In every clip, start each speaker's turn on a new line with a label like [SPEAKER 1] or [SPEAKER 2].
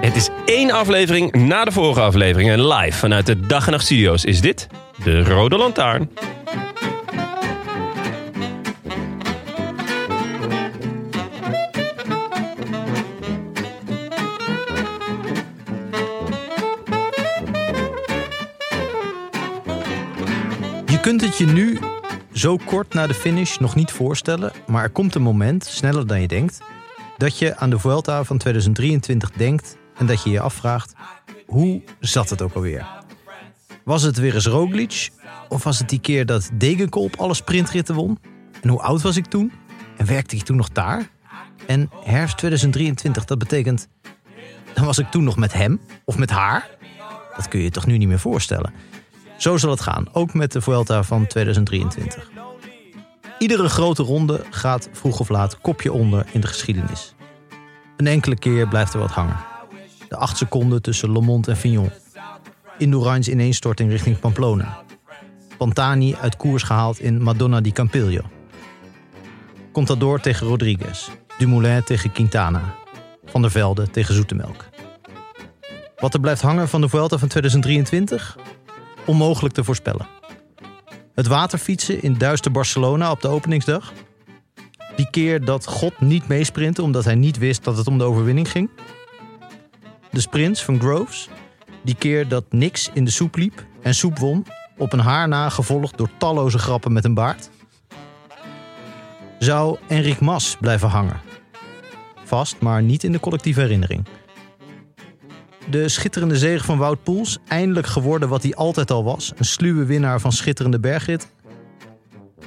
[SPEAKER 1] Het is één aflevering na de vorige aflevering en live vanuit de Dag en Nacht Studio's is dit de Rode Lantaarn.
[SPEAKER 2] Je kunt het je nu zo kort na de finish nog niet voorstellen, maar er komt een moment, sneller dan je denkt, dat je aan de Vuelta van 2023 denkt en dat je je afvraagt, hoe zat het ook alweer? Was het weer eens Roglic? Of was het die keer dat Degenkolb alle sprintritten won? En hoe oud was ik toen? En werkte ik toen nog daar? En herfst 2023, dat betekent, dan was ik toen nog met hem of met haar? Dat kun je je toch nu niet meer voorstellen? Zo zal het gaan, ook met de Vuelta van 2023. Iedere grote ronde gaat vroeg of laat kopje onder in de geschiedenis. Een enkele keer blijft er wat hangen. De acht seconden tussen Le Monde en Fignon. Indurain's ineenstorting richting Pamplona. Pantani uit koers gehaald in Madonna di Campiglio. Contador tegen Rodriguez. Dumoulin tegen Quintana. Van der Velde tegen Zoetemelk. Wat er blijft hangen van de Vuelta van 2023? onmogelijk te voorspellen. Het waterfietsen in duister Barcelona op de openingsdag. Die keer dat God niet meesprintte omdat hij niet wist dat het om de overwinning ging. De sprints van Groves. Die keer dat niks in de soep liep en soep won. Op een haar na gevolgd door talloze grappen met een baard. Zou Enric Mas blijven hangen. Vast, maar niet in de collectieve herinnering. De schitterende zege van Wout Poels, eindelijk geworden wat hij altijd al was: een sluwe winnaar van schitterende bergrit.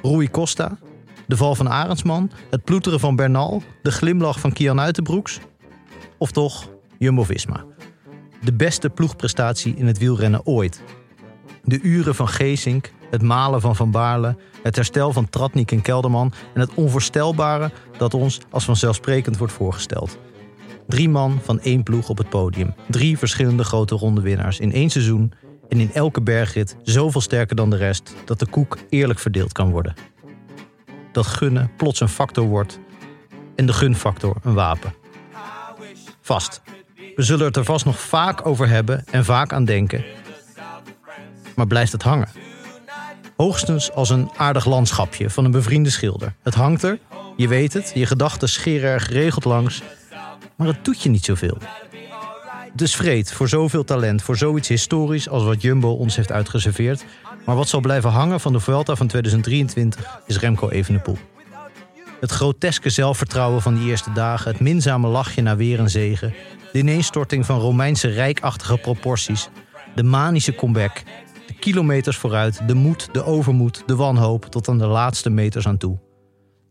[SPEAKER 2] Rui Costa, de val van Arendsman, het ploeteren van Bernal, de glimlach van Kian Uitenbroeks. Of toch Jumbo Visma. De beste ploegprestatie in het wielrennen ooit. De uren van Geesink, het malen van Van Baarle, het herstel van Tratnik en Kelderman en het onvoorstelbare dat ons als vanzelfsprekend wordt voorgesteld. Drie man van één ploeg op het podium. Drie verschillende grote rondewinnaars in één seizoen. En in elke bergrit zoveel sterker dan de rest dat de koek eerlijk verdeeld kan worden. Dat gunnen plots een factor wordt en de gunfactor een wapen. Vast. We zullen het er vast nog vaak over hebben en vaak aan denken. Maar blijft het hangen? Hoogstens als een aardig landschapje van een bevriende schilder. Het hangt er, je weet het, je gedachten scheren er geregeld langs maar het doet je niet zoveel. Dus vreed voor zoveel talent, voor zoiets historisch als wat Jumbo ons heeft uitgeserveerd. Maar wat zal blijven hangen van de Vuelta van 2023 is Remco Evenepoel. Het groteske zelfvertrouwen van die eerste dagen, het minzame lachje na weer een zege, de ineenstorting van Romeinse rijkachtige proporties, de manische comeback, de kilometers vooruit, de moed, de overmoed, de wanhoop tot aan de laatste meters aan toe.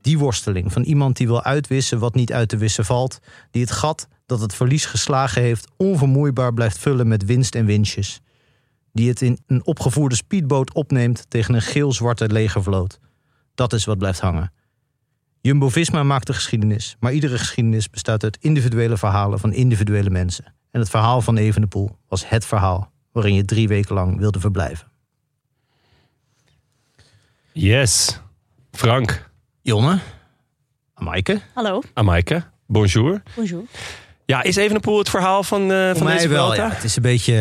[SPEAKER 2] Die worsteling van iemand die wil uitwissen wat niet uit te wissen valt. Die het gat dat het verlies geslagen heeft onvermoeibaar blijft vullen met winst en winstjes. Die het in een opgevoerde speedboot opneemt tegen een geel-zwarte legervloot. Dat is wat blijft hangen. Jumbo-Visma maakt de geschiedenis, maar iedere geschiedenis bestaat uit individuele verhalen van individuele mensen. En het verhaal van Evenepoel was het verhaal waarin je drie weken lang wilde verblijven.
[SPEAKER 1] Yes. Frank,
[SPEAKER 2] Jonne, Maaike,
[SPEAKER 3] Hallo,
[SPEAKER 1] Amaike, bonjour.
[SPEAKER 3] bonjour.
[SPEAKER 1] Ja, is Evenepoel het verhaal van, eh
[SPEAKER 2] Voor
[SPEAKER 1] van
[SPEAKER 2] mij
[SPEAKER 1] deze
[SPEAKER 2] wel,
[SPEAKER 1] Vuelta?
[SPEAKER 2] ja. Het is een beetje...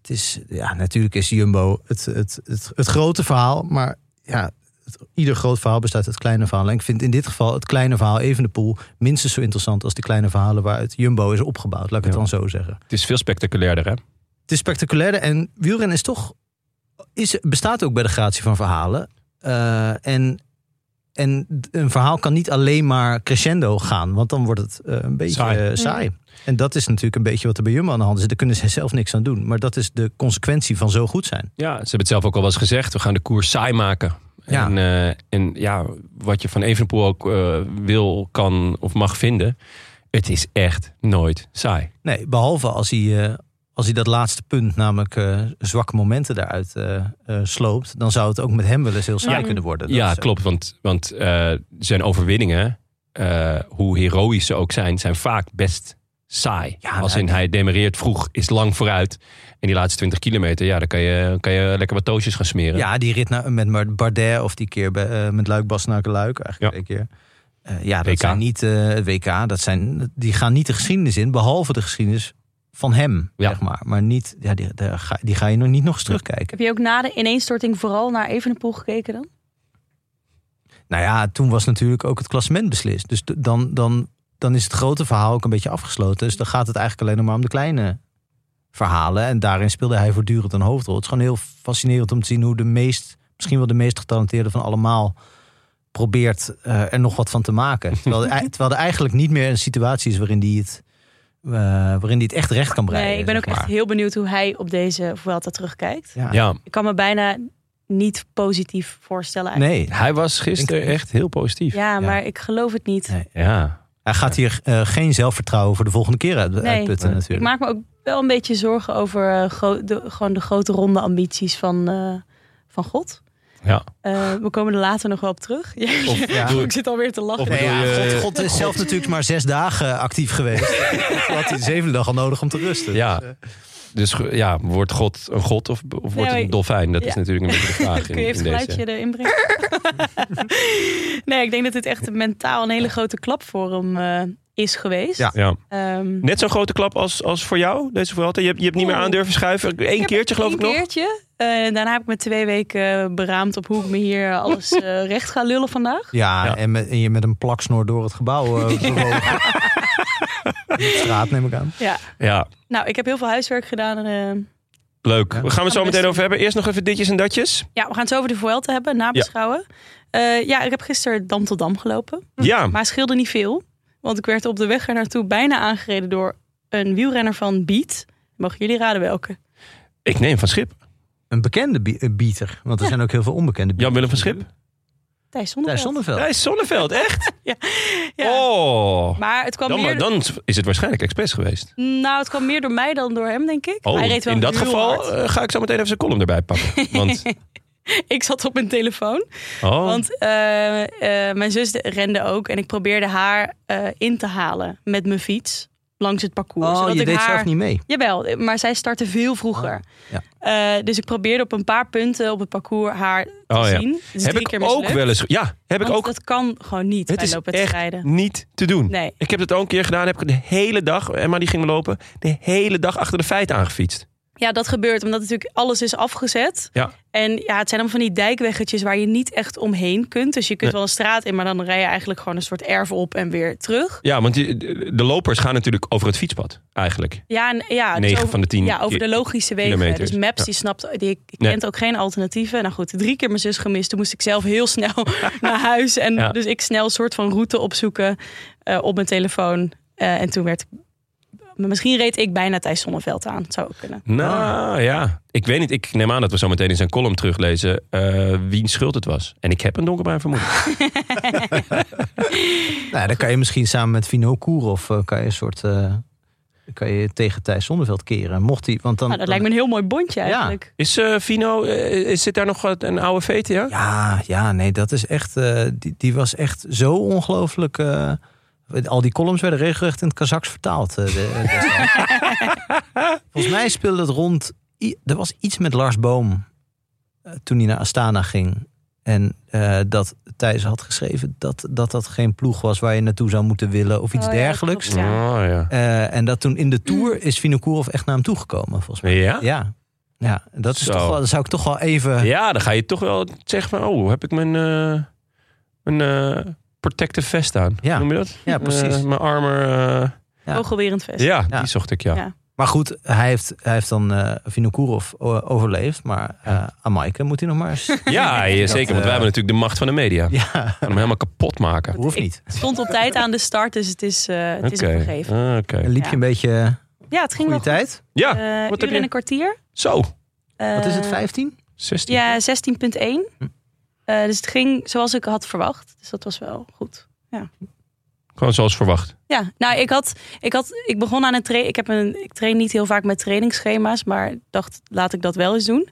[SPEAKER 2] Het is, ja, natuurlijk is Jumbo het, het, het, het grote verhaal. Maar ja, het- ieder groot verhaal bestaat uit kleine verhalen. En ik vind in dit geval het kleine verhaal Evenepoel minstens zo interessant als de kleine verhalen waaruit Jumbo is opgebouwd. Laat ik het
[SPEAKER 1] Ja.
[SPEAKER 2] dan zo zeggen.
[SPEAKER 1] Het is veel spectaculairder, hè?
[SPEAKER 2] Het is spectaculairder en wielrennen is toch, is, bestaat ook bij de gratie van verhalen. Eh, en, en een verhaal kan niet alleen maar crescendo gaan, want dan wordt het eh, een beetje eh,
[SPEAKER 4] Saai.
[SPEAKER 2] saai. En dat is natuurlijk een beetje wat er bij Jumbo aan de hand is. Daar kunnen ze zelf niks aan doen. Maar dat is de consequentie van zo goed zijn.
[SPEAKER 1] Ja, ze hebben het zelf ook al wel eens gezegd. We gaan de koers saai maken.
[SPEAKER 2] Ja.
[SPEAKER 1] En, eh, en ja, wat je van Evenepoel ook eh, wil, kan of mag vinden. Het is echt nooit saai.
[SPEAKER 2] Nee, behalve als hij, eh, als hij dat laatste punt, namelijk eh, zwakke momenten daaruit eh, eh, sloopt, dan zou het ook met hem wel eens heel saai
[SPEAKER 1] Ja.
[SPEAKER 2] kunnen worden. Dat
[SPEAKER 1] ja,
[SPEAKER 2] is- eh,
[SPEAKER 1] klopt. Want, want eh, zijn overwinningen, eh, hoe heroïsch ze ook zijn, zijn vaak best saai.
[SPEAKER 2] Ja,
[SPEAKER 1] Als
[SPEAKER 2] nou,
[SPEAKER 1] in
[SPEAKER 2] die-
[SPEAKER 1] hij demereert vroeg, is lang vooruit. En die laatste 20 kilometer, ja, dan kan je, kan je lekker wat toosjes gaan smeren.
[SPEAKER 2] Ja, die rit naar, met Mar- Bardet of die keer bij, eh, met Luik Bas naar Luik eigenlijk
[SPEAKER 1] Ja.
[SPEAKER 2] een keer. Eh, ja, dat
[SPEAKER 1] WK.
[SPEAKER 2] zijn niet eh, het WK. Dat zijn, die gaan niet de geschiedenis in, behalve de geschiedenis van hem,
[SPEAKER 1] Ja.
[SPEAKER 2] zeg maar. Maar niet, ja, die, daar ga, die ga je nog niet nog eens terugkijken.
[SPEAKER 3] Heb je ook na de ineenstorting vooral naar Evenepoel gekeken dan?
[SPEAKER 2] Nou ja, toen was natuurlijk ook het klassement beslist. Dus d- dan, dan, dan is het grote verhaal ook een beetje afgesloten. Dus dan gaat het eigenlijk alleen nog maar om de kleine verhalen. En daarin speelde hij voortdurend een hoofdrol. Het is gewoon heel fascinerend om te zien hoe de meest, misschien wel de meest getalenteerde van allemaal, probeert eh, er nog wat van te maken. Terwijl, hij- terwijl er eigenlijk niet meer een situatie is waarin die het, eh, waarin die het echt recht kan breien.
[SPEAKER 3] nee, ik ben ook
[SPEAKER 2] zeg maar.
[SPEAKER 3] echt heel benieuwd hoe hij op deze Vuelta terugkijkt.
[SPEAKER 2] Ja.
[SPEAKER 1] ja.
[SPEAKER 3] Ik kan me bijna niet positief voorstellen eigenlijk.
[SPEAKER 2] Nee,
[SPEAKER 1] Hij was gisteren
[SPEAKER 2] Denk-
[SPEAKER 1] echt heel positief. Ja.
[SPEAKER 3] Ja, maar ik geloof het niet.
[SPEAKER 2] Nee. hij gaat hier eh, geen zelfvertrouwen voor de volgende keer uit,
[SPEAKER 1] Nee.
[SPEAKER 2] uitputten
[SPEAKER 3] Ik
[SPEAKER 2] natuurlijk.
[SPEAKER 3] maak me ook wel een beetje zorgen over eh, gro- de, gewoon de grote ronde ambities van, eh, van God.
[SPEAKER 1] Ja.
[SPEAKER 3] Eh, we komen er later nog wel op terug. Ja,
[SPEAKER 1] Of,
[SPEAKER 2] Ja.
[SPEAKER 3] ik zit alweer te lachen.
[SPEAKER 1] Of-
[SPEAKER 2] Nee,
[SPEAKER 1] bedoel
[SPEAKER 2] Nou ja,
[SPEAKER 1] je-
[SPEAKER 2] God, God is zelf natuurlijk maar zes dagen actief geweest. Toen had hij de zevende dag al nodig om te rusten.
[SPEAKER 1] Ja.
[SPEAKER 2] Dus, eh,
[SPEAKER 1] Dus ge- ja, wordt God een god of, of wordt
[SPEAKER 3] maar
[SPEAKER 1] het een
[SPEAKER 3] ik-
[SPEAKER 1] dolfijn? Dat
[SPEAKER 3] ja.
[SPEAKER 1] is natuurlijk een beetje de vraag in,
[SPEAKER 3] Kun je even
[SPEAKER 1] in
[SPEAKER 3] het geluidje
[SPEAKER 1] deze.
[SPEAKER 3] erin brengen? nee, ik denk dat dit echt mentaal een hele grote klap voor hem eh, is geweest.
[SPEAKER 2] Ja.
[SPEAKER 1] Ja.
[SPEAKER 3] Ehm,
[SPEAKER 1] Net zo'n grote klap als, als voor jou, deze Vuelta. Je hebt, je hebt niet meer
[SPEAKER 3] Oeh.
[SPEAKER 1] aan durven schuiven. Eén
[SPEAKER 3] heb
[SPEAKER 1] keertje geloof
[SPEAKER 3] één
[SPEAKER 1] ik nog.
[SPEAKER 3] keertje. Eh, daarna heb ik me twee weken eh, beraamd op hoe ik me hier alles eh, recht ga lullen vandaag.
[SPEAKER 2] ja,
[SPEAKER 1] Ja.
[SPEAKER 2] En, met, en je met een plaksnor door het gebouw eh, bewogen. Op straat neem ik aan.
[SPEAKER 3] Ja.
[SPEAKER 1] Ja,
[SPEAKER 3] Nou, ik heb heel veel huiswerk gedaan. eh,
[SPEAKER 1] leuk.
[SPEAKER 2] Ja.
[SPEAKER 1] We gaan het zo
[SPEAKER 3] best
[SPEAKER 1] meteen
[SPEAKER 3] doen.
[SPEAKER 1] over hebben. Eerst nog even ditjes en datjes.
[SPEAKER 3] Ja, we gaan het zo over de Vuelta hebben, nabeschouwen. Ja, ja ik heb gisteren Dam tot Dam gelopen.
[SPEAKER 1] Ja,
[SPEAKER 3] Maar het scheelde niet veel. Want ik werd op de weg er naartoe bijna aangereden door een wielrenner van Beat. Mogen jullie raden welke?
[SPEAKER 1] ik neem van Schip.
[SPEAKER 2] Een bekende bie- eh, bieter. Want er zijn ook heel veel onbekende bieters.
[SPEAKER 1] Jan-Willem van Schip?
[SPEAKER 3] Thijs
[SPEAKER 2] Daar
[SPEAKER 3] Zonneveld.
[SPEAKER 2] is Zonneveld.
[SPEAKER 1] Hij is Zonneveld, echt?
[SPEAKER 3] Ja.
[SPEAKER 1] Oh.
[SPEAKER 3] Maar het kwam,
[SPEAKER 1] Dan,
[SPEAKER 3] meer,
[SPEAKER 1] maar, dan is het waarschijnlijk expres geweest.
[SPEAKER 3] nou, het kwam meer door mij dan door hem, denk ik.
[SPEAKER 1] Oh,
[SPEAKER 3] Hij reed wel
[SPEAKER 1] in dat
[SPEAKER 3] heel
[SPEAKER 1] geval
[SPEAKER 3] hard.
[SPEAKER 1] eh, ga ik zo meteen even zijn column erbij pakken. Want,
[SPEAKER 3] Ik zat op mijn telefoon.
[SPEAKER 1] oh,
[SPEAKER 3] Want eh, eh, mijn zus de- rende ook. En ik probeerde haar eh, in te halen met mijn fiets. Langs het parcours.
[SPEAKER 2] Oh,
[SPEAKER 3] zodat
[SPEAKER 2] je
[SPEAKER 3] ik
[SPEAKER 2] deed
[SPEAKER 3] haar...
[SPEAKER 2] zelf niet mee.
[SPEAKER 3] Jawel, maar zij startte veel vroeger.
[SPEAKER 1] Oh,
[SPEAKER 2] ja.
[SPEAKER 3] Eh, dus ik probeerde op een paar punten op het parcours haar te
[SPEAKER 1] Oh, ja.
[SPEAKER 3] zien. Dus drie
[SPEAKER 1] heb ik
[SPEAKER 3] keer
[SPEAKER 1] ook
[SPEAKER 3] mislukt.
[SPEAKER 1] wel eens... Ja, heb ik
[SPEAKER 3] Want
[SPEAKER 1] ook
[SPEAKER 3] dat kan gewoon niet
[SPEAKER 1] Het
[SPEAKER 3] bij
[SPEAKER 1] is
[SPEAKER 3] lopen te
[SPEAKER 1] echt
[SPEAKER 3] rijden.
[SPEAKER 1] niet te doen.
[SPEAKER 3] Nee.
[SPEAKER 1] Ik heb het ook een keer gedaan. Heb ik de hele dag, Emma die ging me lopen, de hele dag achter de feiten aangefietst.
[SPEAKER 3] Ja, dat gebeurt omdat natuurlijk alles is afgezet.
[SPEAKER 1] Ja.
[SPEAKER 3] En ja, het zijn dan van die dijkweggetjes waar je niet echt omheen kunt. Dus je kunt
[SPEAKER 1] Nee.
[SPEAKER 3] wel een straat in, maar dan rij je eigenlijk gewoon een soort erf op en weer terug.
[SPEAKER 1] Ja, want die- de, de lopers gaan natuurlijk over het fietspad eigenlijk.
[SPEAKER 3] Ja, en, ja dus
[SPEAKER 1] Negen
[SPEAKER 3] over-
[SPEAKER 1] van de tien
[SPEAKER 3] Ja, over de logische wegen.
[SPEAKER 1] kilometers.
[SPEAKER 3] Dus Maps,
[SPEAKER 1] Ja.
[SPEAKER 3] die snapt, die
[SPEAKER 1] Nee.
[SPEAKER 3] kent ook geen alternatieven. Nou goed, drie keer mijn zus gemist. Toen moest ik zelf heel snel naar huis. En
[SPEAKER 1] Ja.
[SPEAKER 3] dus ik snel een soort van route opzoeken eh, op mijn telefoon. Eh, en toen werd ik... maar Misschien reed ik bijna Thijs Zonneveld aan. Het zou ook kunnen.
[SPEAKER 1] Nou ja, ik weet niet. Ik neem aan dat we zo meteen in zijn column teruglezen eh wiens schuld het was. En ik heb een donkerbruin vermoeden.
[SPEAKER 2] Nou, dan kan je misschien samen met Vino Koerhoff eh, kan je een soort... eh, kan je tegen Thijs Zonneveld keren. Mocht hij... Want dan,
[SPEAKER 3] Nou, dat lijkt me een heel mooi bondje eigenlijk.
[SPEAKER 1] Is eh, Vino, eh, is zit daar nog wat- een oude VT? Ja?
[SPEAKER 2] Ja, ja, nee, dat is echt. eh, die, die was echt zo ongelooflijk. eh, al die columns werden regelrecht in het Kazaks vertaald. eh, de- eh, destijds. Volgens mij speelde het rond. i- Er was iets met Lars Boom eh, toen hij naar Astana ging. En eh, dat Thijs had geschreven dat, dat dat geen ploeg was waar je naartoe zou moeten willen of iets
[SPEAKER 3] Oh ja, dat
[SPEAKER 2] dergelijks.
[SPEAKER 3] klopt, Mm. ja.
[SPEAKER 1] Oh, ja.
[SPEAKER 2] Eh, en dat toen in de Tour is Vinokourov echt naar hem toegekomen, volgens mij.
[SPEAKER 1] Ja?
[SPEAKER 2] Ja, Ja, dat, is
[SPEAKER 1] Zo.
[SPEAKER 2] toch wel, dat zou ik toch wel even...
[SPEAKER 1] Ja, dan ga je toch wel zeggen van... Oh, heb ik mijn, eh mijn eh, protective vest aan?
[SPEAKER 2] Ja.
[SPEAKER 1] Hoe Noem je dat?
[SPEAKER 2] Ja, precies.
[SPEAKER 1] Eh, mijn armor... eh,
[SPEAKER 2] Ja.
[SPEAKER 3] Vogelwerend vest.
[SPEAKER 1] ja,
[SPEAKER 2] Ja.
[SPEAKER 1] die zocht ik, ja.
[SPEAKER 3] Ja.
[SPEAKER 2] Maar goed, hij heeft, hij heeft dan eh Vinokourov o- overleefd. Maar eh aan Maaike moet hij nog maar eens...
[SPEAKER 1] Ja, ja,
[SPEAKER 2] Dat,
[SPEAKER 1] zeker. Want
[SPEAKER 2] eh,
[SPEAKER 1] wij hebben natuurlijk de macht van de media. We
[SPEAKER 2] ja,
[SPEAKER 1] gaan hem helemaal kapot maken.
[SPEAKER 2] hoeft
[SPEAKER 3] Ik-
[SPEAKER 2] niet.
[SPEAKER 3] Het stond op tijd aan de start, dus het is, eh het is
[SPEAKER 1] Oké.
[SPEAKER 3] hem vergeven.
[SPEAKER 1] Ah, oké.
[SPEAKER 2] En liep je
[SPEAKER 3] Ja.
[SPEAKER 2] een beetje eh,
[SPEAKER 3] Ja, het ging
[SPEAKER 2] goede
[SPEAKER 3] wel goed.
[SPEAKER 2] tijd.
[SPEAKER 1] Ja,
[SPEAKER 3] Eh,
[SPEAKER 1] wat
[SPEAKER 3] uur
[SPEAKER 1] heb
[SPEAKER 3] en een
[SPEAKER 1] je?
[SPEAKER 3] kwartier.
[SPEAKER 1] Zo,
[SPEAKER 2] Wat is het,
[SPEAKER 3] Eh,
[SPEAKER 2] 15?
[SPEAKER 1] 16.
[SPEAKER 3] Ja, 16.1.
[SPEAKER 2] Hm.
[SPEAKER 3] Eh, dus het ging zoals ik had verwacht. Dus dat was wel goed.
[SPEAKER 1] Gewoon zoals verwacht.
[SPEAKER 3] Ja, nou, ik had, ik had, ik begon aan een train. Ik heb een, ik train niet heel vaak met trainingsschema's, maar dacht, laat ik dat wel eens doen.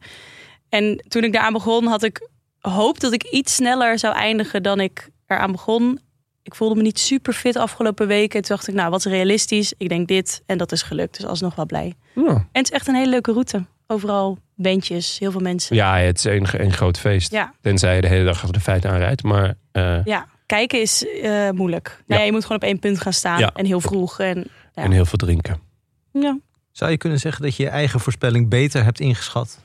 [SPEAKER 3] En toen ik daaraan begon, had ik hoop dat ik iets sneller zou eindigen dan ik eraan begon. Ik voelde me niet super fit afgelopen weken. Toen dacht ik, nou, wat is realistisch? Ik denk dit en dat is gelukt. Dus alsnog wel blij.
[SPEAKER 1] Ja,
[SPEAKER 3] En het is echt een hele leuke route. Overal bandjes, heel veel mensen.
[SPEAKER 1] ja het is een, een groot feest.
[SPEAKER 3] Ja.
[SPEAKER 1] Tenzij je de hele dag achter de feiten aanrijdt. Maar eh,
[SPEAKER 3] Ja, kijken is eh, moeilijk.
[SPEAKER 1] Ja.
[SPEAKER 3] Nee, je moet gewoon op één punt gaan staan
[SPEAKER 1] Ja.
[SPEAKER 3] en heel vroeg. En, Ja.
[SPEAKER 1] en heel veel drinken.
[SPEAKER 3] ja.
[SPEAKER 2] Zou je kunnen zeggen dat je je eigen voorspelling beter hebt ingeschat...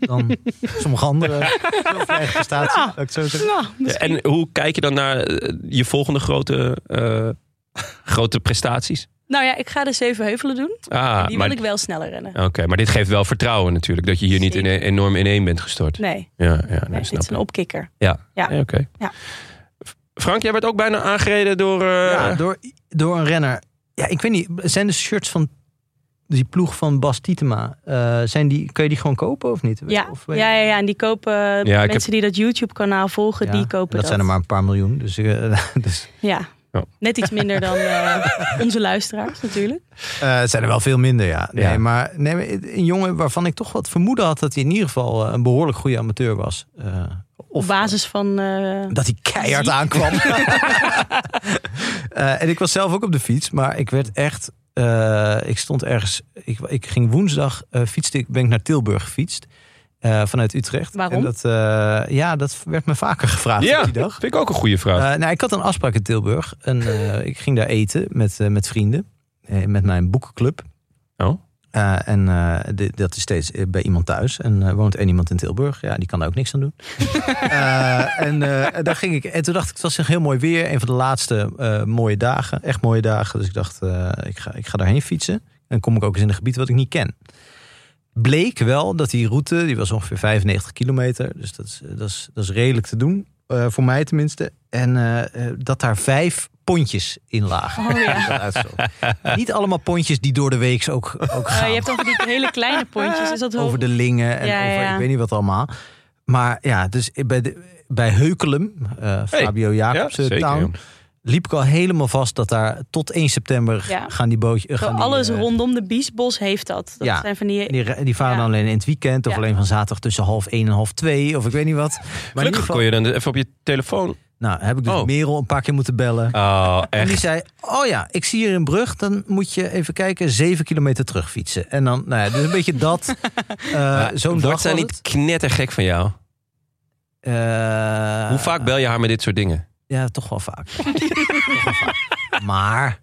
[SPEAKER 2] dan sommige anderen? Of je eigen prestatie,
[SPEAKER 3] Ja.
[SPEAKER 2] laat ik het zo zeggen.
[SPEAKER 3] Nou, misschien.
[SPEAKER 1] En hoe kijk je dan naar eh, je volgende grote, eh, grote prestaties?
[SPEAKER 3] Nou ja, ik ga de zeven heuvelen doen.
[SPEAKER 1] Ah,
[SPEAKER 3] Die
[SPEAKER 1] maar,
[SPEAKER 3] wil ik wel sneller rennen.
[SPEAKER 1] Oké, maar dit geeft wel vertrouwen natuurlijk. Dat je hier niet in, enorm ineen bent gestort.
[SPEAKER 3] Nee,
[SPEAKER 1] Ja, ja nee,
[SPEAKER 3] nee, dit
[SPEAKER 1] snap
[SPEAKER 3] is
[SPEAKER 1] ik.
[SPEAKER 3] een opkikker. Ja.
[SPEAKER 1] Nee, Oké.
[SPEAKER 3] Ja.
[SPEAKER 1] Frank, jij werd ook bijna aangereden door... eh,
[SPEAKER 2] Ja, door, door een renner. Ja, ik weet niet. Zijn de shirts van die ploeg van Bas Tietema... eh, zijn die, kun je die gewoon kopen of niet?
[SPEAKER 3] Ja.
[SPEAKER 2] Of, eh,
[SPEAKER 3] Ja, ja, ja, en die kopen
[SPEAKER 1] ik
[SPEAKER 3] mensen die dat YouTube-kanaal volgen,
[SPEAKER 2] Ja,
[SPEAKER 3] die
[SPEAKER 2] en
[SPEAKER 3] kopen
[SPEAKER 2] dat. zijn er maar een paar miljoen. Dus, eh, dus
[SPEAKER 3] Ja,
[SPEAKER 1] Ja.
[SPEAKER 3] net iets minder dan eh, onze luisteraars natuurlijk.
[SPEAKER 2] Eh, het zijn er wel veel minder, ja. Nee,
[SPEAKER 1] Ja.
[SPEAKER 2] Maar, nee, maar een jongen waarvan ik toch wat vermoeden had dat hij in ieder geval eh, een behoorlijk goede amateur was. Eh,
[SPEAKER 3] Op basis van... eh,
[SPEAKER 2] dat hij keihard aankwam. Eh, en ik was zelf ook op de fiets, maar ik werd echt. eh, ik stond ergens. Ik, ik ging woensdag eh fietste, ik ben ik naar Tilburg gefietst. eh, vanuit Utrecht.
[SPEAKER 3] Waarom?
[SPEAKER 2] En dat, eh, ja, dat werd me vaker gevraagd
[SPEAKER 1] Ja,
[SPEAKER 2] op die dag.
[SPEAKER 1] vind ik ook een goede vraag.
[SPEAKER 2] Eh, nou, ik had een afspraak in Tilburg. En eh, ik ging daar eten met, eh, met vrienden. eh, met mijn boekenclub.
[SPEAKER 1] Oh.
[SPEAKER 2] Eh, en eh, di- dat is steeds eh, bij iemand thuis. En eh, woont één iemand in Tilburg. Ja, die kan daar ook niks aan doen. Eh, en eh, daar ging ik. En toen dacht ik, het was echt heel mooi weer. Een van de laatste eh, mooie dagen. Echt mooie dagen. Dus ik dacht, eh, ik, ga, ik ga daarheen fietsen. En dan kom ik ook eens in een gebied wat ik niet ken. Bleek wel dat die route, die was ongeveer 95 kilometer. Dus dat is, dat is, dat is redelijk te doen. eh, voor mij tenminste. En eh, eh, dat daar vijf pontjes in lagen.
[SPEAKER 3] Oh ja.
[SPEAKER 2] Dat uitstel. Niet allemaal pontjes die door de week ook, ook
[SPEAKER 3] eh,
[SPEAKER 2] gaan.
[SPEAKER 3] je hebt over die hele kleine pontjes. Is dat wel-
[SPEAKER 2] Over de lingen en
[SPEAKER 3] Ja, ja,
[SPEAKER 2] over
[SPEAKER 3] ja.
[SPEAKER 2] ik weet niet wat allemaal. Maar ja, dus bij, de, bij Heukelum, eh, Fabio Jacobsen town,
[SPEAKER 1] joh.
[SPEAKER 2] liep ik al helemaal vast dat daar tot 1 september
[SPEAKER 3] Ja.
[SPEAKER 2] gaan die bootjes...
[SPEAKER 3] Zo
[SPEAKER 2] gaan die,
[SPEAKER 3] alles
[SPEAKER 2] eh,
[SPEAKER 3] rondom de Biesbos heeft dat. Dat
[SPEAKER 2] Ja.
[SPEAKER 3] zijn van die...
[SPEAKER 2] Die, re- die varen
[SPEAKER 3] Eh, Ja.
[SPEAKER 2] dan alleen in het weekend of
[SPEAKER 3] Ja.
[SPEAKER 2] alleen van zaterdag tussen half 1 en half 2 of ik weet niet wat. Maar in ieder
[SPEAKER 1] Gelukkig
[SPEAKER 2] geval-
[SPEAKER 1] kon je dan even op je telefoon...
[SPEAKER 2] Nou, heb ik dus
[SPEAKER 1] Oh.
[SPEAKER 2] Merel een paar keer moeten bellen.
[SPEAKER 1] Oh,
[SPEAKER 2] En
[SPEAKER 1] echt.
[SPEAKER 2] die zei, oh ja, ik zie hier een brug. Dan moet je even kijken, zeven kilometer terugfietsen. En dan, nou ja, dus een beetje dat. eh, Zo'n dag
[SPEAKER 1] Wordt zij
[SPEAKER 2] was
[SPEAKER 1] niet
[SPEAKER 2] het.
[SPEAKER 1] knettergek van jou?
[SPEAKER 2] Eh,
[SPEAKER 1] Hoe vaak bel je haar met dit soort dingen?
[SPEAKER 2] Ja, toch wel vaak. Toch wel vaak. Maar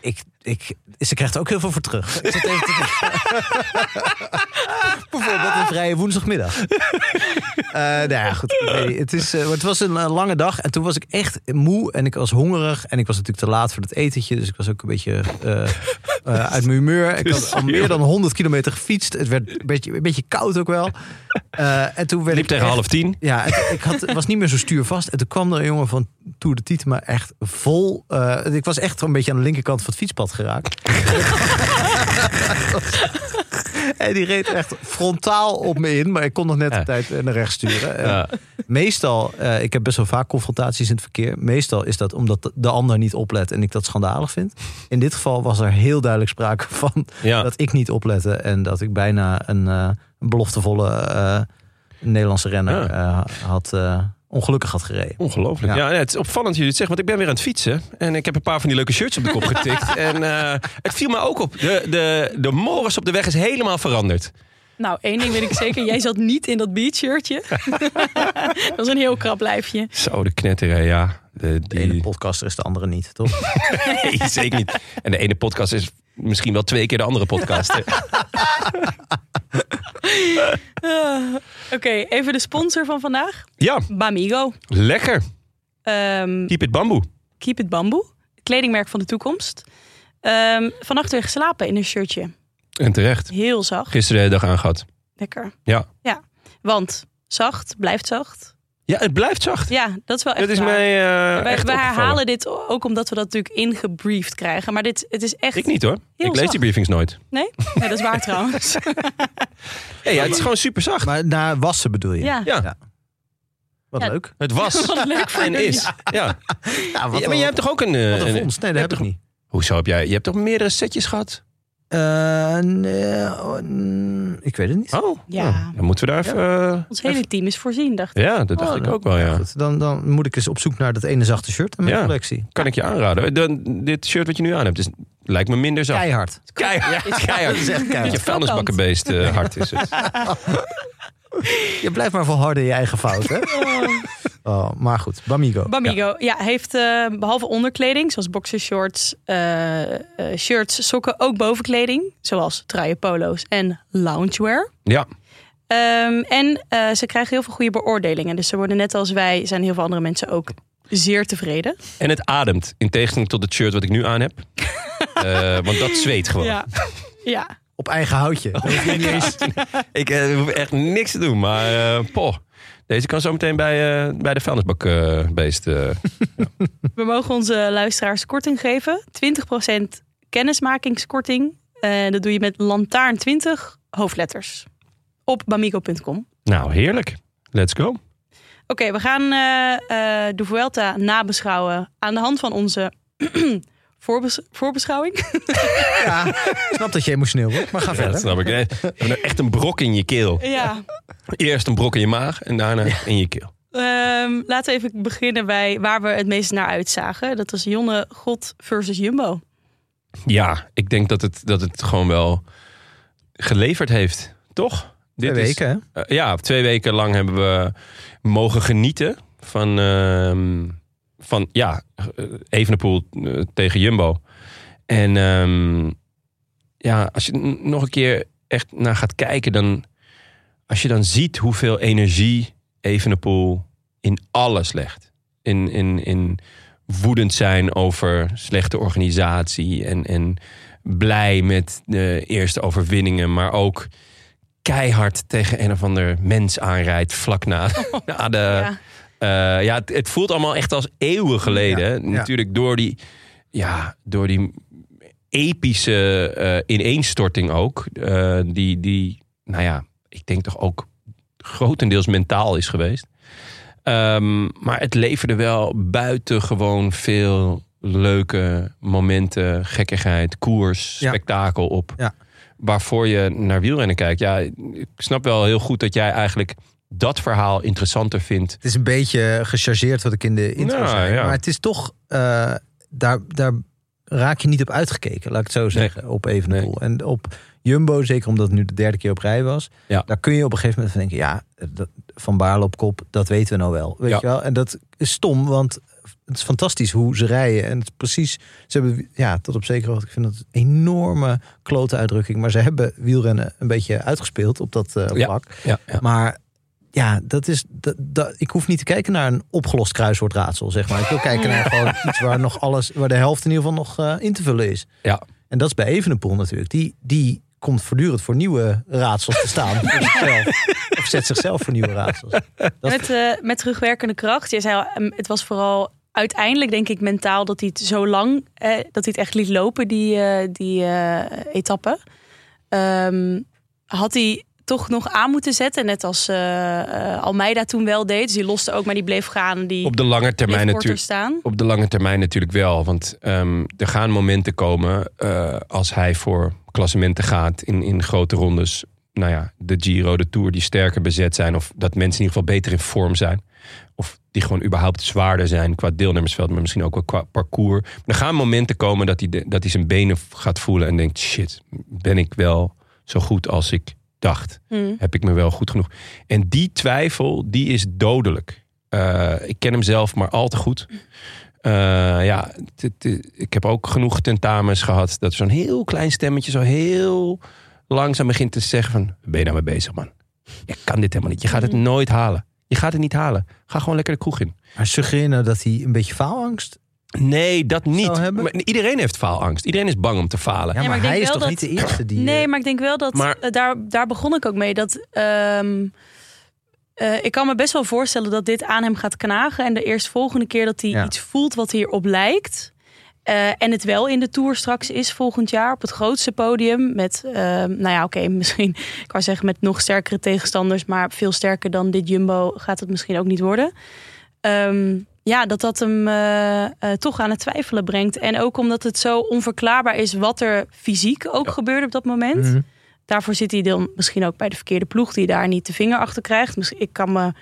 [SPEAKER 2] ik, ik, ze krijgt er ook heel veel voor terug. Ik zit even te denken. Bijvoorbeeld een vrije woensdagmiddag. Eh nou ja, goed. ik weet niet. Het, is, eh, maar het was een eh, lange dag en toen was ik echt moe en ik was hongerig. En ik was natuurlijk te laat voor dat etentje, dus ik was ook een beetje eh, eh, uit mijn humeur. Ik had al meer dan 100 kilometer gefietst. Het werd een beetje, een beetje koud ook wel. Eh, en toen werd
[SPEAKER 1] Liep
[SPEAKER 2] ik
[SPEAKER 1] tegen
[SPEAKER 2] echt-
[SPEAKER 1] half tien.
[SPEAKER 2] ja, het- ik had, was niet meer zo stuurvast. En toen kwam er een jongen van Tour de Tietema echt vol. eh, ik was echt een beetje aan de linkerkant van het fietspad geraakt. en die reed echt frontaal op me in. Maar ik kon nog net
[SPEAKER 1] Ja.
[SPEAKER 2] op tijd eh, naar rechts sturen. En
[SPEAKER 1] Ja.
[SPEAKER 2] Meestal, eh, ik heb best wel vaak confrontaties in het verkeer. Meestal is dat omdat de ander niet oplet en ik dat schandalig vind. In dit geval was er heel duidelijk sprake van
[SPEAKER 1] Ja.
[SPEAKER 2] dat ik niet oplette. En dat ik bijna een, eh, een beloftevolle eh, Nederlandse renner eh, had, eh, ongelukkig had gereden.
[SPEAKER 1] Ongelooflijk. Ja.
[SPEAKER 2] Ja.
[SPEAKER 1] nee, het is opvallend dat jullie het zeggen, want ik ben weer aan het fietsen. En ik heb een paar van die leuke shirts op de kop getikt. en eh, het viel me ook op. De, de, de morris op de weg is helemaal veranderd.
[SPEAKER 3] Nou, één ding weet ik zeker. Jij zat niet in dat beachshirtje. dat was een heel krap lijfje.
[SPEAKER 1] Zo, de knetteren, ja. De,
[SPEAKER 2] De ene
[SPEAKER 1] die,
[SPEAKER 2] podcaster is de andere niet, toch?
[SPEAKER 1] nee, zeker niet. En de ene podcast is misschien wel twee keer de andere podcast.
[SPEAKER 3] Ah, Oké, even de sponsor van vandaag.
[SPEAKER 1] Ja,
[SPEAKER 3] Bamigo.
[SPEAKER 1] lekker.
[SPEAKER 3] Ehm,
[SPEAKER 1] Keep it bamboe.
[SPEAKER 3] Keep it Bamboe. Het kledingmerk van de toekomst. Ehm, vannacht weer geslapen in een shirtje.
[SPEAKER 1] En terecht.
[SPEAKER 3] Heel zacht.
[SPEAKER 1] Gisteren de hele dag aangehad.
[SPEAKER 3] Lekker.
[SPEAKER 1] Ja.
[SPEAKER 3] Ja. Want zacht blijft zacht.
[SPEAKER 1] Ja, het blijft zacht.
[SPEAKER 3] Ja, dat is wel echt
[SPEAKER 1] dat is
[SPEAKER 3] waar.
[SPEAKER 1] mij eh echt
[SPEAKER 3] Wij, wij
[SPEAKER 1] opgevallen.
[SPEAKER 3] herhalen dit ook omdat we dat natuurlijk ingebriefd krijgen. Maar dit, het is echt...
[SPEAKER 1] Ik niet hoor. ik
[SPEAKER 3] Heel
[SPEAKER 1] lees
[SPEAKER 3] zacht.
[SPEAKER 1] die briefings nooit.
[SPEAKER 3] Nee? Nee, dat is waar trouwens.
[SPEAKER 1] Hey, ja, het is gewoon super zacht.
[SPEAKER 2] Maar naar wassen bedoel je?
[SPEAKER 3] Ja.
[SPEAKER 1] Ja.
[SPEAKER 2] Wat
[SPEAKER 3] Ja.
[SPEAKER 2] leuk.
[SPEAKER 1] Het was
[SPEAKER 3] Wat leuk voor
[SPEAKER 1] en
[SPEAKER 3] jullie.
[SPEAKER 1] is. Ja.
[SPEAKER 2] Ja,
[SPEAKER 1] Ja, maar jij hebt toch ook een... eh,
[SPEAKER 2] wat een
[SPEAKER 1] een-
[SPEAKER 2] vondst. Nee, dat heb ik niet.
[SPEAKER 1] Hoezo heb jij... Je hebt toch meerdere setjes gehad?
[SPEAKER 2] Eh, nee, oh, mm, ik weet het niet.
[SPEAKER 1] Oh.
[SPEAKER 3] Ja.
[SPEAKER 1] oh. Dan moeten we daar even... eh,
[SPEAKER 3] Ons hele team is voorzien, dacht ik.
[SPEAKER 1] Ja, dat dacht
[SPEAKER 2] Oh,
[SPEAKER 1] ik
[SPEAKER 2] dan-
[SPEAKER 1] ook wel, ja.
[SPEAKER 2] Goed, dan, dan moet ik eens op zoek naar dat ene zachte shirt en mijn
[SPEAKER 1] Ja.
[SPEAKER 2] collectie.
[SPEAKER 1] Kan ik je aanraden. Dan, dit shirt wat je nu aan hebt, is, lijkt me minder zacht.
[SPEAKER 2] Keihard.
[SPEAKER 1] Keihard. Ja, keihard.
[SPEAKER 2] Dat is echt
[SPEAKER 1] Je
[SPEAKER 2] keihard.
[SPEAKER 1] vuilnisbakkenbeest eh, hard is het.
[SPEAKER 2] Je blijft maar volharden in je eigen fout, hè? Oh, maar goed, Bamigo.
[SPEAKER 3] Bamigo, ja, heeft eh, behalve onderkleding, zoals boxershorts, eh, eh, shirts, sokken, ook bovenkleding, zoals truien, polo's en loungewear.
[SPEAKER 1] Ja,
[SPEAKER 3] Ehm, en eh, ze krijgen heel veel goede beoordelingen. Dus ze worden net als wij, zijn heel veel andere mensen ook zeer tevreden.
[SPEAKER 1] en het ademt. In tegenstelling tot het shirt wat ik nu aan heb. Eh, want dat zweet gewoon.
[SPEAKER 3] ja.
[SPEAKER 2] Op eigen houtje. Dat hoef je niet eens-
[SPEAKER 1] eh, Ik eh, hoef echt niks te doen, maar eh, poh. Deze kan zo meteen bij, eh, bij de eh, vuilnisbakbeest.
[SPEAKER 3] We mogen onze luisteraars korting geven. 20% kennismakingskorting. En dat doe je met lantaarn 20 hoofdletters. Op bamigo.com. Oké,
[SPEAKER 1] nou, heerlijk. Let's go.
[SPEAKER 3] we gaan eh, eh, de Vuelta nabeschouwen aan de hand van onze voorbes- voorbeschouwing.
[SPEAKER 2] Ja, ik snap dat je emotioneel wordt, maar ga
[SPEAKER 1] Ja, dat
[SPEAKER 2] verder.
[SPEAKER 1] snap ik. Eh, we hebben nou echt een brok in je keel.
[SPEAKER 3] ja.
[SPEAKER 1] Eerst een brok in je maag en daarna in je keel.
[SPEAKER 3] Ehm, laten we even beginnen bij waar we het meest naar uitzagen. Dat was Jonne God versus Jumbo.
[SPEAKER 1] Ja, ik denk dat het, dat het gewoon wel geleverd heeft, toch?
[SPEAKER 2] Twee
[SPEAKER 1] is-
[SPEAKER 2] weken, hè?
[SPEAKER 1] Eh, ja, twee weken lang hebben we mogen genieten van, ehm, van ja, eh, Evenepoel eh, tegen Jumbo. En ehm, ja, als je n- nog een keer echt naar gaat kijken, dan als je dan ziet hoeveel energie Evenepoel in alles legt. In, in, in woedend zijn over slechte organisatie en, en blij met de eerste overwinningen, maar ook keihard tegen een of ander mens aanrijdt vlak na, na de...
[SPEAKER 3] Ja.
[SPEAKER 1] Eh, ja, het, het voelt allemaal echt als eeuwen geleden. hè.
[SPEAKER 2] ja.
[SPEAKER 1] Natuurlijk door die, ja, door die epische eh, ineenstorting ook. eh, die, die, nou ja, ik denk toch ook grotendeels mentaal is geweest. Ehm, maar het leverde wel buitengewoon veel leuke momenten, gekkigheid, koers,
[SPEAKER 2] Ja.
[SPEAKER 1] spektakel op.
[SPEAKER 2] Ja.
[SPEAKER 1] Waarvoor je naar wielrennen kijkt. Ja, ik snap wel heel goed dat jij eigenlijk dat verhaal interessanter vindt
[SPEAKER 2] Het is een beetje gechargeerd wat ik in de intro
[SPEAKER 1] Nou,
[SPEAKER 2] zei.
[SPEAKER 1] ja.
[SPEAKER 2] Maar het is toch... eh, daar, daar raak je niet op uitgekeken, laat ik het zo zeggen. Op Evenepoel. En op Jumbo, zeker omdat het nu de derde keer op rij was.
[SPEAKER 1] Ja.
[SPEAKER 2] Daar kun je op een gegeven moment van denken... Ja, dat- Van Baarle op kop, dat weten we nou wel. Weet
[SPEAKER 1] Ja.
[SPEAKER 2] je wel? En dat is stom, want het is fantastisch hoe ze rijden. En het is precies... Ze hebben, ja, tot op zekere hoogte. Ik vind dat een enorme klote uitdrukking. Maar ze hebben wielrennen een beetje uitgespeeld op dat eh,
[SPEAKER 1] Ja.
[SPEAKER 2] vlak.
[SPEAKER 1] Ja, ja.
[SPEAKER 2] Maar ja, dat is, dat, dat, ik hoef niet te kijken naar een opgelost kruiswoordraadsel, zeg maar. Ik wil kijken naar gewoon iets waar, nog alles, waar de helft in ieder geval nog eh, in te vullen is.
[SPEAKER 1] Ja.
[SPEAKER 2] En dat is bij Evenepoel natuurlijk. Die, die komt voortdurend voor nieuwe raadsels te staan. voor zichzelf. Of zet zichzelf voor nieuwe raadsels. Dat-
[SPEAKER 3] Met, eh, met terugwerkende kracht. Je zei al, ehm, het was vooral uiteindelijk denk ik mentaal dat hij het zo lang, eh, dat hij het echt liet lopen, die, eh, die eh, etappe. Ehm, had hij toch nog aan moeten zetten, net als eh, eh, Almeida toen wel deed. Dus die loste ook, maar die bleef gaan. Die
[SPEAKER 1] Op de lange
[SPEAKER 3] bleef
[SPEAKER 1] termijn
[SPEAKER 3] korter
[SPEAKER 1] natuurlijk.
[SPEAKER 3] staan.
[SPEAKER 1] Op de lange termijn natuurlijk wel. Want ehm, er gaan momenten komen eh, als hij voor klassementen gaat in, in grote rondes. Nou ja, de Giro, de Tour die sterker bezet zijn. Of dat mensen in ieder geval beter in vorm zijn. Of die gewoon überhaupt zwaarder zijn qua deelnemersveld. Maar misschien ook wel qua parcours. Maar er gaan momenten komen dat hij, de- dat hij zijn benen gaat voelen. En denkt, shit, ben ik wel zo goed als ik dacht?
[SPEAKER 3] Mm.
[SPEAKER 1] heb ik me wel goed genoeg. En die twijfel, die is dodelijk. Eh, ik ken hem zelf maar al te goed. Eh, ja, het- het- ik heb ook genoeg tentamens gehad. Dat zo'n heel klein stemmetje zo heel langzaam begint te zeggen van... "Waar Ben je nou mee bezig, man? Je kan dit helemaal niet. Je gaat het nooit halen. Je gaat het niet halen. Ga gewoon lekker de kroeg in.
[SPEAKER 2] Maar suggereer je nou dat hij een beetje faalangst...
[SPEAKER 1] Nee, dat niet.
[SPEAKER 2] Zou hebben?
[SPEAKER 1] Maar iedereen heeft faalangst. Iedereen is bang om te falen.
[SPEAKER 2] Ja, maar,
[SPEAKER 3] maar ik denk
[SPEAKER 2] hij is
[SPEAKER 3] wel
[SPEAKER 2] toch
[SPEAKER 3] dat-
[SPEAKER 2] niet de eerste die...
[SPEAKER 3] Nee,
[SPEAKER 2] eh,
[SPEAKER 3] maar ik denk wel dat.
[SPEAKER 1] Maar-
[SPEAKER 3] eh, daar, daar begon ik ook mee. Dat. ehm, eh, ik kan me best wel voorstellen dat dit aan hem gaat knagen. En de eerstvolgende keer dat hij
[SPEAKER 2] Ja.
[SPEAKER 3] iets voelt wat hierop lijkt. eh, en het wel in de Tour straks is volgend jaar op het grootste podium. Met, ehm, nou ja, oké, misschien, ik wou zeggen met nog sterkere tegenstanders. Maar veel sterker dan dit Jumbo gaat het misschien ook niet worden. Ehm, ja, dat dat hem eh, eh, toch aan het twijfelen brengt. En ook omdat het zo onverklaarbaar is wat er fysiek ook gebeurde op dat moment.
[SPEAKER 2] Mhm.
[SPEAKER 3] Daarvoor zit hij dan misschien ook bij de verkeerde ploeg die daar niet de vinger achter krijgt. Misschien- Ik kan me.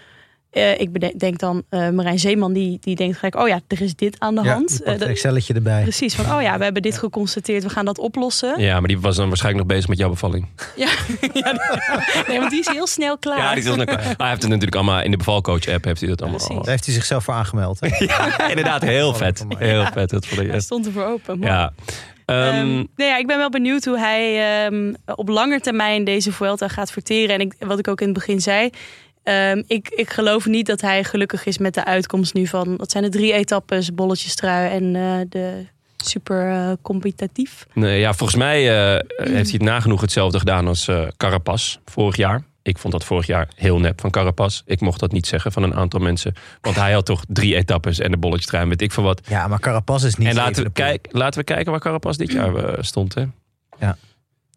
[SPEAKER 3] eh, ik bede- denk dan eh Marijn Zeeman, die, die denkt gelijk: oh ja, er is dit aan de
[SPEAKER 2] ja,
[SPEAKER 3] hand.
[SPEAKER 2] die
[SPEAKER 3] Eh,
[SPEAKER 2] pakt een
[SPEAKER 3] dat-
[SPEAKER 2] Excelletje erbij.
[SPEAKER 3] precies, van oh ja, we hebben dit geconstateerd, we gaan dat oplossen.
[SPEAKER 1] Ja, maar die was dan waarschijnlijk nog bezig met jouw bevalling.
[SPEAKER 3] Ja, ja, nee, want die is heel snel klaar.
[SPEAKER 1] Ja, die is nog klaar. Maar Hij heeft het natuurlijk allemaal in de bevalcoach-app. Heeft hij dat allemaal
[SPEAKER 3] Precies.
[SPEAKER 1] al.
[SPEAKER 2] Daar heeft hij zichzelf voor aangemeld. hè?
[SPEAKER 1] Ja, inderdaad, heel vet. Heel vet. Dat vond ik
[SPEAKER 3] Hij
[SPEAKER 1] echt.
[SPEAKER 3] stond ervoor open. Mooi.
[SPEAKER 1] Ja. Ehm,
[SPEAKER 3] Ehm, nee, ja, ik ben wel benieuwd hoe hij ehm, op lange termijn deze Vuelta gaat verteren. En ik, wat ik ook in het begin zei. ehm, ik, ik geloof niet dat hij gelukkig is met de uitkomst nu van... Wat zijn de drie etappes? Bolletjes trui en eh, de super eh, competitief.
[SPEAKER 1] nee, ja, volgens mij eh, heeft hij het nagenoeg hetzelfde gedaan als eh Carapaz vorig jaar. Ik vond dat vorig jaar heel nep van Carapaz. Ik mocht dat niet zeggen van een aantal mensen. Want hij had toch drie etappes en de bolletje trein, weet ik veel wat.
[SPEAKER 2] Ja, maar Carapaz is niet
[SPEAKER 1] En laten we,
[SPEAKER 2] Evenepoel.
[SPEAKER 1] kijk, laten we kijken waar Carapaz dit jaar eh, stond. Hè?
[SPEAKER 2] Ja.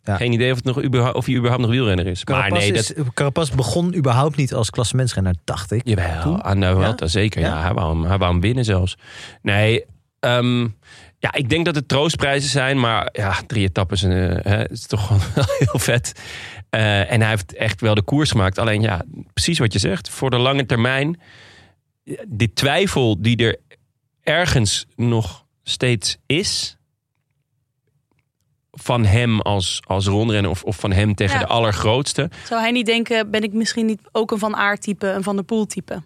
[SPEAKER 2] Ja.
[SPEAKER 1] Geen idee of, het nog, überhaupt- of hij überhaupt nog wielrenner is.
[SPEAKER 2] Carapaz,
[SPEAKER 1] maar nee, dat,
[SPEAKER 2] is, Carapaz begon überhaupt niet als klassementsrenner, dacht ik.
[SPEAKER 1] Jawel, ah, aan de Vuelta zeker. Ja?
[SPEAKER 2] Ja?
[SPEAKER 1] hij, wou hem, hij wou hem winnen zelfs. Nee, ehm, ja, ik denk dat het troostprijzen zijn. Maar ja, drie etappes en, eh, hè, het is toch gewoon wel heel vet. Eh, en hij heeft echt wel de koers gemaakt. Alleen ja, precies wat je zegt. Voor de lange termijn, eh, die twijfel die er ergens nog steeds is... van hem als, als rondrenner of, of van hem tegen
[SPEAKER 3] Ja.
[SPEAKER 1] de allergrootste...
[SPEAKER 3] Zou hij niet denken, ben ik misschien niet ook een Van Aert type, een Van der Poel type?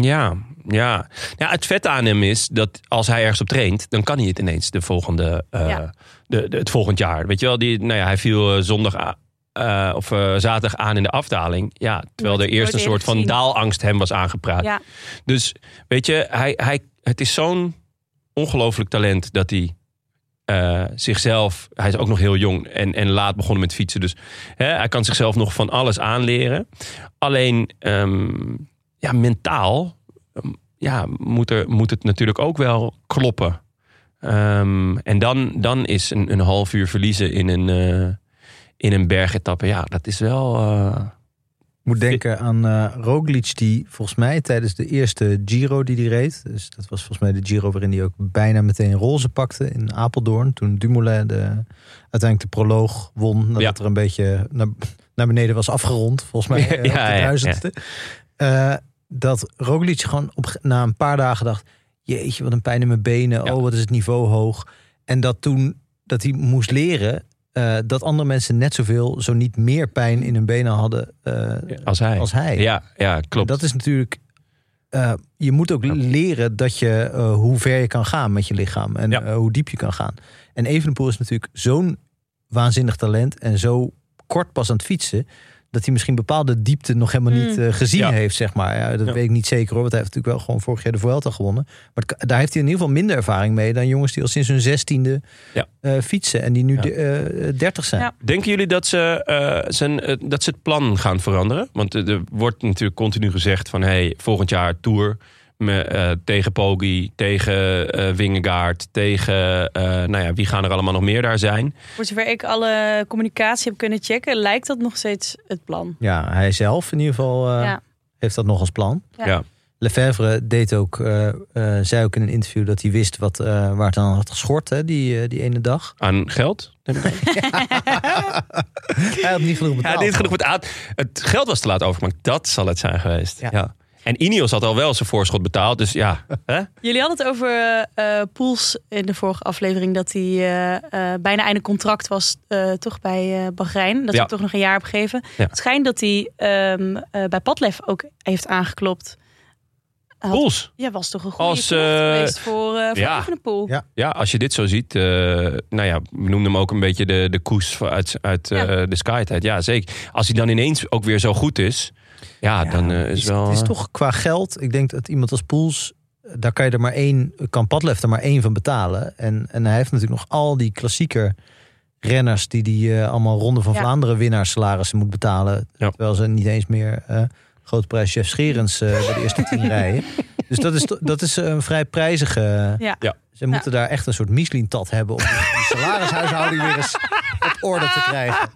[SPEAKER 1] Ja, ja. ja, het vet aan hem is dat als hij ergens op traint, dan kan hij het ineens de volgende, eh,
[SPEAKER 3] Ja.
[SPEAKER 1] de, de- het volgend jaar. Weet je wel, die, nou ja, hij viel eh, zondag a- eh, of eh, zaterdag aan in de afdaling. Ja, terwijl er
[SPEAKER 3] Nooit-
[SPEAKER 1] eerst een
[SPEAKER 3] nooit
[SPEAKER 1] soort van
[SPEAKER 3] eerder gezien.
[SPEAKER 1] daalangst hem was aangepraat.
[SPEAKER 3] Ja,
[SPEAKER 1] Dus weet je, hij, hij, het is zo'n ongelooflijk talent dat hij eh, zichzelf. Hij is ook nog heel jong en, en laat begonnen met fietsen. Dus hè, hij kan zichzelf nog van alles aanleren. Alleen ehm, ja, mentaal ehm, ja, moet, er, moet het natuurlijk ook wel kloppen. Ehm, en dan, dan is een, een half uur verliezen in een, eh in een bergetappe. Ja, dat is wel. eh,
[SPEAKER 2] moet denken aan eh, Roglic, die volgens mij tijdens de eerste Giro die hij reed... dus dat was volgens mij de Giro waarin hij ook bijna meteen roze pakte in Apeldoorn... toen Dumoulin de, uiteindelijk de proloog won, nadat
[SPEAKER 1] Ja.
[SPEAKER 2] er een beetje naar, naar beneden was afgerond. Volgens mij eh,
[SPEAKER 1] Ja,
[SPEAKER 2] op de
[SPEAKER 1] ja, ja.
[SPEAKER 2] duizendste. Eh, dat Roglic gewoon op, na een paar dagen dacht... jeetje, wat een pijn in mijn benen,
[SPEAKER 1] Ja.
[SPEAKER 2] oh, wat is het niveau hoog. En dat toen dat hij moest leren... eh, dat andere mensen net zoveel, zo niet meer pijn in hun benen hadden eh,
[SPEAKER 1] als hij.
[SPEAKER 2] als hij.
[SPEAKER 1] Ja, ja, klopt.
[SPEAKER 2] Dat is natuurlijk. eh, je moet ook leren dat je eh, hoe ver je kan gaan met je lichaam en
[SPEAKER 1] Ja.
[SPEAKER 2] eh, hoe diep je kan gaan. En Evenepoel is natuurlijk zo'n waanzinnig talent en zo kort pas aan het fietsen dat hij misschien bepaalde diepte nog helemaal
[SPEAKER 3] Mm.
[SPEAKER 2] niet eh, gezien
[SPEAKER 1] Ja.
[SPEAKER 2] heeft, zeg maar. Ja, dat
[SPEAKER 1] Ja.
[SPEAKER 2] weet ik niet zeker hoor, want hij heeft natuurlijk wel gewoon vorig jaar de Vuelta gewonnen. Maar het ka- daar heeft hij in ieder geval minder ervaring mee dan jongens die al sinds hun zestiende
[SPEAKER 1] Ja.
[SPEAKER 2] eh, fietsen en die nu
[SPEAKER 1] Ja.
[SPEAKER 2] de- eh, eh, dertig zijn.
[SPEAKER 3] Ja.
[SPEAKER 1] Denken jullie dat ze, eh, zijn, eh, dat ze het plan gaan veranderen? Want eh, er wordt natuurlijk continu gezegd van... Hey, volgend jaar Tour me, eh, tegen Poggi, tegen eh Wingegaard... tegen, eh, nou ja, wie gaan er allemaal nog meer daar zijn?
[SPEAKER 3] voor zover ik alle communicatie heb kunnen checken, lijkt dat nog steeds het plan.
[SPEAKER 2] Ja, hij zelf in ieder geval eh,
[SPEAKER 3] Ja.
[SPEAKER 2] heeft dat nog als plan.
[SPEAKER 3] Ja.
[SPEAKER 1] Ja.
[SPEAKER 2] Lefebvre deed ook, eh, eh, zei ook in een interview dat hij wist wat, eh, waar het aan had geschort hè, die, eh, die ene dag.
[SPEAKER 1] Aan geld?
[SPEAKER 2] Hij had niet genoeg
[SPEAKER 1] Ja,
[SPEAKER 2] betaald.
[SPEAKER 1] dit is genoeg met aan. Het geld was te laat overgemaakt. Dat zal het zijn geweest. Ja.
[SPEAKER 2] Ja.
[SPEAKER 1] En Ineos had al wel zijn voorschot betaald. Dus ja, hè?
[SPEAKER 3] Jullie hadden het over eh Poels in de vorige aflevering. Dat hij eh, eh, bijna einde contract was, eh, toch bij eh Bahrein. Dat
[SPEAKER 1] Ja.
[SPEAKER 3] hij toch nog een jaar heb gegeven.
[SPEAKER 1] Ja.
[SPEAKER 3] Het schijnt dat hij ehm, eh, bij Padlef ook heeft aangeklopt. had-
[SPEAKER 1] Pools.
[SPEAKER 3] Ja, was toch een goede
[SPEAKER 1] Als,
[SPEAKER 3] Als,
[SPEAKER 1] eh,
[SPEAKER 3] geweest voor, eh voor
[SPEAKER 1] ja.
[SPEAKER 3] Evenepoel.
[SPEAKER 2] Ja.
[SPEAKER 1] Ja, als je dit zo ziet. eh, nou ja, we noemden hem ook een beetje de, de koes van- uit, uit eh, de Sky-tijd. Ja, zeker. Als hij dan ineens ook weer zo goed is. Ja, dan eh, is
[SPEAKER 2] het
[SPEAKER 1] wel...
[SPEAKER 2] Dus Het is
[SPEAKER 1] eh,
[SPEAKER 2] toch qua geld. Ik denk dat iemand als Poels. eh, Daar kan je er maar één. Kan Padlef er maar één van betalen. En, en hij heeft natuurlijk nog al die klassieker renners. die die eh, allemaal Ronde van
[SPEAKER 3] Ja.
[SPEAKER 2] Vlaanderen winnaarsalarissen moet betalen.
[SPEAKER 1] Ja.
[SPEAKER 2] Terwijl ze niet eens meer. eh grote prijs Chef Scherens eh, bij de eerste tien rijden. Dus dat is, to- dat is een vrij prijzige. eh,
[SPEAKER 3] Ja.
[SPEAKER 1] Ja.
[SPEAKER 2] Ze moeten daar echt een soort Michelin-tat hebben. om die salarishuishouding weer eens op orde te krijgen.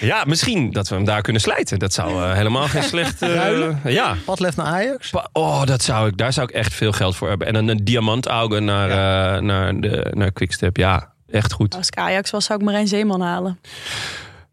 [SPEAKER 1] Ja, misschien dat we hem daar kunnen slijten. Dat zou eh, helemaal geen slecht... eh,
[SPEAKER 2] Ruilen?
[SPEAKER 1] ja.
[SPEAKER 2] Padlef naar Ajax?
[SPEAKER 1] Pa- Oh, dat zou ik, daar zou ik echt veel geld voor hebben. En dan een diamantaugen naar, eh, naar, de, naar Quickstep. Ja, echt goed.
[SPEAKER 3] Als ik Ajax was, zou ik Marijn Zeeman halen.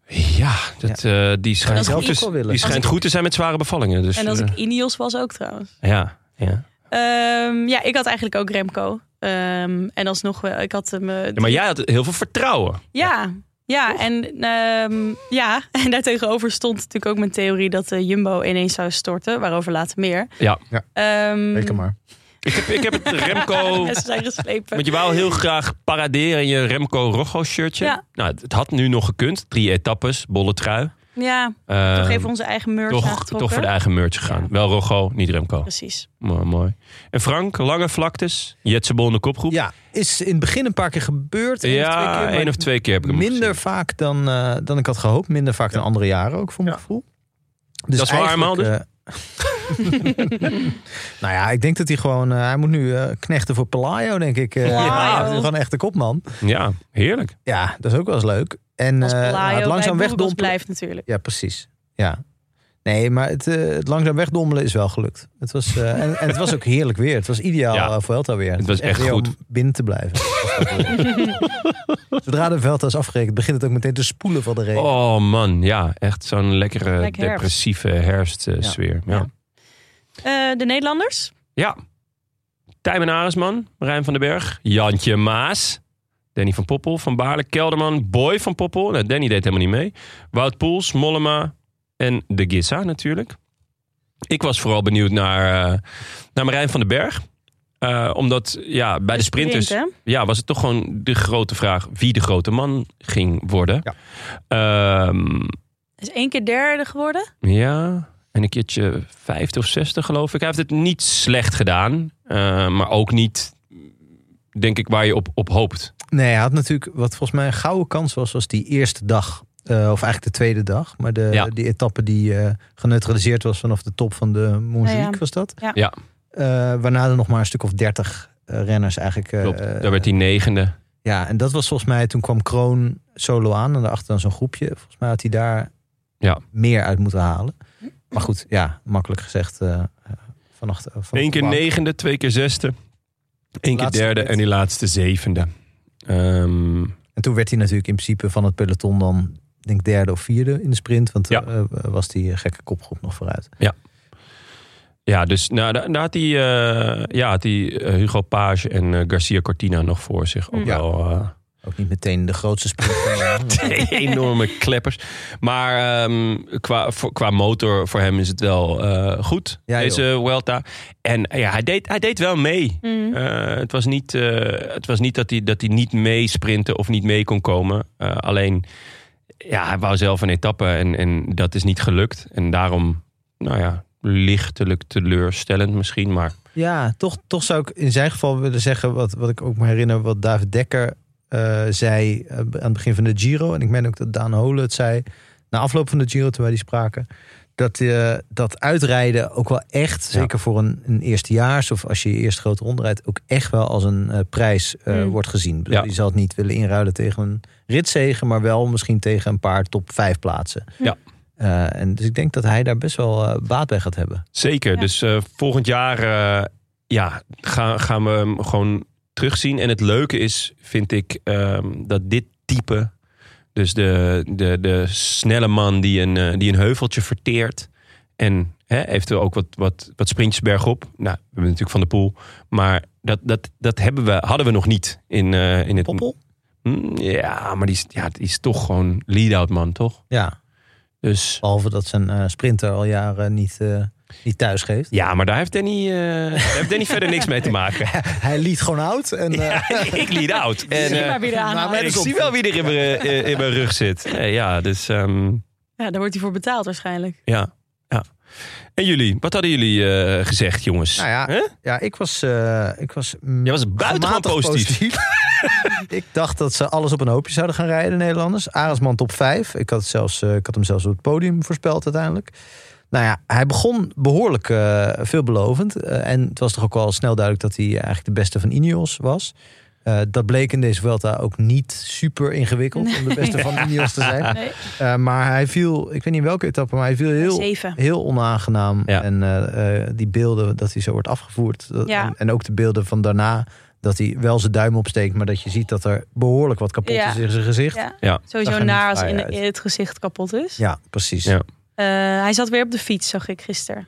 [SPEAKER 1] Dus, Ja, dat, eh, die schijnt,
[SPEAKER 3] Als ik
[SPEAKER 1] goed
[SPEAKER 2] ook
[SPEAKER 1] te,
[SPEAKER 2] wel willen.
[SPEAKER 1] die schijnt
[SPEAKER 3] Als ik-
[SPEAKER 1] goed te zijn met zware bevallingen. Dus,
[SPEAKER 3] En als ik
[SPEAKER 1] eh,
[SPEAKER 3] Ineos was ook trouwens.
[SPEAKER 1] ja, ja.
[SPEAKER 3] Ehm, ja, ik had eigenlijk ook Remco. Ehm, en alsnog, wel- ik had hem... eh,
[SPEAKER 1] Ja, Maar jij had heel veel vertrouwen.
[SPEAKER 3] Ja, ja, en, ehm ja, en daartegenover stond natuurlijk ook mijn theorie dat de Jumbo ineens zou storten, waarover later meer.
[SPEAKER 1] Ja.
[SPEAKER 3] Ehm,
[SPEAKER 2] Zeker maar.
[SPEAKER 1] Ik heb, ik heb het Remco...
[SPEAKER 3] en Ze zijn geslepen.
[SPEAKER 1] Oh. Want je wou heel graag paraderen in je Remco Rojo shirtje.
[SPEAKER 3] Ja.
[SPEAKER 1] Nou, het- het had nu nog gekund. Drie etappes, bolle trui.
[SPEAKER 3] Ja,
[SPEAKER 1] Eh,
[SPEAKER 3] toch even onze eigen merch
[SPEAKER 1] toch,
[SPEAKER 3] aangetrokken.
[SPEAKER 1] toch voor de eigen merch gegaan. Wel Rogo, niet Remco.
[SPEAKER 3] Precies.
[SPEAKER 1] Mooi, mooi. En Frank, lange vlaktes. Jetsebol in de kopgroep.
[SPEAKER 2] Ja, is in het begin een paar keer gebeurd. één of twee keer,
[SPEAKER 1] Ja,
[SPEAKER 2] maar
[SPEAKER 1] één of twee keer heb ik hem
[SPEAKER 2] Minder
[SPEAKER 1] gezien.
[SPEAKER 2] vaak dan, eh, dan ik had gehoopt. Minder vaak dan andere jaren ook, voor mijn gevoel. Dus
[SPEAKER 1] Dat is waar, dus?
[SPEAKER 2] eigenlijk,
[SPEAKER 1] Maldus?
[SPEAKER 2] eh, nou ja, ik denk dat hij gewoon... eh, hij moet nu eh, knechten voor Pelayo, denk ik. eh.
[SPEAKER 3] Pelayo.
[SPEAKER 2] Ja, gewoon echt de kopman.
[SPEAKER 1] Ja, heerlijk.
[SPEAKER 2] Ja, dat is ook wel eens leuk. En
[SPEAKER 3] Als
[SPEAKER 2] eh,
[SPEAKER 3] Pelayo
[SPEAKER 2] het langzaam
[SPEAKER 3] bij Burgos
[SPEAKER 2] wegdompelen...
[SPEAKER 3] blijft natuurlijk.
[SPEAKER 2] Ja, precies. Ja. Nee, maar het, eh, het langzaam wegdommelen is wel gelukt. Het was, eh, en, en het was ook heerlijk weer. Het was ideaal
[SPEAKER 1] Ja.
[SPEAKER 2] eh, voor Velta weer.
[SPEAKER 1] was echt
[SPEAKER 2] weer
[SPEAKER 1] goed.
[SPEAKER 2] om binnen te blijven. Zodra de Velta is afgerekend, begint het ook meteen te spoelen van de regen.
[SPEAKER 1] Oh man, ja. Echt zo'n lekkere
[SPEAKER 3] Lekker herfst.
[SPEAKER 1] depressieve herfstsfeer. Ja. Ja.
[SPEAKER 3] Eh, de Nederlanders?
[SPEAKER 1] Tijmen Aresman, Rijn van den Berg, Jantje Maas, Danny van Poppel, Van Baarle, Kelderman, Boy van Poppel. Nou, Danny deed helemaal niet mee. Wout Poels, Mollema en De Gissa natuurlijk. Ik was vooral benieuwd naar, eh, naar Marijn van den Berg. Eh, omdat ja, bij de sprinters
[SPEAKER 3] Sprint, hè?
[SPEAKER 1] ja, was het toch gewoon de grote vraag wie de grote man ging worden.
[SPEAKER 2] Ja.
[SPEAKER 1] Ehm,
[SPEAKER 3] Is één keer derde geworden.
[SPEAKER 1] Ja, en een keertje 50 of 60 geloof ik. Hij heeft het niet slecht gedaan, eh, maar ook niet, denk ik, waar je op, op hoopt.
[SPEAKER 2] Nee, hij had natuurlijk, wat volgens mij een gouden kans was, was die eerste dag. Eh, of eigenlijk de tweede dag. Maar de,
[SPEAKER 1] Ja.
[SPEAKER 2] die etappe die eh, geneutraliseerd was vanaf de top van de Montjuïc
[SPEAKER 3] Ja, ja.
[SPEAKER 2] was dat.
[SPEAKER 3] Ja.
[SPEAKER 1] Ja.
[SPEAKER 2] Eh, waarna er nog maar een stuk of dertig renners eigenlijk... eh,
[SPEAKER 1] Klopt, daar werd hij negende.
[SPEAKER 2] Ja, en dat was volgens mij, toen kwam Kroon solo aan en daarachter dan zo'n groepje. Volgens mij had hij daar
[SPEAKER 1] Ja.
[SPEAKER 2] meer uit moeten halen. Maar goed, ja, makkelijk gezegd. eh, eh, vannacht, eh, vanaf
[SPEAKER 1] Eén
[SPEAKER 2] de
[SPEAKER 1] keer
[SPEAKER 2] bank.
[SPEAKER 1] negende, twee keer zesde, één keer
[SPEAKER 2] Laatste
[SPEAKER 1] derde
[SPEAKER 2] tijd.
[SPEAKER 1] en die laatste zevende. Ehm,
[SPEAKER 2] En toen werd hij natuurlijk in principe van het peloton dan, ik denk derde of vierde in de sprint. Want
[SPEAKER 1] Ja.
[SPEAKER 2] eh was die gekke kopgroep nog vooruit.
[SPEAKER 1] ja, dus nou, daar, daar had hij, eh, ja, had hij eh, Hugo Page en eh, Garcia Cortina nog voor zich. Ook
[SPEAKER 3] Ja.
[SPEAKER 1] wel, eh,
[SPEAKER 2] Ook niet meteen de grootste sprint van de jaren.
[SPEAKER 1] enorme kleppers. Maar ehm, qua, voor- qua motor voor hem is het wel eh, goed,
[SPEAKER 2] Ja, joh.
[SPEAKER 1] deze Welta. En eh, ja, hij, deed, hij deed wel mee. Eh, het, was niet, eh, het was niet dat hij, dat hij niet mee sprintte of niet mee kon komen. Eh, alleen, ja, hij wou zelf een etappe en, en dat is niet gelukt. En daarom, nou ja, lichtelijk teleurstellend misschien. Maar
[SPEAKER 2] Ja, toch, toch zou ik in zijn geval willen zeggen, wat, wat ik ook me herinner, wat David Dekker eh, zei eh, aan het begin van de Giro. En ik meen ook dat Daan Hole het zei na afloop van de Giro, toen wij die spraken. Dat, eh, dat uitrijden ook wel echt, zeker voor een, een eerstejaars of als je je eerste grote ronde rijdt, ook echt wel als een eh, prijs eh,
[SPEAKER 3] Mm.
[SPEAKER 2] wordt gezien. Ik bedoel,
[SPEAKER 1] Hmm. Ja.
[SPEAKER 2] Je zal het niet willen inruilen tegen een ritzegen, maar wel misschien tegen een paar top vijf plaatsen.
[SPEAKER 1] Ja.
[SPEAKER 2] Eh, en dus ik denk dat hij daar best wel eh, baat bij gaat hebben.
[SPEAKER 1] Zeker.
[SPEAKER 3] Ja.
[SPEAKER 1] Dus eh, volgend jaar eh, ja, ga- gaan we hem gewoon terugzien. En het leuke is, vind ik, ehm, dat dit type... Dus de, de, de snelle man die een, eh, die een heuveltje verteert. En hè, eventueel ook wat, wat, wat sprintjes bergop. Nou, we hebben natuurlijk Van de Poel. Maar dat, dat, dat hebben we, hadden we nog niet in, eh, in het...
[SPEAKER 2] Poppel?
[SPEAKER 1] Mm, Ja, maar die is, ja, die is toch gewoon lead-out man, toch?
[SPEAKER 2] Ja.
[SPEAKER 1] Dus
[SPEAKER 2] Behalve dat zijn eh, sprinter al jaren niet eh, die thuis geeft.
[SPEAKER 1] Ja, maar daar heeft Danny, eh, daar heeft Danny verder niks mee te maken.
[SPEAKER 2] Hij liet gewoon oud. En, eh,
[SPEAKER 1] Ja, ik lead out. En,
[SPEAKER 3] Zie
[SPEAKER 1] eh,
[SPEAKER 3] maar wie er aan
[SPEAKER 2] maar
[SPEAKER 3] hangt.
[SPEAKER 1] en ik zie wel wie er in mijn, eh, in mijn rug zit. Nee, ja, dus ehm,
[SPEAKER 3] Ja, daar wordt hij voor betaald waarschijnlijk.
[SPEAKER 1] ja, ja. En jullie, wat hadden jullie eh, gezegd, jongens?
[SPEAKER 2] Nou ja.
[SPEAKER 1] Hè?
[SPEAKER 2] ja, ik was... eh ik was mm,
[SPEAKER 1] Jij was buitengewoon
[SPEAKER 2] gematigd
[SPEAKER 1] positief.
[SPEAKER 2] ik dacht dat ze alles op een hoopje zouden gaan rijden, Nederlanders. Arendsman top 5. Ik had, het zelfs, eh, ik had hem zelfs op het podium voorspeld uiteindelijk. Nou ja, hij begon behoorlijk eh, veelbelovend. Eh, en het was toch ook wel snel duidelijk dat hij eigenlijk de beste van Ineos was. Eh, dat bleek in deze Vuelta ook niet super ingewikkeld om de beste van Ineos te
[SPEAKER 1] Ah.
[SPEAKER 2] zijn.
[SPEAKER 3] Nee.
[SPEAKER 2] Eh, maar hij viel, ik weet niet in welke etappe, maar hij viel heel,
[SPEAKER 3] Zeven.
[SPEAKER 2] heel onaangenaam.
[SPEAKER 1] Ja.
[SPEAKER 2] En eh, eh, die beelden dat hij zo wordt afgevoerd. dat-
[SPEAKER 3] Ja.
[SPEAKER 2] en, en ook de beelden van daarna. Dat hij wel zijn duim opsteekt, maar dat je ziet dat er behoorlijk wat kapot
[SPEAKER 3] Ja.
[SPEAKER 2] is in zijn gezicht. Ja,
[SPEAKER 3] Ja.
[SPEAKER 1] Ja.
[SPEAKER 2] Zag
[SPEAKER 3] Sowieso
[SPEAKER 2] er niet
[SPEAKER 3] naar als
[SPEAKER 2] fraai
[SPEAKER 3] in,
[SPEAKER 2] uit.
[SPEAKER 3] in het gezicht kapot is.
[SPEAKER 2] precies.
[SPEAKER 1] Ja.
[SPEAKER 3] Eh, hij zat weer op de fiets, zag ik gisteren.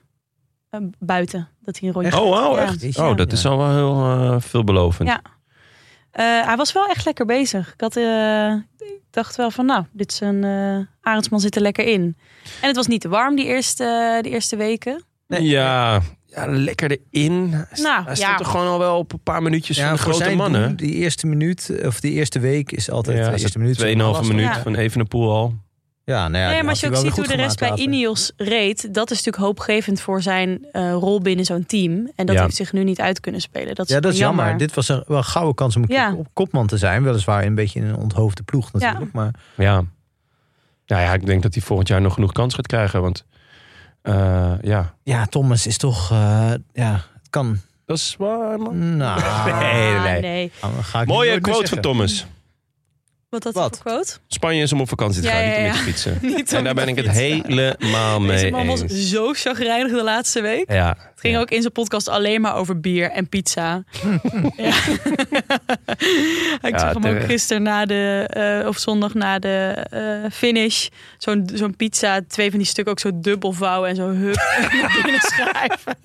[SPEAKER 3] Eh, buiten, dat hij een rondje...
[SPEAKER 1] Oh, wauw,
[SPEAKER 3] Ja.
[SPEAKER 1] echt?
[SPEAKER 2] Ja.
[SPEAKER 1] Oh, dat is al wel heel eh, veelbelovend.
[SPEAKER 3] Ja. Eh, hij was wel echt lekker bezig. Ik, had, eh, ik dacht wel van, nou, dit is een... eh Arendsman zit er lekker in. En het was niet te warm die eerste, de eerste weken.
[SPEAKER 2] Nee.
[SPEAKER 1] ja. ja, lekker erin. Hij st-
[SPEAKER 3] Nou,
[SPEAKER 1] hij
[SPEAKER 3] ja.
[SPEAKER 1] stond er gewoon al wel op een paar minuutjes van de
[SPEAKER 2] voor
[SPEAKER 1] grote
[SPEAKER 2] zijn
[SPEAKER 1] mannen.
[SPEAKER 2] doen, die eerste minuut, of die eerste week is altijd
[SPEAKER 1] Ja,
[SPEAKER 2] de eerste minuut. is
[SPEAKER 1] Tweeënhalve
[SPEAKER 2] lastig.
[SPEAKER 1] minuut
[SPEAKER 3] Ja.
[SPEAKER 1] van Evenepoel al.
[SPEAKER 2] Ja, nou ja,
[SPEAKER 3] nee,
[SPEAKER 2] die
[SPEAKER 3] maar
[SPEAKER 2] had
[SPEAKER 3] als je
[SPEAKER 2] hij
[SPEAKER 3] ook
[SPEAKER 2] wel
[SPEAKER 3] ziet
[SPEAKER 2] weer
[SPEAKER 3] hoe de
[SPEAKER 2] goed
[SPEAKER 3] rest bij
[SPEAKER 2] gemaakt later.
[SPEAKER 3] Ineos reed... dat is natuurlijk hoopgevend voor zijn eh, rol binnen zo'n team. En dat
[SPEAKER 1] Ja.
[SPEAKER 3] heeft zich nu niet uit kunnen spelen. Dat is,
[SPEAKER 2] Ja, dat is jammer.
[SPEAKER 3] jammer.
[SPEAKER 2] Dit was een, wel een gouden kans om een
[SPEAKER 3] Ja.
[SPEAKER 2] keer op kopman te zijn. Weliswaar een beetje in een onthoofde ploeg natuurlijk. Maar
[SPEAKER 1] Ja. Nou ja, ik denk dat hij volgend jaar nog genoeg kans gaat krijgen. Want eh, ja,
[SPEAKER 2] ja, Thomas is toch... eh, ja, het kan.
[SPEAKER 1] dat is waar, man.
[SPEAKER 2] Nou,
[SPEAKER 1] Nee,
[SPEAKER 3] Ah,
[SPEAKER 1] nee.
[SPEAKER 2] dan ga ik
[SPEAKER 1] Mooie
[SPEAKER 2] nooit meer
[SPEAKER 1] quote
[SPEAKER 2] zeggen.
[SPEAKER 1] van Thomas.
[SPEAKER 3] Wat dat
[SPEAKER 2] Wat?
[SPEAKER 3] voor quote?
[SPEAKER 1] Spanje is om op vakantie te
[SPEAKER 3] Ja,
[SPEAKER 1] gaan,
[SPEAKER 3] ja,
[SPEAKER 1] niet om
[SPEAKER 3] ja.
[SPEAKER 1] met te fietsen.
[SPEAKER 3] Niet
[SPEAKER 1] En daar
[SPEAKER 3] om
[SPEAKER 1] ben
[SPEAKER 3] te
[SPEAKER 1] ik het
[SPEAKER 3] fietsen.
[SPEAKER 1] helemaal
[SPEAKER 3] Deze
[SPEAKER 1] mee
[SPEAKER 3] man was
[SPEAKER 1] eens.
[SPEAKER 3] zo chagrijnig de laatste week.
[SPEAKER 1] Ja.
[SPEAKER 3] Het ging ook in zijn podcast alleen maar over bier en pizza. ja. ik
[SPEAKER 1] Ja,
[SPEAKER 3] zag hem ook
[SPEAKER 1] terecht.
[SPEAKER 3] gisteren na de, eh, of zondag na de eh, finish. Zo'n zo'n pizza, twee van die stukken ook zo dubbel vouwen en zo hup naar binnen schuiven.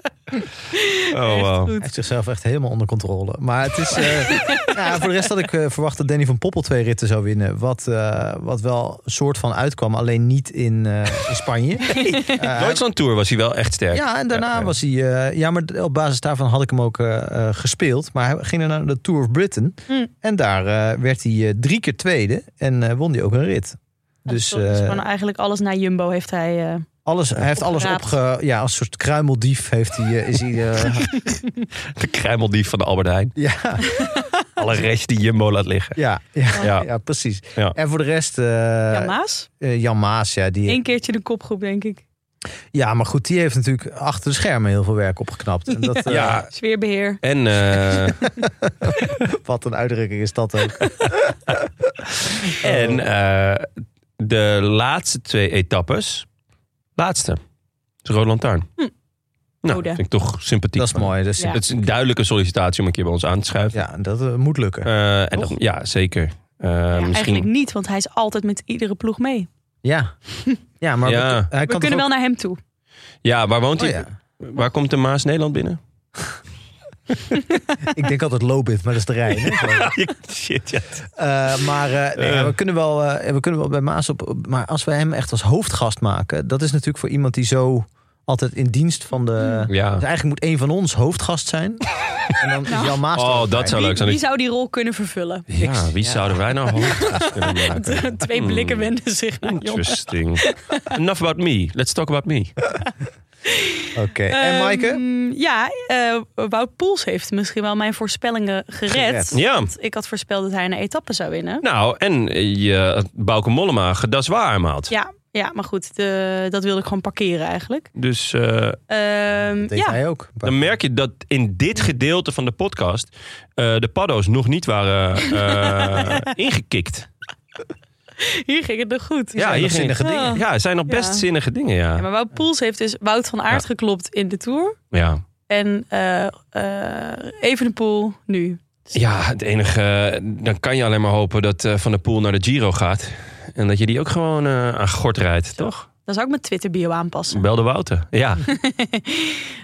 [SPEAKER 1] Oh, wow.
[SPEAKER 2] Hij heeft zichzelf echt helemaal onder controle. Maar het is. eh, ja, voor de rest had ik eh, verwacht dat Danny van Poppel twee ritten zou winnen. Wat, eh, wat wel een soort van uitkwam, alleen niet in, eh, in Spanje. Eh,
[SPEAKER 1] Duitsland Tour was hij wel echt sterk.
[SPEAKER 2] ja, en daarna
[SPEAKER 1] Ja, ja.
[SPEAKER 2] was hij. eh, ja, maar op basis daarvan had ik hem ook eh, eh, gespeeld. Maar hij ging naar de Tour of Britain.
[SPEAKER 1] Hmm.
[SPEAKER 3] Mm.
[SPEAKER 2] En daar eh, werd hij eh, drie keer tweede. En eh, won hij ook een rit. Dus,
[SPEAKER 3] Dus, is
[SPEAKER 2] eh,
[SPEAKER 3] gewoon eigenlijk alles na Jumbo heeft hij... eh,
[SPEAKER 2] alles, hij heeft alles
[SPEAKER 3] Opgeraapt.
[SPEAKER 2] opge... Ja, als een soort kruimeldief heeft hij, eh, is hij... eh,
[SPEAKER 1] De kruimeldief van de Albert Heijn.
[SPEAKER 2] ja,
[SPEAKER 1] Alle rest die Jumbo laat liggen.
[SPEAKER 2] ja, ja,
[SPEAKER 1] Ja.
[SPEAKER 2] ja. precies.
[SPEAKER 1] Ja.
[SPEAKER 2] En voor de rest... eh,
[SPEAKER 3] ja, Maas?
[SPEAKER 2] eh, Jan Maas, ja, die,
[SPEAKER 3] Eén keertje de kopgroep, denk ik.
[SPEAKER 2] ja, maar goed, die heeft natuurlijk achter de schermen heel veel werk opgeknapt. En dat, eh,
[SPEAKER 1] Ja,
[SPEAKER 3] Sfeerbeheer.
[SPEAKER 1] en eh,
[SPEAKER 2] eh, Wat een uitdrukking is dat ook.
[SPEAKER 1] En eh, de laatste twee etappes. Laatste. Is Roland Lantaarn.
[SPEAKER 3] Hm.
[SPEAKER 1] Nou,
[SPEAKER 3] Rode.
[SPEAKER 1] vind ik toch sympathiek.
[SPEAKER 2] Dat is mooi. Dat is,
[SPEAKER 3] Ja.
[SPEAKER 2] ja.
[SPEAKER 1] Het is een duidelijke sollicitatie om een keer bij ons aan te schuiven.
[SPEAKER 2] dat eh, moet lukken.
[SPEAKER 1] Ja, en
[SPEAKER 2] Toch?
[SPEAKER 1] dat, ja zeker. Eh,
[SPEAKER 3] Ja, Eigenlijk
[SPEAKER 1] misschien.
[SPEAKER 3] niet, want hij is altijd met iedere ploeg mee.
[SPEAKER 2] Ja. Ja, maar
[SPEAKER 1] Ja.
[SPEAKER 2] we- hij
[SPEAKER 3] We
[SPEAKER 2] kan
[SPEAKER 3] kunnen
[SPEAKER 2] toch
[SPEAKER 3] wel naar hem toe.
[SPEAKER 1] Ja, waar woont
[SPEAKER 2] ook-
[SPEAKER 1] hij?
[SPEAKER 2] Oh ja.
[SPEAKER 1] Waar komt de Maas Nederland binnen?
[SPEAKER 2] Ik denk altijd Lobit, maar dat is de Rijn. hè?
[SPEAKER 1] Oh, Shit, ja.
[SPEAKER 2] Eh, maar eh, nee,
[SPEAKER 1] Eh.
[SPEAKER 2] we, kunnen wel, eh, we kunnen wel bij Maas op, op- Maar als we hem echt als hoofdgast maken... dat is natuurlijk voor iemand die zo altijd in dienst van de...
[SPEAKER 3] Mm.
[SPEAKER 1] Ja.
[SPEAKER 2] Dus eigenlijk moet één van ons hoofdgast zijn. en dan
[SPEAKER 3] Nou.
[SPEAKER 2] is Jan Maas... er
[SPEAKER 1] Oh,
[SPEAKER 2] ook bij.
[SPEAKER 1] dat zou
[SPEAKER 3] Wie-
[SPEAKER 1] leuk zijn.
[SPEAKER 3] wie zou die rol kunnen vervullen? eh,
[SPEAKER 1] Ja, wie
[SPEAKER 2] Ja.
[SPEAKER 1] zouden wij nou hoofdgast kunnen maken?
[SPEAKER 3] Twee blikken wenden zich naar Jon.
[SPEAKER 1] Interesting. Enough about me. Let's talk about me.
[SPEAKER 2] Oké. En Maaike?
[SPEAKER 3] Ehm, ja, eh, Wout Poels heeft misschien wel mijn voorspellingen gered.
[SPEAKER 2] Gered.
[SPEAKER 1] Ja.
[SPEAKER 3] Want Ik had voorspeld dat hij een etappe zou winnen.
[SPEAKER 1] Nou, en eh, je Bauke Mollema, dat is waar, maat.
[SPEAKER 3] Ja, ja maar goed, de, dat wilde ik gewoon parkeren eigenlijk.
[SPEAKER 1] Dus eh,
[SPEAKER 3] Ehm,
[SPEAKER 2] Dat deed
[SPEAKER 3] ja,
[SPEAKER 2] hij ook.
[SPEAKER 1] Dan merk je dat in dit gedeelte van de podcast eh, de paddo's nog niet waren eh, ingekikt.
[SPEAKER 3] hier ging het nog goed.
[SPEAKER 1] Ja,
[SPEAKER 2] nog
[SPEAKER 1] hier ging-
[SPEAKER 2] zinnige dingen.
[SPEAKER 1] Ja, het zijn nog best
[SPEAKER 3] Ja.
[SPEAKER 1] zinnige dingen,
[SPEAKER 3] Ja,
[SPEAKER 1] ja.
[SPEAKER 3] maar Wout Poels heeft dus Wout van Aert
[SPEAKER 1] Ja.
[SPEAKER 3] geklopt in de Tour.
[SPEAKER 1] Ja.
[SPEAKER 3] En eh eh Evenepoel nu.
[SPEAKER 1] ja, het enige, dan kan je alleen maar hopen dat eh, Van der Poel naar de Giro gaat. En dat je die ook gewoon eh, aan gort rijdt, toch?
[SPEAKER 3] Dan zou ik mijn Twitter bio aanpassen.
[SPEAKER 1] Bel de Wouter. Ja,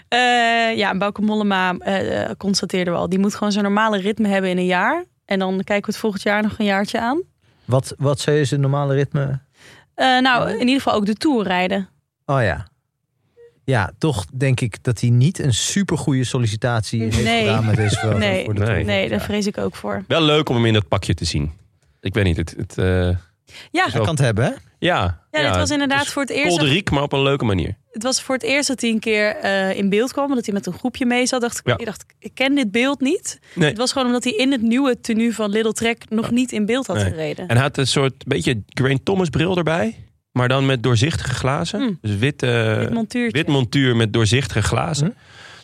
[SPEAKER 3] Eh, ja, en Bauke Mollema eh, eh, constateerden we al. Die moet gewoon zijn normale ritme hebben in een jaar. En dan kijken we het volgend jaar nog een jaartje aan.
[SPEAKER 2] Wat, wat zou je zijn normale ritme?
[SPEAKER 3] Eh, nou, in ieder geval ook de Tour rijden.
[SPEAKER 2] Oh ja. Ja, toch denk ik dat hij niet een supergoeie sollicitatie heeft
[SPEAKER 3] Nee.
[SPEAKER 2] gedaan met deze vrouw.
[SPEAKER 3] Nee.
[SPEAKER 2] voor de
[SPEAKER 1] Nee.
[SPEAKER 2] toekomst.
[SPEAKER 3] Nee, daar
[SPEAKER 2] Ja.
[SPEAKER 3] vrees ik ook voor.
[SPEAKER 1] Wel leuk om hem in dat pakje te zien. Ik weet niet, het... het eh,
[SPEAKER 3] Ja,
[SPEAKER 2] Hij kan het hebben, hè?
[SPEAKER 1] ja, dus
[SPEAKER 3] ja, dit was inderdaad
[SPEAKER 1] het is
[SPEAKER 3] voor het eerst. dat-
[SPEAKER 1] Kolderiek, maar op een leuke manier.
[SPEAKER 3] Het was voor het eerst dat hij een keer eh, in beeld kwam. Dat hij met een groepje mee zat. Dacht, ik-
[SPEAKER 1] Ja.
[SPEAKER 3] Ik dacht, ik ken dit beeld niet.
[SPEAKER 1] Nee.
[SPEAKER 3] Het was gewoon omdat hij in het nieuwe tenue van Little Trek nog niet in beeld had
[SPEAKER 1] Nee.
[SPEAKER 3] gereden.
[SPEAKER 1] En hij had een soort beetje Grain Thomas bril erbij. Maar dan met doorzichtige glazen.
[SPEAKER 3] Hmm.
[SPEAKER 1] Dus wit, eh,
[SPEAKER 3] Dit montuurtje.
[SPEAKER 1] wit montuur met doorzichtige glazen.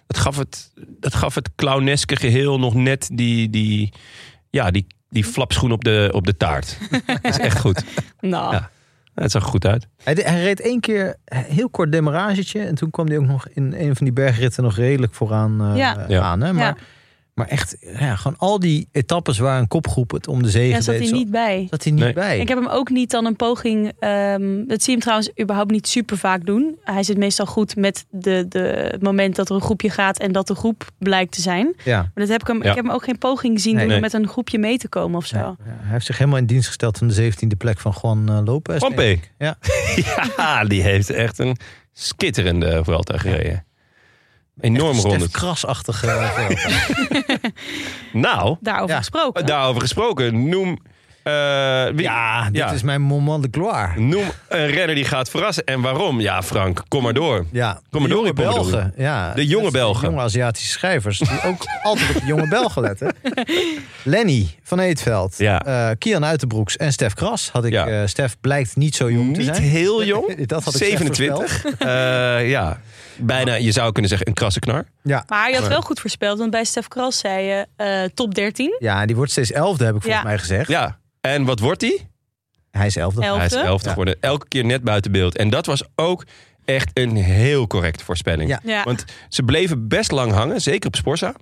[SPEAKER 1] Dat, gaf het, dat gaf het clowneske geheel nog net die, die, ja, die, die flapschoen op de, op de taart. dat is echt goed.
[SPEAKER 3] nou,
[SPEAKER 1] Ja. Het zag er goed uit.
[SPEAKER 2] Hij, de- hij reed één keer een heel kort demaragetje. En toen kwam hij ook nog in een van die bergritten nog redelijk vooraan eh,
[SPEAKER 3] Ja.
[SPEAKER 1] Ja.
[SPEAKER 2] aan. Hè? Maar,
[SPEAKER 3] Ja.
[SPEAKER 2] maar echt, ja, gewoon al die etappes waar een kopgroep het om de zege
[SPEAKER 3] daar zat
[SPEAKER 2] deed.
[SPEAKER 3] hij
[SPEAKER 2] zo-
[SPEAKER 3] niet bij.
[SPEAKER 2] zat hij niet
[SPEAKER 1] Nee.
[SPEAKER 2] bij.
[SPEAKER 3] Ik heb hem ook niet dan een poging. ehm, dat zie je hem trouwens überhaupt niet super vaak doen. Hij zit meestal goed met de, de, het moment dat er een groepje gaat en dat de groep blijkt te zijn.
[SPEAKER 2] ja.
[SPEAKER 3] Maar dat heb ik, hem,
[SPEAKER 1] Ja.
[SPEAKER 3] ik heb hem ook geen poging zien
[SPEAKER 2] Nee.
[SPEAKER 3] doen om
[SPEAKER 1] Nee.
[SPEAKER 3] met een groepje mee te komen of zo.
[SPEAKER 2] Ja, Hij heeft zich helemaal in dienst gesteld van de 17e plek van Juan eh, Lopez.
[SPEAKER 1] Pompey.
[SPEAKER 2] Ja.
[SPEAKER 1] ja, die heeft echt een skitterende Vuelta gereden. Enorm ronde.
[SPEAKER 2] Stef Krasachtige. eh, veld.
[SPEAKER 1] Nou,
[SPEAKER 3] Daarover
[SPEAKER 2] Ja. Oh,
[SPEAKER 3] gesproken.
[SPEAKER 1] daarover gesproken. Noem, eh, wie-
[SPEAKER 2] ja, dit
[SPEAKER 1] Ja.
[SPEAKER 2] is mijn moment de gloire.
[SPEAKER 1] noem een renner die gaat verrassen. En waarom? Ja, Frank, kom maar door.
[SPEAKER 2] Ja,
[SPEAKER 1] Kom maar
[SPEAKER 2] de
[SPEAKER 1] door,
[SPEAKER 2] jonge
[SPEAKER 1] kom maar door.
[SPEAKER 2] Belgen. Ja,
[SPEAKER 1] De jonge
[SPEAKER 2] dat zijn
[SPEAKER 1] Belgen.
[SPEAKER 2] Jonge Aziatische schrijvers. Die ook altijd op de jonge Belgen letten. Lenny van Eetveld.
[SPEAKER 1] Ja.
[SPEAKER 2] eh, Kian Uitenbroeks en Stef Kras. Had ik,
[SPEAKER 1] Ja.
[SPEAKER 2] eh, Stef blijkt niet zo jong te
[SPEAKER 1] Niet
[SPEAKER 2] zijn.
[SPEAKER 1] heel jong.
[SPEAKER 2] Dat had ik Stef
[SPEAKER 1] 27. Eh, ja, bijna, je zou kunnen zeggen, een krasse knar.
[SPEAKER 2] Ja.
[SPEAKER 3] Maar je had wel goed voorspeld, want bij Stef Kras zei je eh, top 13,
[SPEAKER 2] ja, die wordt steeds elfde, heb ik volgens
[SPEAKER 3] Ja.
[SPEAKER 2] mij gezegd.
[SPEAKER 1] Ja. En wat wordt hij?
[SPEAKER 2] Hij is elfde.
[SPEAKER 3] Elf.
[SPEAKER 1] Hij is
[SPEAKER 3] Elfde.
[SPEAKER 1] elfde
[SPEAKER 2] Ja.
[SPEAKER 1] geworden. Elke keer net buiten beeld. En dat was ook echt een heel correcte voorspelling.
[SPEAKER 2] Ja.
[SPEAKER 3] Ja.
[SPEAKER 1] Want ze bleven best lang hangen, zeker op Sporza.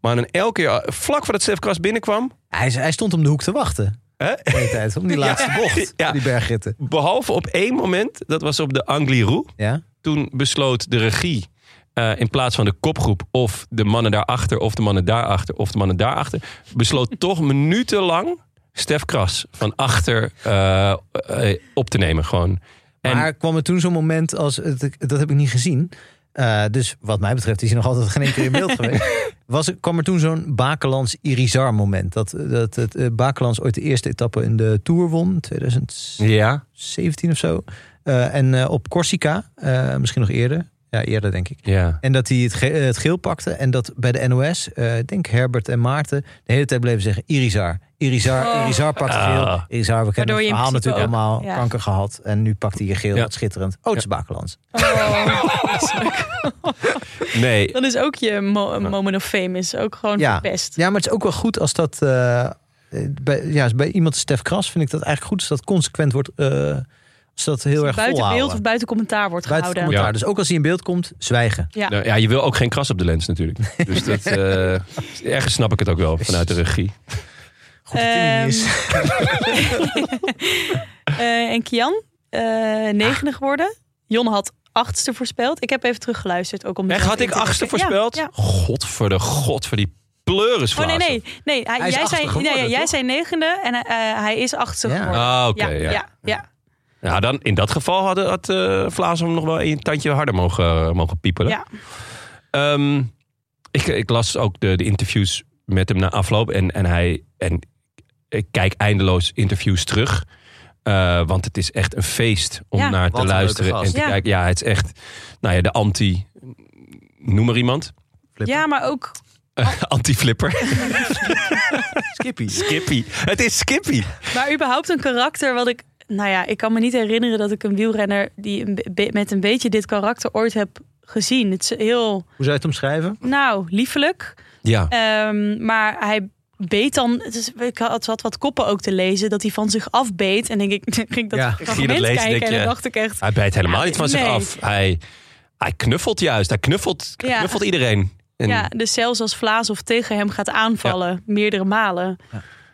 [SPEAKER 1] Maar dan elke keer, eh, vlak voordat Stef Kras binnenkwam...
[SPEAKER 2] Hij, is- hij stond om de hoek te wachten.
[SPEAKER 1] Hè?
[SPEAKER 2] De hele tijd, om die laatste bocht.
[SPEAKER 1] Ja.
[SPEAKER 2] Die bergritten.
[SPEAKER 1] Behalve op één moment, dat was op de Angliru.
[SPEAKER 2] Ja.
[SPEAKER 1] Toen besloot de regie eh, in plaats van de kopgroep... of de mannen daarachter, of de mannen daarachter, of de mannen daarachter... besloot toch minutenlang Stef Kras van achter eh, eh, op te nemen gewoon. En
[SPEAKER 2] Maar kwam er toen zo'n moment als, het- dat heb ik niet gezien. Eh, dus wat mij betreft is hij nog altijd geen enkele in beeld geweest. Was, er- kwam er toen zo'n Bakelands Irizar moment. Dat, dat het eh, Bakelands ooit de eerste etappe in de Tour won. 2017
[SPEAKER 1] ja,
[SPEAKER 2] of zo. Eh, en eh, op Corsica, eh, misschien nog eerder. Ja, eerder denk ik.
[SPEAKER 1] ja.
[SPEAKER 2] En dat hij het, ge- eh, het geel pakte. En dat bij de NOS, eh, ik denk Herbert en Maarten, de hele tijd bleven zeggen: Irizar. Irizar,
[SPEAKER 3] Oh.
[SPEAKER 2] Irizar pakt
[SPEAKER 1] Ah.
[SPEAKER 2] geel. Irizar, we kennen
[SPEAKER 3] Waardoor
[SPEAKER 2] het
[SPEAKER 3] je in
[SPEAKER 2] verhaal
[SPEAKER 3] principe
[SPEAKER 2] natuurlijk
[SPEAKER 3] ook-
[SPEAKER 2] allemaal.
[SPEAKER 3] ja.
[SPEAKER 2] Kanker gehad. En nu pakt hij je geel.
[SPEAKER 1] Ja.
[SPEAKER 2] Wat schitterend. Oh, het is Bakelands.
[SPEAKER 1] Nee,
[SPEAKER 3] dan is ook je mo- moment of fame is ook gewoon
[SPEAKER 2] Ja.
[SPEAKER 3] best.
[SPEAKER 2] Ja, maar het is ook wel goed als dat. eh, eh, bij, ja, als bij iemand als Stef Kras vind ik dat eigenlijk goed. Als dat consequent wordt. eh, als dat heel erg
[SPEAKER 3] buiten
[SPEAKER 2] volhouden.
[SPEAKER 3] beeld of buiten commentaar wordt
[SPEAKER 2] Buiten het
[SPEAKER 3] gehouden.
[SPEAKER 2] commentaar.
[SPEAKER 1] Ja.
[SPEAKER 2] Dus ook als hij in beeld komt, zwijgen.
[SPEAKER 3] Ja.
[SPEAKER 1] Nou, ja, je wil ook geen kras op de lens natuurlijk. Dus dat, eh, ergens snap ik het ook wel vanuit de regie.
[SPEAKER 2] Goed dat
[SPEAKER 3] Ehm,
[SPEAKER 2] hij er niet is.
[SPEAKER 3] Eh, en Kian,
[SPEAKER 1] Ah.
[SPEAKER 3] eh negende geworden. Jon had achtste voorspeld. Ik heb even teruggeluisterd. Ook om
[SPEAKER 1] Echt, had ik achtste voorspeld?
[SPEAKER 3] Ja, ja.
[SPEAKER 1] God voor de god voor die pleuris
[SPEAKER 3] Oh nee, nee. nee hij,
[SPEAKER 2] Hij is
[SPEAKER 3] jij,
[SPEAKER 2] achtste
[SPEAKER 3] zei,
[SPEAKER 2] geworden,
[SPEAKER 3] nee, jij
[SPEAKER 2] toch?
[SPEAKER 3] zei negende en eh, eh, hij is achtste
[SPEAKER 2] Ja.
[SPEAKER 3] geworden.
[SPEAKER 1] Ah, oké.
[SPEAKER 3] ja,
[SPEAKER 1] ja.
[SPEAKER 3] ja. ja,
[SPEAKER 1] Nou, dan in dat geval had, had eh, Vlaas hem nog wel een tandje harder mogen, eh, mogen piepelen.
[SPEAKER 3] ja.
[SPEAKER 1] Ehm, ik, ik las ook de, de interviews met hem na afloop. En, en, hij, en ik kijk eindeloos interviews terug. Eh, want het is echt een feest om
[SPEAKER 3] Ja.
[SPEAKER 1] naar
[SPEAKER 2] Wat
[SPEAKER 1] te
[SPEAKER 2] een
[SPEAKER 1] luisteren
[SPEAKER 2] leuke
[SPEAKER 1] en
[SPEAKER 2] gast.
[SPEAKER 1] te
[SPEAKER 3] Ja.
[SPEAKER 1] kijken. Ja, het is echt nou ja, de anti... Noem maar iemand.
[SPEAKER 3] Ja, maar ook
[SPEAKER 1] Anti-flipper.
[SPEAKER 2] Skippy.
[SPEAKER 1] Skippy. Het is Skippy.
[SPEAKER 3] Maar überhaupt een karakter wat ik... Nou ja, ik kan me niet herinneren dat ik een wielrenner... die een be- met een beetje dit karakter ooit heb gezien. Het is heel,
[SPEAKER 2] Hoe zou je het omschrijven?
[SPEAKER 3] nou, liefelijk.
[SPEAKER 1] Ja.
[SPEAKER 3] Ehm, maar hij beet dan... Het is, ik had zat wat koppen ook te lezen... dat hij van zich afbeet. En denk ik, ging ik dat
[SPEAKER 2] Ja,
[SPEAKER 3] ja,
[SPEAKER 2] ging je
[SPEAKER 1] dat
[SPEAKER 3] fragment
[SPEAKER 1] lezen,
[SPEAKER 3] kijken...
[SPEAKER 1] denk
[SPEAKER 3] en dan
[SPEAKER 1] je-
[SPEAKER 3] dacht ik echt...
[SPEAKER 1] Hij bijt helemaal
[SPEAKER 3] Ja,
[SPEAKER 1] niet van zich
[SPEAKER 3] nee.
[SPEAKER 1] af. Hij, hij knuffelt juist. Hij knuffelt,
[SPEAKER 3] Ja.
[SPEAKER 1] knuffelt iedereen. En
[SPEAKER 3] Ja, dus zelfs als Vlaas of tegen hem gaat aanvallen... meerdere malen...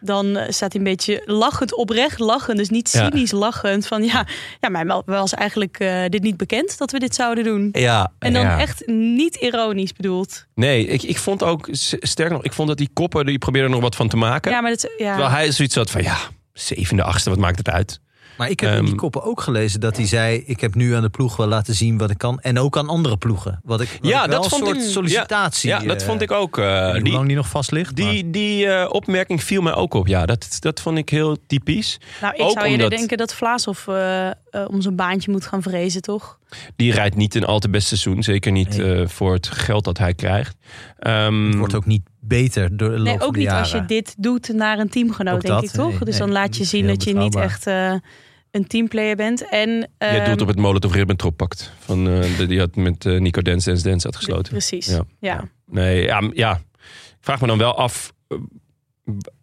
[SPEAKER 3] Dan eh, staat hij een beetje lachend, oprecht lachend. Dus niet
[SPEAKER 1] Ja.
[SPEAKER 3] cynisch lachend. Van ja, ja maar was eigenlijk eh, dit niet bekend dat we dit zouden doen.
[SPEAKER 1] ja,
[SPEAKER 3] En dan
[SPEAKER 1] ja.
[SPEAKER 3] echt niet ironisch bedoeld.
[SPEAKER 1] Nee, ik, ik vond ook, s- sterk nog, ik vond dat die koppen, die probeerden er nog wat van te maken.
[SPEAKER 3] Ja, maar dat, is- ja.
[SPEAKER 1] Terwijl hij zoiets had van, ja, zevende, achtste, wat maakt het uit?
[SPEAKER 2] Maar ik heb in die
[SPEAKER 1] Ehm,
[SPEAKER 2] koppen ook gelezen dat hij zei... ik heb nu aan de ploeg wel laten zien wat ik kan. En ook aan andere ploegen. Wat ik, wat
[SPEAKER 1] Ja,
[SPEAKER 2] ik wel
[SPEAKER 1] dat
[SPEAKER 2] een
[SPEAKER 1] vond
[SPEAKER 2] soort
[SPEAKER 1] ik-
[SPEAKER 2] sollicitatie...
[SPEAKER 1] Ja, dat
[SPEAKER 2] eh,
[SPEAKER 1] vond ik ook. eh,
[SPEAKER 2] ik weet niet
[SPEAKER 1] die
[SPEAKER 2] Hoe lang die nog vast ligt. maar-
[SPEAKER 1] die, die eh, opmerking viel mij ook op. Ja, dat, dat vond ik heel typisch.
[SPEAKER 3] Nou, ik
[SPEAKER 1] Ook
[SPEAKER 3] zou eerder
[SPEAKER 1] omdat-
[SPEAKER 3] denken dat Vlaashoff eh, eh, om zijn baantje moet gaan vrezen, toch?
[SPEAKER 1] Die rijdt niet een al te best seizoen. Zeker niet
[SPEAKER 2] Nee.
[SPEAKER 1] eh, voor het geld dat hij krijgt. Ehm,
[SPEAKER 2] Het wordt ook niet beter door de loop
[SPEAKER 3] Nee,
[SPEAKER 2] van
[SPEAKER 3] ook
[SPEAKER 2] de
[SPEAKER 3] niet
[SPEAKER 2] jaren.
[SPEAKER 3] als je dit doet naar een teamgenoot,
[SPEAKER 2] Ook
[SPEAKER 3] denk
[SPEAKER 2] dat,
[SPEAKER 3] ik, toch?
[SPEAKER 2] nee,
[SPEAKER 3] dus
[SPEAKER 2] nee,
[SPEAKER 3] dan laat
[SPEAKER 2] niet
[SPEAKER 3] je zien
[SPEAKER 2] heel
[SPEAKER 3] dat je niet
[SPEAKER 2] betrouwbaar.
[SPEAKER 3] echt eh, een teamplayer bent. En,
[SPEAKER 1] Jij
[SPEAKER 3] ehm,
[SPEAKER 1] doet op het Molotov-Ribbentrop pact. Van, eh, de- die had met eh, Nico Dance Dance Dance
[SPEAKER 3] d-
[SPEAKER 1] uitgesloten.
[SPEAKER 3] Precies,
[SPEAKER 1] Ja.
[SPEAKER 3] ja.
[SPEAKER 1] Nee, ja, m- ja. Ik vraag me dan wel af eh,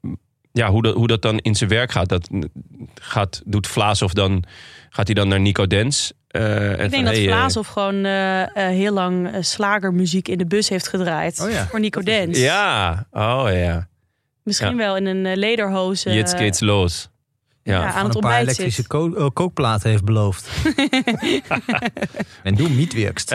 [SPEAKER 1] m- ja, hoe, dat, hoe dat dan in zijn werk gaat. Dat n- gaat doet Vlaas of dan gaat hij dan naar Nico Dens? eh,
[SPEAKER 3] Ik denk dat Vlaashoff gewoon eh, eh, heel lang eh, slagermuziek in de bus heeft gedraaid.
[SPEAKER 2] Oh ja,
[SPEAKER 3] Voor Nico Dens.
[SPEAKER 1] Ja, oh ja.
[SPEAKER 3] Misschien
[SPEAKER 1] Ja.
[SPEAKER 3] wel in een eh, lederhoze. eh,
[SPEAKER 1] Jetzt geht's los. Ja.
[SPEAKER 3] Ja. aan
[SPEAKER 2] Van
[SPEAKER 3] het
[SPEAKER 2] een paar
[SPEAKER 3] ontbijt
[SPEAKER 2] elektrische
[SPEAKER 3] zit.
[SPEAKER 2] ko- eh, kookplaten heeft beloofd. en doe mietwerkst.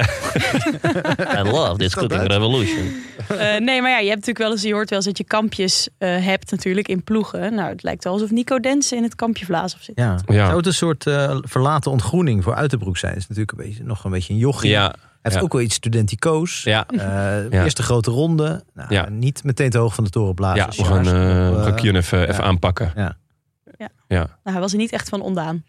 [SPEAKER 1] I love this
[SPEAKER 2] cooking
[SPEAKER 1] revolution.
[SPEAKER 3] Eh, nee, maar ja, je hebt natuurlijk wel eens, je hoort wel eens dat je kampjes eh, hebt natuurlijk in ploegen. Nou, het lijkt wel alsof Nico Densen in het kampje Vlaas op zit.
[SPEAKER 2] Ja.
[SPEAKER 1] Ja.
[SPEAKER 2] Zou het een soort eh, verlaten ontgroening voor Uiterbroek zijn? Is natuurlijk een beetje, nog een beetje een jochie.
[SPEAKER 1] Ja,
[SPEAKER 2] Hij heeft
[SPEAKER 1] ja.
[SPEAKER 2] ook wel iets studentico's.
[SPEAKER 1] ja.
[SPEAKER 2] Eh,
[SPEAKER 1] Ja.
[SPEAKER 2] Eerste grote ronde. Nou,
[SPEAKER 1] Ja.
[SPEAKER 2] Niet meteen te hoog van de dus toren blazen.
[SPEAKER 1] ja we gaan, eh we gaan Kion even, even aanpakken.
[SPEAKER 2] Ja.
[SPEAKER 3] Ja.
[SPEAKER 1] ja.
[SPEAKER 3] Nou, hij was er niet echt van ondaan.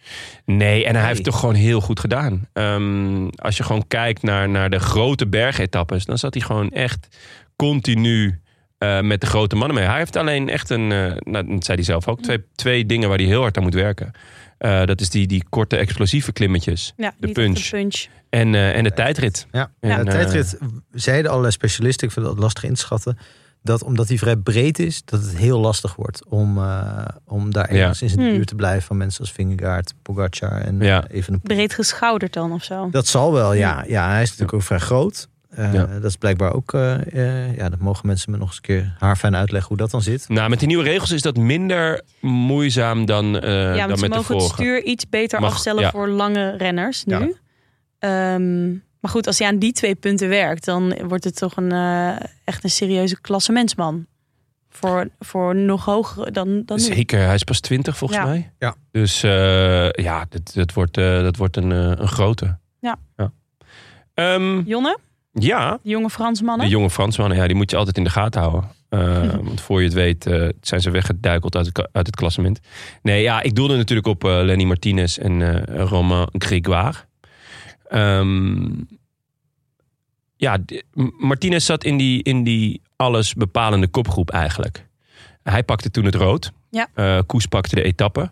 [SPEAKER 1] Nee, en hij
[SPEAKER 2] Nee.
[SPEAKER 1] heeft toch gewoon heel goed gedaan. Ehm, als je gewoon kijkt naar, naar de grote bergetappes, dan zat hij gewoon echt continu eh, met de grote mannen mee. Hij heeft alleen echt een, eh, nou, dat zei hij zelf ook, twee, twee dingen waar hij heel hard aan moet werken. Eh, dat is die, die korte explosieve klimmetjes
[SPEAKER 3] Ja,
[SPEAKER 1] De
[SPEAKER 3] niet echt een
[SPEAKER 1] punch.
[SPEAKER 3] punch.
[SPEAKER 1] en, eh, en de tijdrit.
[SPEAKER 2] Ja.
[SPEAKER 1] En,
[SPEAKER 2] de
[SPEAKER 1] eh,
[SPEAKER 2] tijdrit zeiden allerlei specialisten, ik vind dat lastig in te schatten, dat omdat die vrij breed is, dat het heel lastig wordt om, eh, om daar
[SPEAKER 1] Ja.
[SPEAKER 2] ergens in de
[SPEAKER 3] Hmm.
[SPEAKER 2] buurt te blijven van mensen als Vingegaard, Pogacar en eh,
[SPEAKER 1] Ja.
[SPEAKER 2] even een
[SPEAKER 3] Breed Hmm. geschouderd dan of zo.
[SPEAKER 2] Dat zal wel, ja. Ja, hij is natuurlijk ook vrij groot. Eh,
[SPEAKER 1] Ja.
[SPEAKER 2] Dat is blijkbaar ook, eh, eh, ja, dat mogen mensen me nog eens een keer haarfijn uitleggen hoe dat dan zit.
[SPEAKER 1] Nou, met die nieuwe regels is dat minder moeizaam dan, eh,
[SPEAKER 3] ja, want
[SPEAKER 1] dan
[SPEAKER 3] ze
[SPEAKER 1] met de
[SPEAKER 3] mogen het
[SPEAKER 1] vorige.
[SPEAKER 3] stuur iets beter
[SPEAKER 1] Mag-
[SPEAKER 3] afstellen
[SPEAKER 1] ja.
[SPEAKER 3] voor lange renners nu.
[SPEAKER 1] Ja.
[SPEAKER 3] Ehm, maar goed, als hij aan die twee punten werkt, dan wordt het toch een, eh, echt een serieuze klassementsman. Voor, voor nog hoger dan, dan nu.
[SPEAKER 1] Zeker, hij is pas 20 volgens
[SPEAKER 3] Ja.
[SPEAKER 1] mij.
[SPEAKER 2] Ja.
[SPEAKER 1] Dus eh, ja, dat, dat wordt, eh, dat wordt een, eh, een grote.
[SPEAKER 3] Ja.
[SPEAKER 1] Ja, Ehm,
[SPEAKER 3] Jonne,
[SPEAKER 1] ja
[SPEAKER 3] de jonge Fransmannen.
[SPEAKER 1] de jonge Fransmannen, ja, die moet je altijd in de gaten houden. Eh, want voor je het weet eh, zijn ze weggeduikeld uit het, ka- uit het klassement. Nee, ja, ik doelde natuurlijk op eh, Lenny Martinez en eh Romain Grégoire. Ehm, ja, d- M- Martinez zat in die, in die alles bepalende kopgroep eigenlijk. Hij pakte toen het rood.
[SPEAKER 3] Ja.
[SPEAKER 1] Eh, Koes pakte de etappe.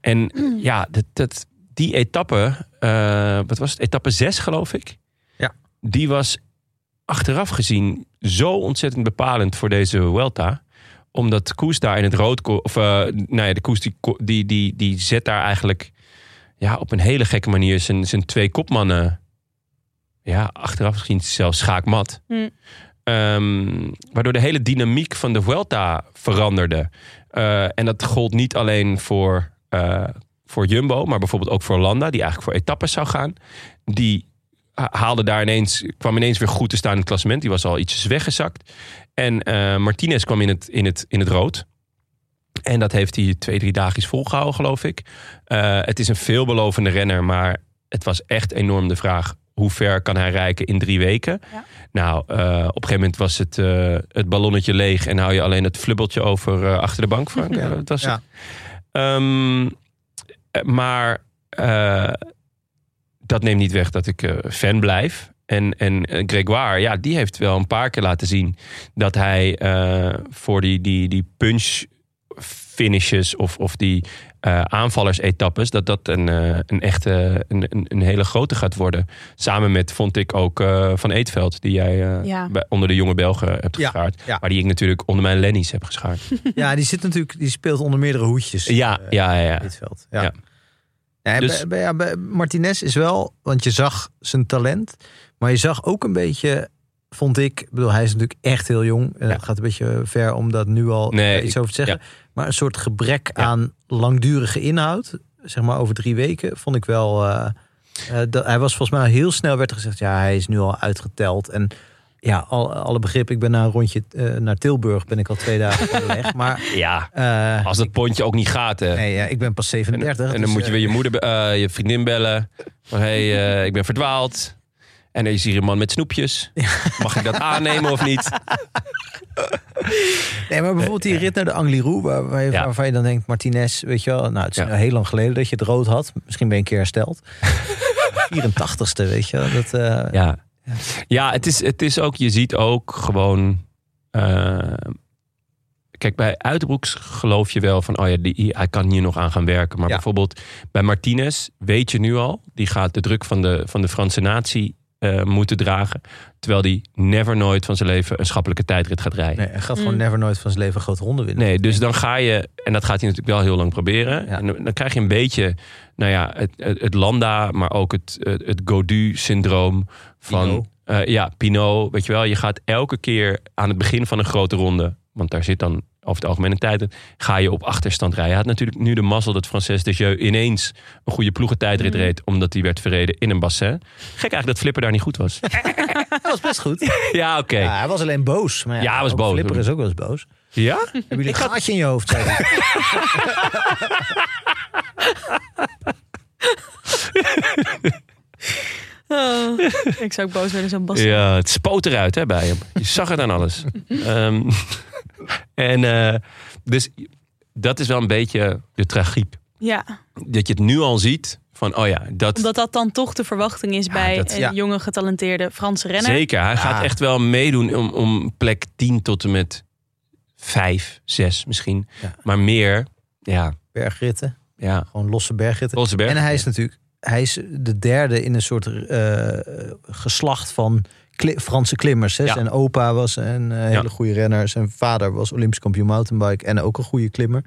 [SPEAKER 1] En ja, dat, dat, die etappe, eh, wat was het? Etappe 6 geloof ik.
[SPEAKER 2] Ja.
[SPEAKER 1] Die was achteraf gezien zo ontzettend bepalend voor deze Welta. Omdat Koes daar in het rood... ko- Of eh, nou ja, de Koes die, ko- die, die, die zet daar eigenlijk ja, op een hele gekke manier zijn, zijn twee kopmannen... Ja, achteraf gezien zelfs schaakmat.
[SPEAKER 3] Hmm.
[SPEAKER 1] Ehm, waardoor de hele dynamiek van de Vuelta veranderde. Eh, en dat gold niet alleen voor, eh, voor Jumbo, maar bijvoorbeeld ook voor Landa, die eigenlijk voor etappes zou gaan. Die ha- haalde daar ineens, kwam ineens weer goed te staan in het klassement. Die was al ietsjes weggezakt. En eh, Martinez kwam in het, in, het, in het rood. En dat heeft hij twee, drie dagjes volgehouden, geloof ik. Eh, het is een veelbelovende renner, maar het was echt enorm de vraag... hoe ver kan hij reiken in drie weken?
[SPEAKER 3] Ja.
[SPEAKER 1] Nou, eh, op een gegeven moment was het, eh, het ballonnetje leeg... en hou je alleen het flubbeltje over eh, achter de bank, Frank. Eh, dat was het.
[SPEAKER 2] Ja.
[SPEAKER 1] Ehm, eh, maar eh, dat neemt niet weg dat ik eh, fan blijf. En, en eh, Gregoire, ja, die heeft wel een paar keer laten zien dat hij eh, voor die, die, die punch finishes of, of die eh aanvallersetappes, dat dat een, eh, een echte, een, een, een hele grote gaat worden. Samen met, vond ik ook, eh, Van Eetveld, die jij eh,
[SPEAKER 3] Ja.
[SPEAKER 1] bij- onder de jonge Belgen hebt
[SPEAKER 2] Ja,
[SPEAKER 1] geschaard.
[SPEAKER 2] ja.
[SPEAKER 1] Maar die ik natuurlijk onder mijn Lennies heb geschaard.
[SPEAKER 2] Ja, die zit natuurlijk, die speelt onder meerdere hoedjes.
[SPEAKER 1] ja,
[SPEAKER 2] eh,
[SPEAKER 1] ja, ja, ja.
[SPEAKER 2] dit veld. Ja.
[SPEAKER 1] Ja.
[SPEAKER 2] Nee,
[SPEAKER 1] Dus-
[SPEAKER 2] bij- bij- ja, bij Martinez is wel, want je zag zijn talent, maar je zag ook een beetje, vond ik, ik bedoel, hij is natuurlijk echt heel jong. en
[SPEAKER 1] Ja.
[SPEAKER 2] Het gaat een beetje ver om dat nu al
[SPEAKER 1] Nee,
[SPEAKER 2] eh, iets
[SPEAKER 1] ik-
[SPEAKER 2] over te zeggen. Maar een soort gebrek
[SPEAKER 1] Ja.
[SPEAKER 2] aan langdurige inhoud, zeg maar over drie weken, vond ik wel. eh, eh, dat, hij was volgens mij al heel snel werd er gezegd, ja, hij is nu al uitgeteld. En ja, al, alle begrip. Ik ben na een rondje eh, naar Tilburg ben ik al twee dagen onderweg. Maar
[SPEAKER 1] Ja,
[SPEAKER 2] eh,
[SPEAKER 1] als dat pontje ook niet gaat, hè.
[SPEAKER 2] nee, ja, ik ben pas
[SPEAKER 1] En,
[SPEAKER 2] 37.
[SPEAKER 1] en dan
[SPEAKER 2] dus,
[SPEAKER 1] moet je
[SPEAKER 2] eh,
[SPEAKER 1] weer je moeder, be- eh, je vriendin bellen. Van, hey, eh, ik ben verdwaald. En er is hier een man met snoepjes. Mag ik dat aannemen of niet?
[SPEAKER 2] Nee, maar bijvoorbeeld die rit naar de Angliru, waar, waar je-
[SPEAKER 1] Ja.
[SPEAKER 2] waarvan je dan denkt, Martinez, weet je wel, nou, het is
[SPEAKER 1] Ja.
[SPEAKER 2] nou heel lang geleden dat je het rood had. Misschien ben je een keer hersteld. 84ste, weet je wel. Dat, eh,
[SPEAKER 1] Ja, ja het, is, het is ook, je ziet ook gewoon. eh, kijk, bij Uitbroeks geloof je wel van, oh ja, die, hij kan hier nog aan gaan werken. Maar
[SPEAKER 2] Ja.
[SPEAKER 1] bijvoorbeeld bij Martinez weet je nu al, die gaat de druk van de, van de Franse natie eh, moeten dragen. Terwijl die never nooit van zijn leven een schappelijke tijdrit gaat rijden.
[SPEAKER 2] Nee, hij gaat gewoon
[SPEAKER 3] Mm.
[SPEAKER 2] never nooit van zijn leven een grote ronde winnen.
[SPEAKER 1] Nee, dus dan ga je, en dat gaat hij natuurlijk wel heel lang proberen.
[SPEAKER 2] Ja.
[SPEAKER 1] En dan dan krijg je een beetje, nou ja, het, het, het Landa, maar ook het, het, het Godu-syndroom van.
[SPEAKER 2] Pinot.
[SPEAKER 1] eh, ja, Pinot. Weet je wel, je gaat elke keer aan het begin van een grote ronde, want daar zit dan over het algemeen een tijd in, ga je op achterstand rijden. Hij had natuurlijk nu de mazzel dat Frances Desjeux ineens een goede ploegentijdrit
[SPEAKER 3] Mm.
[SPEAKER 1] reed, omdat hij werd verreden in een bassin. Gek eigenlijk dat Flipper daar niet goed was.
[SPEAKER 2] Dat was best goed.
[SPEAKER 1] ja, oké.
[SPEAKER 2] Ja, hij was alleen boos. Maar ja,
[SPEAKER 1] Ja, hij was
[SPEAKER 2] ook
[SPEAKER 1] boos.
[SPEAKER 2] Flipper is ook wel eens boos.
[SPEAKER 1] Ja?
[SPEAKER 2] Hebben jullie een gaatje in je hoofd? zei hij.
[SPEAKER 3] Oh, ik zou ook boos worden zo'n bas.
[SPEAKER 1] Ja, het spoot eruit hè, bij hem. Je zag het aan alles. Ehm, en eh, dus dat is wel een beetje de tragiek.
[SPEAKER 3] Ja,
[SPEAKER 1] Dat je het nu al ziet van, oh ja, dat
[SPEAKER 3] omdat dat dan toch de verwachting is bij
[SPEAKER 1] dat-
[SPEAKER 3] een
[SPEAKER 2] ja.
[SPEAKER 3] jonge getalenteerde Franse renner.
[SPEAKER 1] zeker. Hij
[SPEAKER 2] Ah.
[SPEAKER 1] gaat echt wel meedoen om, om plek 10 tot en met 5, 6 misschien.
[SPEAKER 2] Ja.
[SPEAKER 1] Maar meer, ja,
[SPEAKER 2] Bergritten.
[SPEAKER 1] ja.
[SPEAKER 2] Gewoon losse bergritten.
[SPEAKER 1] Rozenberg.
[SPEAKER 2] En hij is natuurlijk hij is de derde in een soort eh, geslacht van kli- Franse klimmers. Hè.
[SPEAKER 1] Ja.
[SPEAKER 2] Zijn opa was een eh, hele
[SPEAKER 1] Ja.
[SPEAKER 2] goede renner. Zijn vader was Olympisch kampioen mountainbike en ook een goede klimmer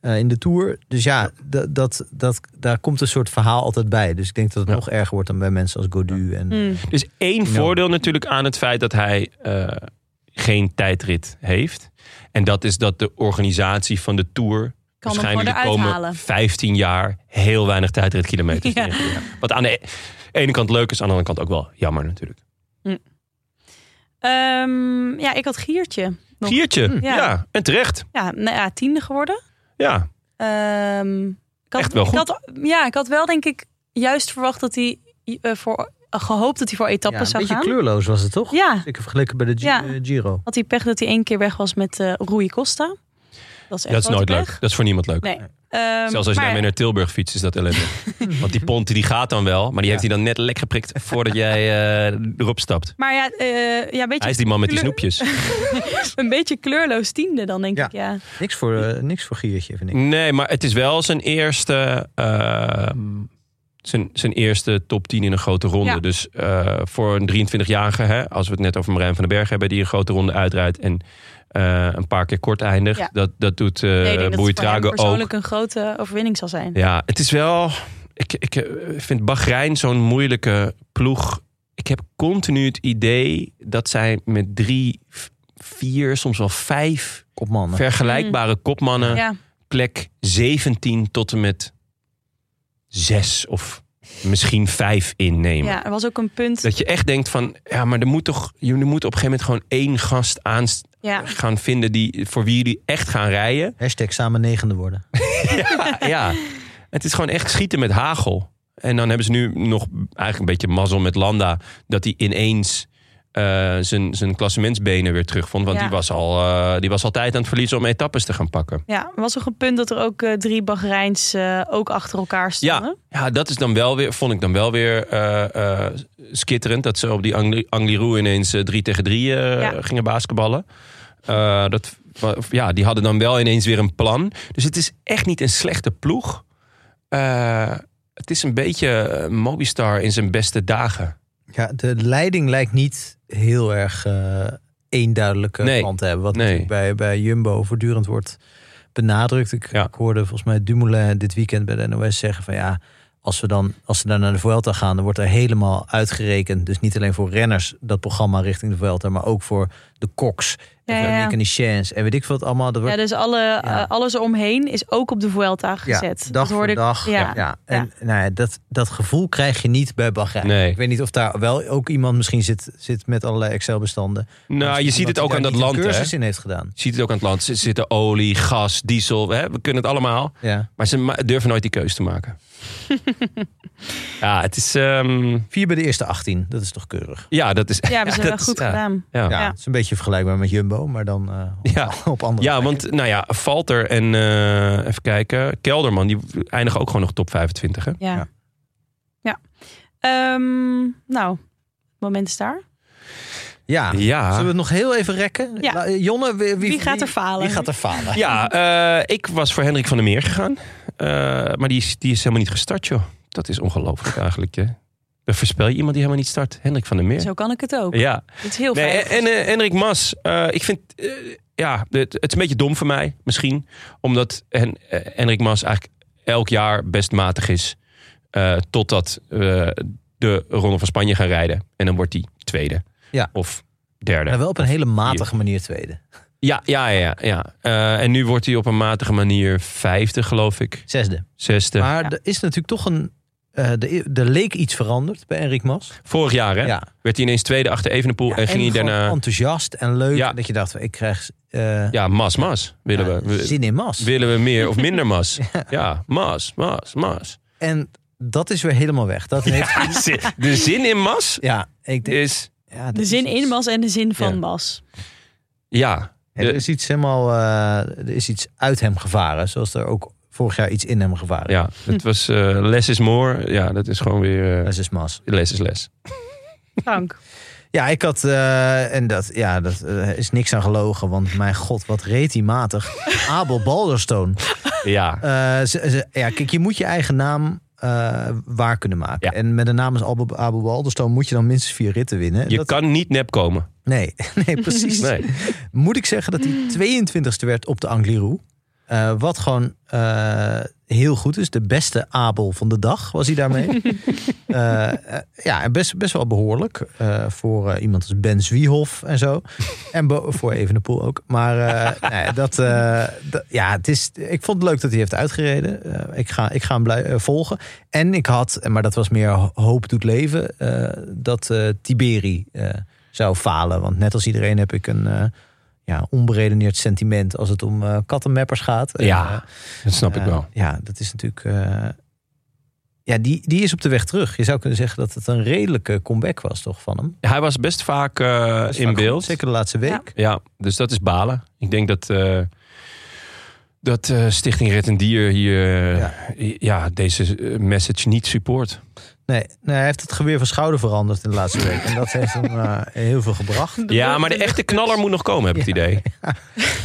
[SPEAKER 2] eh, in de Tour. Dus ja, da- dat, dat, daar komt een soort verhaal altijd bij. Dus ik denk dat het
[SPEAKER 1] Ja.
[SPEAKER 2] nog erger wordt dan bij mensen als Godu. En,
[SPEAKER 3] Hmm.
[SPEAKER 1] Dus één
[SPEAKER 2] Ja.
[SPEAKER 1] voordeel natuurlijk aan het feit dat hij eh, geen tijdrit heeft. En dat is dat de organisatie van de Tour...
[SPEAKER 3] Kan hem gewoon
[SPEAKER 1] waarschijnlijk de
[SPEAKER 3] eruit
[SPEAKER 1] komende
[SPEAKER 3] halen.
[SPEAKER 1] 15 jaar heel weinig tijdritkilometers
[SPEAKER 3] Ja.
[SPEAKER 1] neerleggen. Wat aan de e- ene kant leuk is, aan de andere kant ook wel jammer natuurlijk.
[SPEAKER 3] Ehm, ja, ik had Giertje. Nog.
[SPEAKER 1] Giertje, ja.
[SPEAKER 3] Ja.
[SPEAKER 1] En terecht,
[SPEAKER 3] Ja, nou ja, tiende geworden.
[SPEAKER 1] ja.
[SPEAKER 3] Ehm, ik had,
[SPEAKER 1] Echt wel
[SPEAKER 3] ik
[SPEAKER 1] goed.
[SPEAKER 3] had- ja, ik had wel denk ik juist verwacht dat hij eh, voor gehoopt dat hij voor
[SPEAKER 2] Ja,
[SPEAKER 3] etappes
[SPEAKER 2] een
[SPEAKER 3] zou
[SPEAKER 2] beetje
[SPEAKER 3] gaan.
[SPEAKER 2] kleurloos was het toch?
[SPEAKER 3] Ja,
[SPEAKER 2] Zeker vergeleken bij de Gi-
[SPEAKER 3] Ja.
[SPEAKER 2] eh, Giro.
[SPEAKER 3] had hij pech dat hij één keer weg was met eh Rui Costa. Dat is,
[SPEAKER 1] Dat is
[SPEAKER 3] echt grote
[SPEAKER 1] nooit leuk.
[SPEAKER 3] pech.
[SPEAKER 1] Dat is voor niemand leuk.
[SPEAKER 3] Nee. Ehm,
[SPEAKER 1] Zelfs als je
[SPEAKER 3] maar
[SPEAKER 1] daarmee naar Tilburg fietst, is dat ellendig. Want die pont die gaat dan wel, maar die heeft hij dan net lek geprikt voordat jij eh, erop stapt.
[SPEAKER 3] Maar ja, eh, ja weet
[SPEAKER 1] Hij is
[SPEAKER 3] je,
[SPEAKER 1] die man met die
[SPEAKER 3] kleur-
[SPEAKER 1] snoepjes.
[SPEAKER 3] een beetje kleurloos tiende dan denk
[SPEAKER 2] Ja.
[SPEAKER 3] ik. Ja.
[SPEAKER 2] Niks voor, eh, niks voor Giertje, vind ik.
[SPEAKER 1] Nee, maar het is wel zijn eerste, eh, zijn, zijn eerste top 10 in een grote ronde.
[SPEAKER 3] Ja.
[SPEAKER 1] Dus eh, voor een 23-jarige, hè, als we het net over Marijn van den Berg hebben, die een grote ronde uitrijdt en eh, een paar keer kort eindigt.
[SPEAKER 3] Ja.
[SPEAKER 1] Dat, dat doet
[SPEAKER 3] Nee, ik
[SPEAKER 1] eh
[SPEAKER 3] denk dat het voor hem
[SPEAKER 1] Boeitrago ook.
[SPEAKER 3] persoonlijk een grote overwinning zal zijn.
[SPEAKER 1] Ja, het is wel. Ik, ik eh, vind Bahrein zo'n moeilijke ploeg. Ik heb continu het idee dat zij met drie, v- vier, soms wel vijf
[SPEAKER 2] Kopmannen.
[SPEAKER 3] Mm.
[SPEAKER 1] vergelijkbare kopmannen
[SPEAKER 3] Ja.
[SPEAKER 1] plek 17 tot en met 6 of misschien 5 innemen.
[SPEAKER 3] ja, er was ook een punt.
[SPEAKER 1] Dat je echt denkt van, ja, maar er moet toch, je moet op een gegeven moment gewoon één gast aan
[SPEAKER 3] Ja.
[SPEAKER 1] gaan vinden die, voor wie jullie echt gaan rijden.
[SPEAKER 2] Hashtag samen negende worden.
[SPEAKER 1] Ja, ja, het is gewoon echt schieten met hagel. En dan hebben ze nu nog eigenlijk een beetje mazzel met Landa, dat hij ineens eh, zijn, zijn klassementsbenen weer terugvond. Want
[SPEAKER 3] Ja.
[SPEAKER 1] die, was al, eh, die was altijd aan het verliezen om etappes te gaan pakken.
[SPEAKER 3] Ja, er was ook een punt dat er ook eh, drie Bahreins eh, ook achter elkaar stonden.
[SPEAKER 1] Ja, dat is dan wel weer, vond ik dan wel weer eh, eh, skitterend. Dat ze op die Angli- Angliru ineens eh, drie tegen drie eh,
[SPEAKER 3] Ja.
[SPEAKER 1] gingen basketballen. Eh, dat, wa- ja, die hadden dan wel ineens weer een plan. Dus het is echt niet een slechte ploeg. Eh, het is een beetje eh, Mobistar in zijn beste dagen.
[SPEAKER 2] Ja, de leiding lijkt niet heel erg eh eenduidelijke
[SPEAKER 1] Nee.
[SPEAKER 2] kant te hebben. Wat
[SPEAKER 1] Nee.
[SPEAKER 2] natuurlijk bij, bij Jumbo voortdurend wordt benadrukt. Ik,
[SPEAKER 1] Ja.
[SPEAKER 2] ik hoorde volgens mij Dumoulin dit weekend bij de NOS zeggen van ja... als we dan als ze dan naar de Vuelta gaan, dan wordt er helemaal uitgerekend. Dus niet alleen voor renners dat programma richting de Vuelta, maar ook voor de koks en
[SPEAKER 3] Ja,
[SPEAKER 2] voor
[SPEAKER 3] ja, ja.
[SPEAKER 2] mechaniciens en weet ik veel wat allemaal. Dat wordt
[SPEAKER 3] Ja, dus alle, eh, alles eromheen is ook op de Vuelta gezet.
[SPEAKER 2] Ja, dag
[SPEAKER 3] dat hoorde
[SPEAKER 2] voor dag.
[SPEAKER 3] Ik,
[SPEAKER 2] Ja.
[SPEAKER 3] ja.
[SPEAKER 2] En nou ja, dat, dat gevoel krijg je niet bij Bahrein.
[SPEAKER 1] Nee.
[SPEAKER 2] Ik weet niet of daar wel ook iemand misschien zit, zit met allerlei Excel-bestanden.
[SPEAKER 1] Nou, je
[SPEAKER 2] Misschien
[SPEAKER 1] ziet
[SPEAKER 2] iemand
[SPEAKER 1] het
[SPEAKER 2] die
[SPEAKER 1] ook
[SPEAKER 2] daar
[SPEAKER 1] aan dat
[SPEAKER 2] niet een
[SPEAKER 1] land, hè?
[SPEAKER 2] cursus in heeft gedaan.
[SPEAKER 1] Je ziet het ook aan het land. Er zitten olie, gas, diesel. Hè? We kunnen het allemaal.
[SPEAKER 2] Ja.
[SPEAKER 1] Maar ze ma- durven nooit die keus te maken. ja, het is... ehm,
[SPEAKER 2] Vier bij de eerste 18, dat is toch keurig.
[SPEAKER 1] ja, dat is...
[SPEAKER 3] Ja, hebben ze
[SPEAKER 1] dat
[SPEAKER 3] wel
[SPEAKER 1] is-
[SPEAKER 3] goed
[SPEAKER 1] ja.
[SPEAKER 3] gedaan.
[SPEAKER 1] Ja.
[SPEAKER 2] Ja,
[SPEAKER 3] Ja.
[SPEAKER 2] het is een beetje vergelijkbaar met Jumbo, maar dan eh, op,
[SPEAKER 1] Ja.
[SPEAKER 2] op andere
[SPEAKER 1] Ja,
[SPEAKER 2] plekken.
[SPEAKER 1] want nou ja, Valter en eh, even kijken, Kelderman, die eindigen ook gewoon nog top 25. Hè?
[SPEAKER 3] Ja.
[SPEAKER 2] Ja.
[SPEAKER 3] ja. Ehm, nou, het moment is daar.
[SPEAKER 2] Ja.
[SPEAKER 1] Ja,
[SPEAKER 2] Zullen we het nog heel even rekken?
[SPEAKER 3] Ja.
[SPEAKER 2] La- Jonne, wie,
[SPEAKER 3] Wie gaat er falen?
[SPEAKER 2] Wie gaat er falen?
[SPEAKER 1] ja eh, ik was voor Hendrik van der Meer gegaan, Eh, maar die is, die is helemaal niet gestart, joh. Dat is ongelooflijk eigenlijk. Hè? Dan voorspel je iemand die helemaal niet start. Hendrik van der Meer.
[SPEAKER 3] Zo kan ik het ook.
[SPEAKER 1] Ja,
[SPEAKER 3] Het is heel
[SPEAKER 1] nee,
[SPEAKER 3] fijn.
[SPEAKER 1] en, en eh, Hendrik Mas, eh, ik vind, eh, ja, het, het is een beetje dom voor mij misschien, omdat Hen, eh, Hendrik Mas eigenlijk elk jaar best matig is, eh, totdat we de Ronde van Spanje gaan rijden. En dan wordt hij tweede
[SPEAKER 2] Ja.
[SPEAKER 1] of derde.
[SPEAKER 2] Maar wel op een hele matige manier tweede.
[SPEAKER 1] Ja, ja, ja. ja, ja. Eh, en nu wordt hij op een matige manier vijfde, geloof ik.
[SPEAKER 2] Zesde.
[SPEAKER 1] Zesde.
[SPEAKER 2] Maar
[SPEAKER 3] Ja.
[SPEAKER 2] er is natuurlijk toch een... eh, de er leek iets veranderd bij Enric Mas.
[SPEAKER 1] Vorig jaar hè,
[SPEAKER 2] Ja.
[SPEAKER 1] werd hij ineens tweede achter Evenepoel en ging hij
[SPEAKER 2] gewoon
[SPEAKER 1] daarna...
[SPEAKER 2] enthousiast en leuk.
[SPEAKER 1] Ja.
[SPEAKER 2] Dat je dacht, ik krijg eh,
[SPEAKER 1] Ja, mas, mas. Willen,
[SPEAKER 2] ja,
[SPEAKER 1] we,
[SPEAKER 2] zin in mas.
[SPEAKER 1] willen we meer of minder mas? ja, mas, mas, mas.
[SPEAKER 2] En dat is weer helemaal weg. Dat heeft,
[SPEAKER 1] Ja, zin- de zin in mas
[SPEAKER 2] ja, ik denk,
[SPEAKER 1] is...
[SPEAKER 2] ja, dat
[SPEAKER 3] de
[SPEAKER 2] is
[SPEAKER 3] zin
[SPEAKER 2] iets-
[SPEAKER 3] in Mas en de zin van
[SPEAKER 1] Ja.
[SPEAKER 3] Mas.
[SPEAKER 1] Ja,
[SPEAKER 2] Ja, Er is iets helemaal, eh, er is iets uit hem gevaren. Zoals er ook vorig jaar iets in hem gevaren.
[SPEAKER 1] ja het was eh less is more. Ja, dat is gewoon weer... eh
[SPEAKER 2] Dat is mas.
[SPEAKER 1] les is les.
[SPEAKER 3] Frank.
[SPEAKER 2] Ja, ik had, eh, en dat, ja, dat eh, is niks aan gelogen. Want mijn god, wat reet hij matig. Abel Balderstone.
[SPEAKER 1] Ja,
[SPEAKER 2] Eh, ze- ze- ja, kijk, je moet je eigen naam eh, waar kunnen maken.
[SPEAKER 1] Ja.
[SPEAKER 2] En met de naam als Abel, Abel Balderstone moet je dan minstens vier ritten winnen. En
[SPEAKER 1] je
[SPEAKER 2] dat-
[SPEAKER 1] kan niet nep komen.
[SPEAKER 2] Nee, nee, precies.
[SPEAKER 1] Nee.
[SPEAKER 2] Moet ik zeggen dat hij 22e werd op de Angliru. Eh, wat gewoon eh, heel goed is. De beste Abel van de dag was hij daarmee. Eh, eh, ja, en best, best wel behoorlijk. eh, voor eh, iemand als Ben Zwiehoff en zo. En bo- voor Evenepoel ook. Maar eh, nou ja, dat, eh, dat- ja, het is, ik vond het leuk dat hij heeft uitgereden. Eh, ik, ga, ik ga hem blij, eh, volgen. En ik had, maar dat was meer ho- hoop doet leven, eh, dat eh, Tiberi eh, zou falen. Want net als iedereen heb ik een eh, ja, onberedeneerd sentiment als het om eh kattenmappers gaat.
[SPEAKER 1] Ja,
[SPEAKER 2] En, eh,
[SPEAKER 1] Dat snap ik
[SPEAKER 2] eh,
[SPEAKER 1] wel.
[SPEAKER 2] Ja, dat is natuurlijk... eh, ja, die, die is op de weg terug. Je zou kunnen zeggen dat het een redelijke comeback was toch van hem.
[SPEAKER 1] Hij was best vaak eh,
[SPEAKER 2] Dat is
[SPEAKER 1] in
[SPEAKER 2] vaak goed,
[SPEAKER 1] beeld.
[SPEAKER 2] Zeker de laatste week.
[SPEAKER 3] Ja.
[SPEAKER 1] Ja, dus dat is balen. Ik denk dat, eh, dat eh, Stichting Red en Dier hier
[SPEAKER 2] Ja.
[SPEAKER 1] ja. ja, deze eh, message niet support.
[SPEAKER 2] Nee, nee, hij heeft het geweer van schouder veranderd in de laatste week. En dat heeft hem eh, heel veel gebracht.
[SPEAKER 1] Ja, maar de echte knaller moet nog komen, heb ik het idee.
[SPEAKER 2] Nou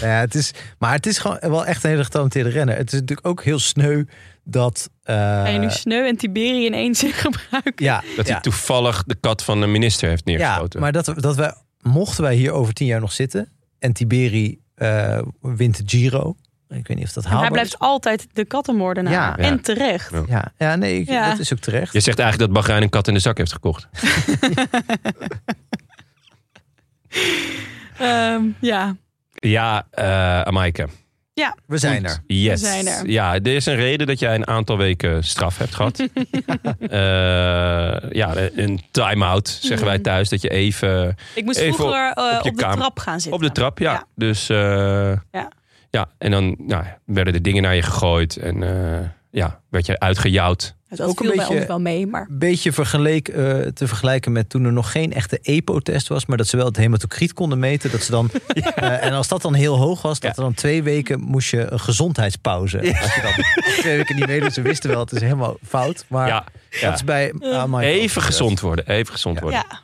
[SPEAKER 2] Ja, het is, maar het is gewoon wel echt een hele getalenteerde renner. Het is natuurlijk ook heel sneu dat... eh,
[SPEAKER 3] Ga je nu sneu en Tiberi in één zin gebruiken?
[SPEAKER 2] ja,
[SPEAKER 1] Dat hij
[SPEAKER 2] ja,
[SPEAKER 1] toevallig de kat van de minister heeft
[SPEAKER 2] ja,
[SPEAKER 1] neergeschoten.
[SPEAKER 2] maar dat, dat wij, mochten wij hier over tien jaar nog zitten... en Tiberi eh, wint de Giro... Ik weet niet of dat
[SPEAKER 3] En
[SPEAKER 2] haalbaar
[SPEAKER 3] hij blijft altijd de kattenmoordenaar.
[SPEAKER 2] Ja.
[SPEAKER 3] En terecht.
[SPEAKER 1] Ja.
[SPEAKER 2] is. Ja, ja nee, ik-
[SPEAKER 3] Ja.
[SPEAKER 2] dat is ook terecht.
[SPEAKER 1] Je zegt eigenlijk dat Bahrein een kat in de zak heeft gekocht.
[SPEAKER 3] Ehm, ja.
[SPEAKER 1] Ja, eh Amaike.
[SPEAKER 2] We zijn er.
[SPEAKER 1] Yes.
[SPEAKER 3] We zijn er.
[SPEAKER 1] Ja, er is een reden dat jij een aantal weken straf hebt gehad. ja. ja, een time-out zeggen
[SPEAKER 3] Mhm.
[SPEAKER 1] wij thuis. Dat je even
[SPEAKER 3] Ik moest
[SPEAKER 1] Even
[SPEAKER 3] vroeger eh,
[SPEAKER 1] op
[SPEAKER 3] op,
[SPEAKER 1] je
[SPEAKER 3] de
[SPEAKER 1] kamer.
[SPEAKER 3] trap gaan zitten.
[SPEAKER 1] Op de trap, ja.
[SPEAKER 3] Ja.
[SPEAKER 1] Dus eh, ja. en dan nou, werden de dingen naar je gegooid en eh, ja, werd je uitgejouwd.
[SPEAKER 3] Dat
[SPEAKER 2] Ook een
[SPEAKER 3] viel bij
[SPEAKER 2] beetje-
[SPEAKER 3] ons wel mee, maar
[SPEAKER 2] beetje vergeleek, eh, te vergelijken met toen er nog geen echte EPO-test was, maar dat ze wel het hematocriet konden meten. Dat ze dan, eh, en als dat dan heel hoog was, dat
[SPEAKER 1] Ja.
[SPEAKER 2] er dan twee weken moest je een gezondheidspauze. Als je dan twee weken niet meedoet, ze wisten wel, het is helemaal fout. Maar
[SPEAKER 1] ja,
[SPEAKER 2] dat
[SPEAKER 1] ja.
[SPEAKER 2] is bij Amai ook
[SPEAKER 1] Even
[SPEAKER 2] gebeurd.
[SPEAKER 1] gezond worden, even gezond worden.
[SPEAKER 3] ja.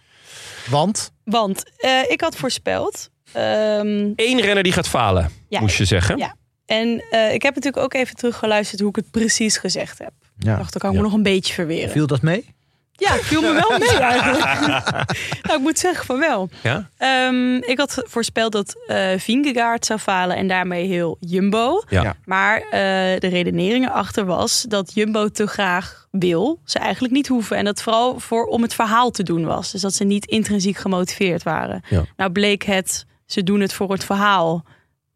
[SPEAKER 2] Want
[SPEAKER 3] Want eh, ik had voorspeld. ehm,
[SPEAKER 1] Eén renner die gaat falen,
[SPEAKER 3] Ja.
[SPEAKER 1] moest je zeggen.
[SPEAKER 3] Ja. en eh, ik heb natuurlijk ook even teruggeluisterd hoe ik het precies gezegd heb. Ik
[SPEAKER 2] ja,
[SPEAKER 3] dacht, dan kan ik me nog een beetje verweren.
[SPEAKER 2] viel dat mee?
[SPEAKER 3] Ja, viel me wel mee eigenlijk. nou, ik moet zeggen van wel.
[SPEAKER 1] Ja?
[SPEAKER 3] Ehm, ik had voorspeld dat eh Vingegaard zou falen en daarmee heel Jumbo.
[SPEAKER 1] Ja.
[SPEAKER 4] Ja.
[SPEAKER 3] Maar eh, de redenering erachter was dat Jumbo te graag wil, ze eigenlijk niet hoeven. En dat vooral voor, om het verhaal te doen was. Dus dat ze niet intrinsiek gemotiveerd waren.
[SPEAKER 1] Ja.
[SPEAKER 3] Nou bleek het, ze doen het voor het verhaal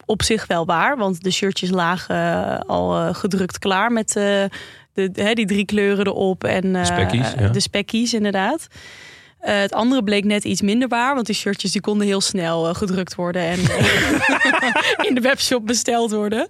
[SPEAKER 3] op zich wel waar. Want de shirtjes lagen eh, al eh, gedrukt klaar met eh, de, de- hè, die drie kleuren erop. En, eh,
[SPEAKER 1] Spekkies, ja.
[SPEAKER 3] De spekkies, inderdaad. Eh, het andere bleek net iets minder waar, want die shirtjes die konden heel snel eh, gedrukt worden en in de webshop besteld worden.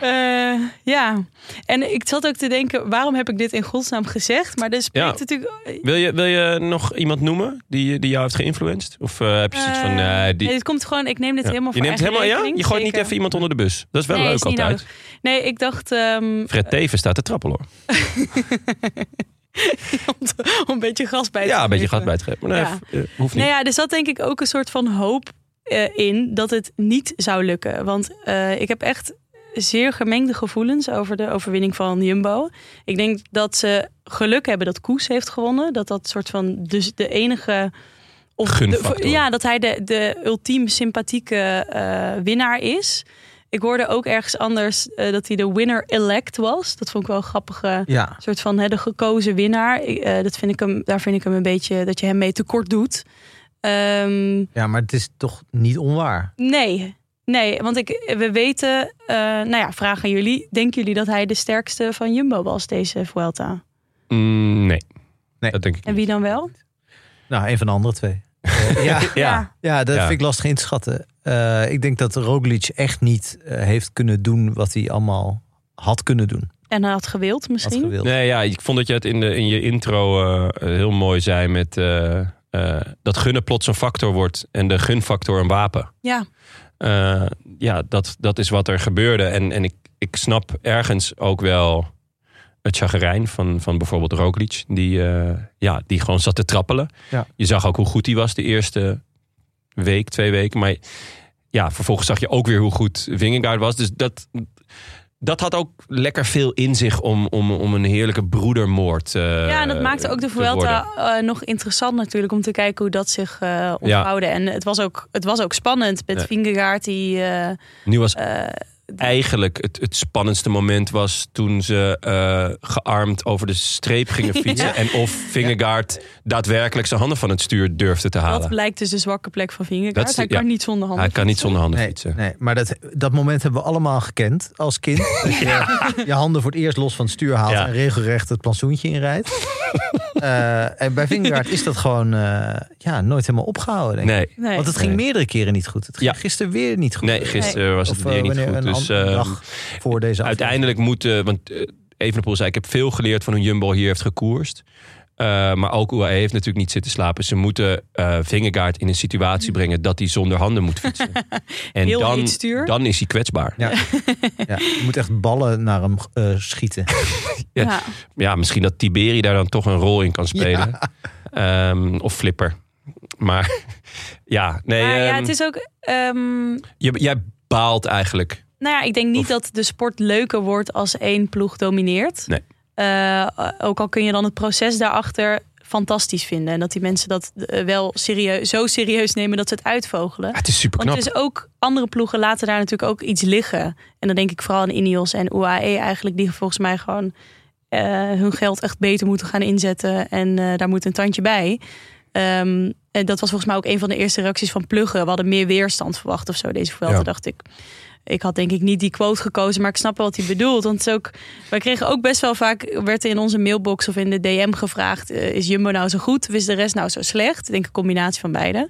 [SPEAKER 3] Eh, ja, en ik zat ook te denken, waarom heb ik dit in godsnaam gezegd? Maar er spreekt
[SPEAKER 1] Ja.
[SPEAKER 3] natuurlijk... eh,
[SPEAKER 1] Wil, je, wil je nog iemand noemen die, die jou heeft geïnfluenced? Of eh, heb je zoiets van...
[SPEAKER 3] Eh,
[SPEAKER 1] nee, die,
[SPEAKER 3] nee, het komt gewoon, ik neem dit
[SPEAKER 1] ja.
[SPEAKER 3] helemaal
[SPEAKER 1] je
[SPEAKER 3] voor
[SPEAKER 1] neemt
[SPEAKER 3] eigen
[SPEAKER 1] helemaal, ja? Je
[SPEAKER 3] rekening,
[SPEAKER 1] gooit niet
[SPEAKER 3] zeker.
[SPEAKER 1] even iemand onder de bus. Dat is wel
[SPEAKER 3] Nee,
[SPEAKER 1] leuk
[SPEAKER 3] is niet
[SPEAKER 1] altijd.
[SPEAKER 3] nodig. Nee, ik dacht ehm,
[SPEAKER 1] Fred Teven staat te trappelen hoor.
[SPEAKER 3] om, te- om een beetje gas bij te
[SPEAKER 1] Ja, een beetje
[SPEAKER 3] geven.
[SPEAKER 1] gat bij het greep. Maar nee,
[SPEAKER 3] Ja.
[SPEAKER 1] eh, hoeft niet.
[SPEAKER 3] Nou ja, er zat denk ik ook een soort van hoop eh, in dat het niet zou lukken. Want eh, ik heb echt zeer gemengde gevoelens over de overwinning van Jumbo. Ik denk dat ze geluk hebben dat Koes heeft gewonnen. Dat dat soort van dus de enige... Of
[SPEAKER 1] Gunfactor.
[SPEAKER 3] de- ja, dat hij de, de ultiem sympathieke eh, winnaar is. Ik hoorde ook ergens anders eh, dat hij de winner-elect was. Dat vond ik wel een grappige
[SPEAKER 2] Ja.
[SPEAKER 3] een soort van hè, de gekozen winnaar. Ik, eh, dat vind ik hem, daar vind ik hem een beetje dat je hem mee tekort doet. Ehm,
[SPEAKER 2] ja, maar het is toch niet onwaar?
[SPEAKER 3] nee, nee, want ik, we weten, eh, nou ja, vraag aan jullie. Denken jullie dat hij de sterkste van Jumbo was deze Vuelta?
[SPEAKER 1] Mm, nee.
[SPEAKER 2] Nee.
[SPEAKER 1] dat denk ik
[SPEAKER 3] En
[SPEAKER 1] niet.
[SPEAKER 3] wie dan wel?
[SPEAKER 2] Nou, een van de andere twee. Eh, ja.
[SPEAKER 1] Ja.
[SPEAKER 2] Ja, dat
[SPEAKER 1] Ja.
[SPEAKER 2] vind ik lastig in te schatten. Eh, ik denk dat Roglic echt niet eh, heeft kunnen doen wat hij allemaal had kunnen doen.
[SPEAKER 3] En hij had gewild
[SPEAKER 2] Had
[SPEAKER 3] misschien.
[SPEAKER 2] gewild.
[SPEAKER 1] Nee, ja, ik vond dat je het in, de, in je intro eh, heel mooi zei met... eh, eh, dat gunnen plots een factor wordt en de gunfactor een wapen.
[SPEAKER 3] Ja,
[SPEAKER 1] Eh, ja, dat, dat is wat er gebeurde. En, en ik, ik snap ergens ook wel het chagrijn van, van bijvoorbeeld Roglic. Die, eh, ja, die gewoon zat te trappelen.
[SPEAKER 2] Ja.
[SPEAKER 1] Je zag ook hoe goed hij was de eerste week, twee weken. Maar ja, vervolgens zag je ook weer hoe goed Vingegaard was. Dus dat, dat had ook lekker veel in zich om, om, om een heerlijke broedermoord eh,
[SPEAKER 3] ja en dat maakte ook de
[SPEAKER 1] te worden.
[SPEAKER 3] Vuelta eh, nog interessant natuurlijk om te kijken hoe dat zich eh ontvouwde. En het was ook, het was ook spannend met
[SPEAKER 1] Ja.
[SPEAKER 3] Vingegaard die... eh,
[SPEAKER 1] Nu was
[SPEAKER 3] eh,
[SPEAKER 1] eigenlijk het, het spannendste moment was toen ze eh, gearmd over de streep gingen fietsen.
[SPEAKER 3] Ja.
[SPEAKER 1] En of Vingegaard daadwerkelijk zijn handen van het stuur durfde te
[SPEAKER 3] dat
[SPEAKER 1] halen.
[SPEAKER 3] blijkt dus de zwakke plek van
[SPEAKER 1] Dat
[SPEAKER 3] Vingegaard.
[SPEAKER 1] is-
[SPEAKER 3] Hij kan
[SPEAKER 1] ja.
[SPEAKER 3] niet zonder handen
[SPEAKER 1] Hij kan niet
[SPEAKER 3] fietsen.
[SPEAKER 1] zonder handen
[SPEAKER 2] Nee,
[SPEAKER 1] fietsen.
[SPEAKER 2] nee, maar dat, dat moment hebben we allemaal gekend als kind. Dat je je handen voor het eerst los van het stuur haalt
[SPEAKER 1] Ja.
[SPEAKER 2] en regelrecht het plantsoentje inrijdt. Eh, en bij Vingegaard is dat gewoon eh, ja, nooit helemaal opgehouden. Denk ik.
[SPEAKER 1] Nee.
[SPEAKER 3] Nee.
[SPEAKER 2] Want het ging
[SPEAKER 1] Nee.
[SPEAKER 2] meerdere keren niet goed. Het ging
[SPEAKER 1] Ja.
[SPEAKER 2] gisteren weer niet goed.
[SPEAKER 1] Nee, gisteren was het
[SPEAKER 2] eh,
[SPEAKER 1] weer niet
[SPEAKER 2] wanneer
[SPEAKER 1] goed.
[SPEAKER 2] Een
[SPEAKER 1] Dus
[SPEAKER 2] an-
[SPEAKER 1] eh,
[SPEAKER 2] dag voor deze aflevering.
[SPEAKER 1] uiteindelijk moeten... Want eh, Evenepoel zei, ik heb veel geleerd van hoe Jumbo hier heeft gekoerst. Eh, maar ook UAE heeft natuurlijk niet zitten slapen. Ze moeten eh Vingegaard in een
[SPEAKER 2] Mm.
[SPEAKER 1] situatie brengen dat hij zonder handen moet fietsen. En
[SPEAKER 3] Heel
[SPEAKER 1] dan,
[SPEAKER 3] heet stuur.
[SPEAKER 1] dan is hij kwetsbaar.
[SPEAKER 2] Ja. ja, je moet echt ballen naar hem eh, schieten.
[SPEAKER 1] Ja.
[SPEAKER 3] Ja.
[SPEAKER 1] ja, misschien dat Tiberi daar dan toch een rol in kan spelen. Ehm, of Flipper. Maar ja, nee.
[SPEAKER 3] Maar ja,
[SPEAKER 1] ehm,
[SPEAKER 3] het is ook. ehm,
[SPEAKER 1] je- jij baalt eigenlijk.
[SPEAKER 3] nou ja, ik denk niet
[SPEAKER 1] Of-
[SPEAKER 3] dat de sport leuker wordt als één ploeg domineert.
[SPEAKER 1] Nee.
[SPEAKER 3] Eh, ook al kun je dan het proces daarachter fantastisch vinden. En dat die mensen dat eh, wel serieus, zo serieus nemen dat ze het uitvogelen.
[SPEAKER 1] Het is super
[SPEAKER 3] Want
[SPEAKER 1] knap.
[SPEAKER 3] het is ook, andere ploegen laten daar natuurlijk ook iets liggen. En dan denk ik vooral aan Ineos en UAE eigenlijk, die volgens mij gewoon eh, hun geld echt beter moeten gaan inzetten. En eh, daar moet een tandje bij. Ehm, en dat was volgens mij ook een van de eerste reacties van Pluggen. We hadden meer weerstand verwacht of zo deze Vuelta,
[SPEAKER 1] Ja.
[SPEAKER 3] dacht ik. Ik had denk ik niet die quote gekozen, maar ik snap wel wat hij bedoelt. Want het is ook, wij kregen ook best wel vaak, werd er in onze mailbox of in de DM gevraagd... eh, is Jumbo nou zo goed of is de rest nou zo slecht? Ik denk een combinatie van beide.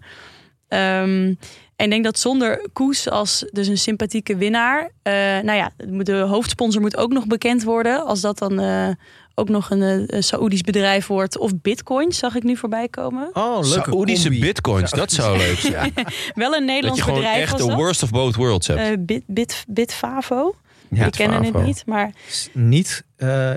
[SPEAKER 3] Ehm, en ik denk dat zonder Koes als dus een sympathieke winnaar... eh, nou ja, de hoofdsponsor moet ook nog bekend worden. Als dat dan eh, ook nog een eh, Saoedisch bedrijf wordt. Of bitcoins, zag ik nu voorbij komen.
[SPEAKER 2] Oh,
[SPEAKER 1] Saoedische bitcoins, dat zou leuk zijn.
[SPEAKER 3] Wel een
[SPEAKER 1] Dat
[SPEAKER 3] Nederlands
[SPEAKER 1] je gewoon
[SPEAKER 3] bedrijf
[SPEAKER 1] echt
[SPEAKER 3] was
[SPEAKER 1] de
[SPEAKER 3] dat.
[SPEAKER 1] worst of both worlds hebt.
[SPEAKER 3] Eh, bit, bit, Bitfavo.
[SPEAKER 2] Ja.
[SPEAKER 3] ik ken het
[SPEAKER 1] Bitfavo.
[SPEAKER 3] niet, maar
[SPEAKER 2] Niet eh,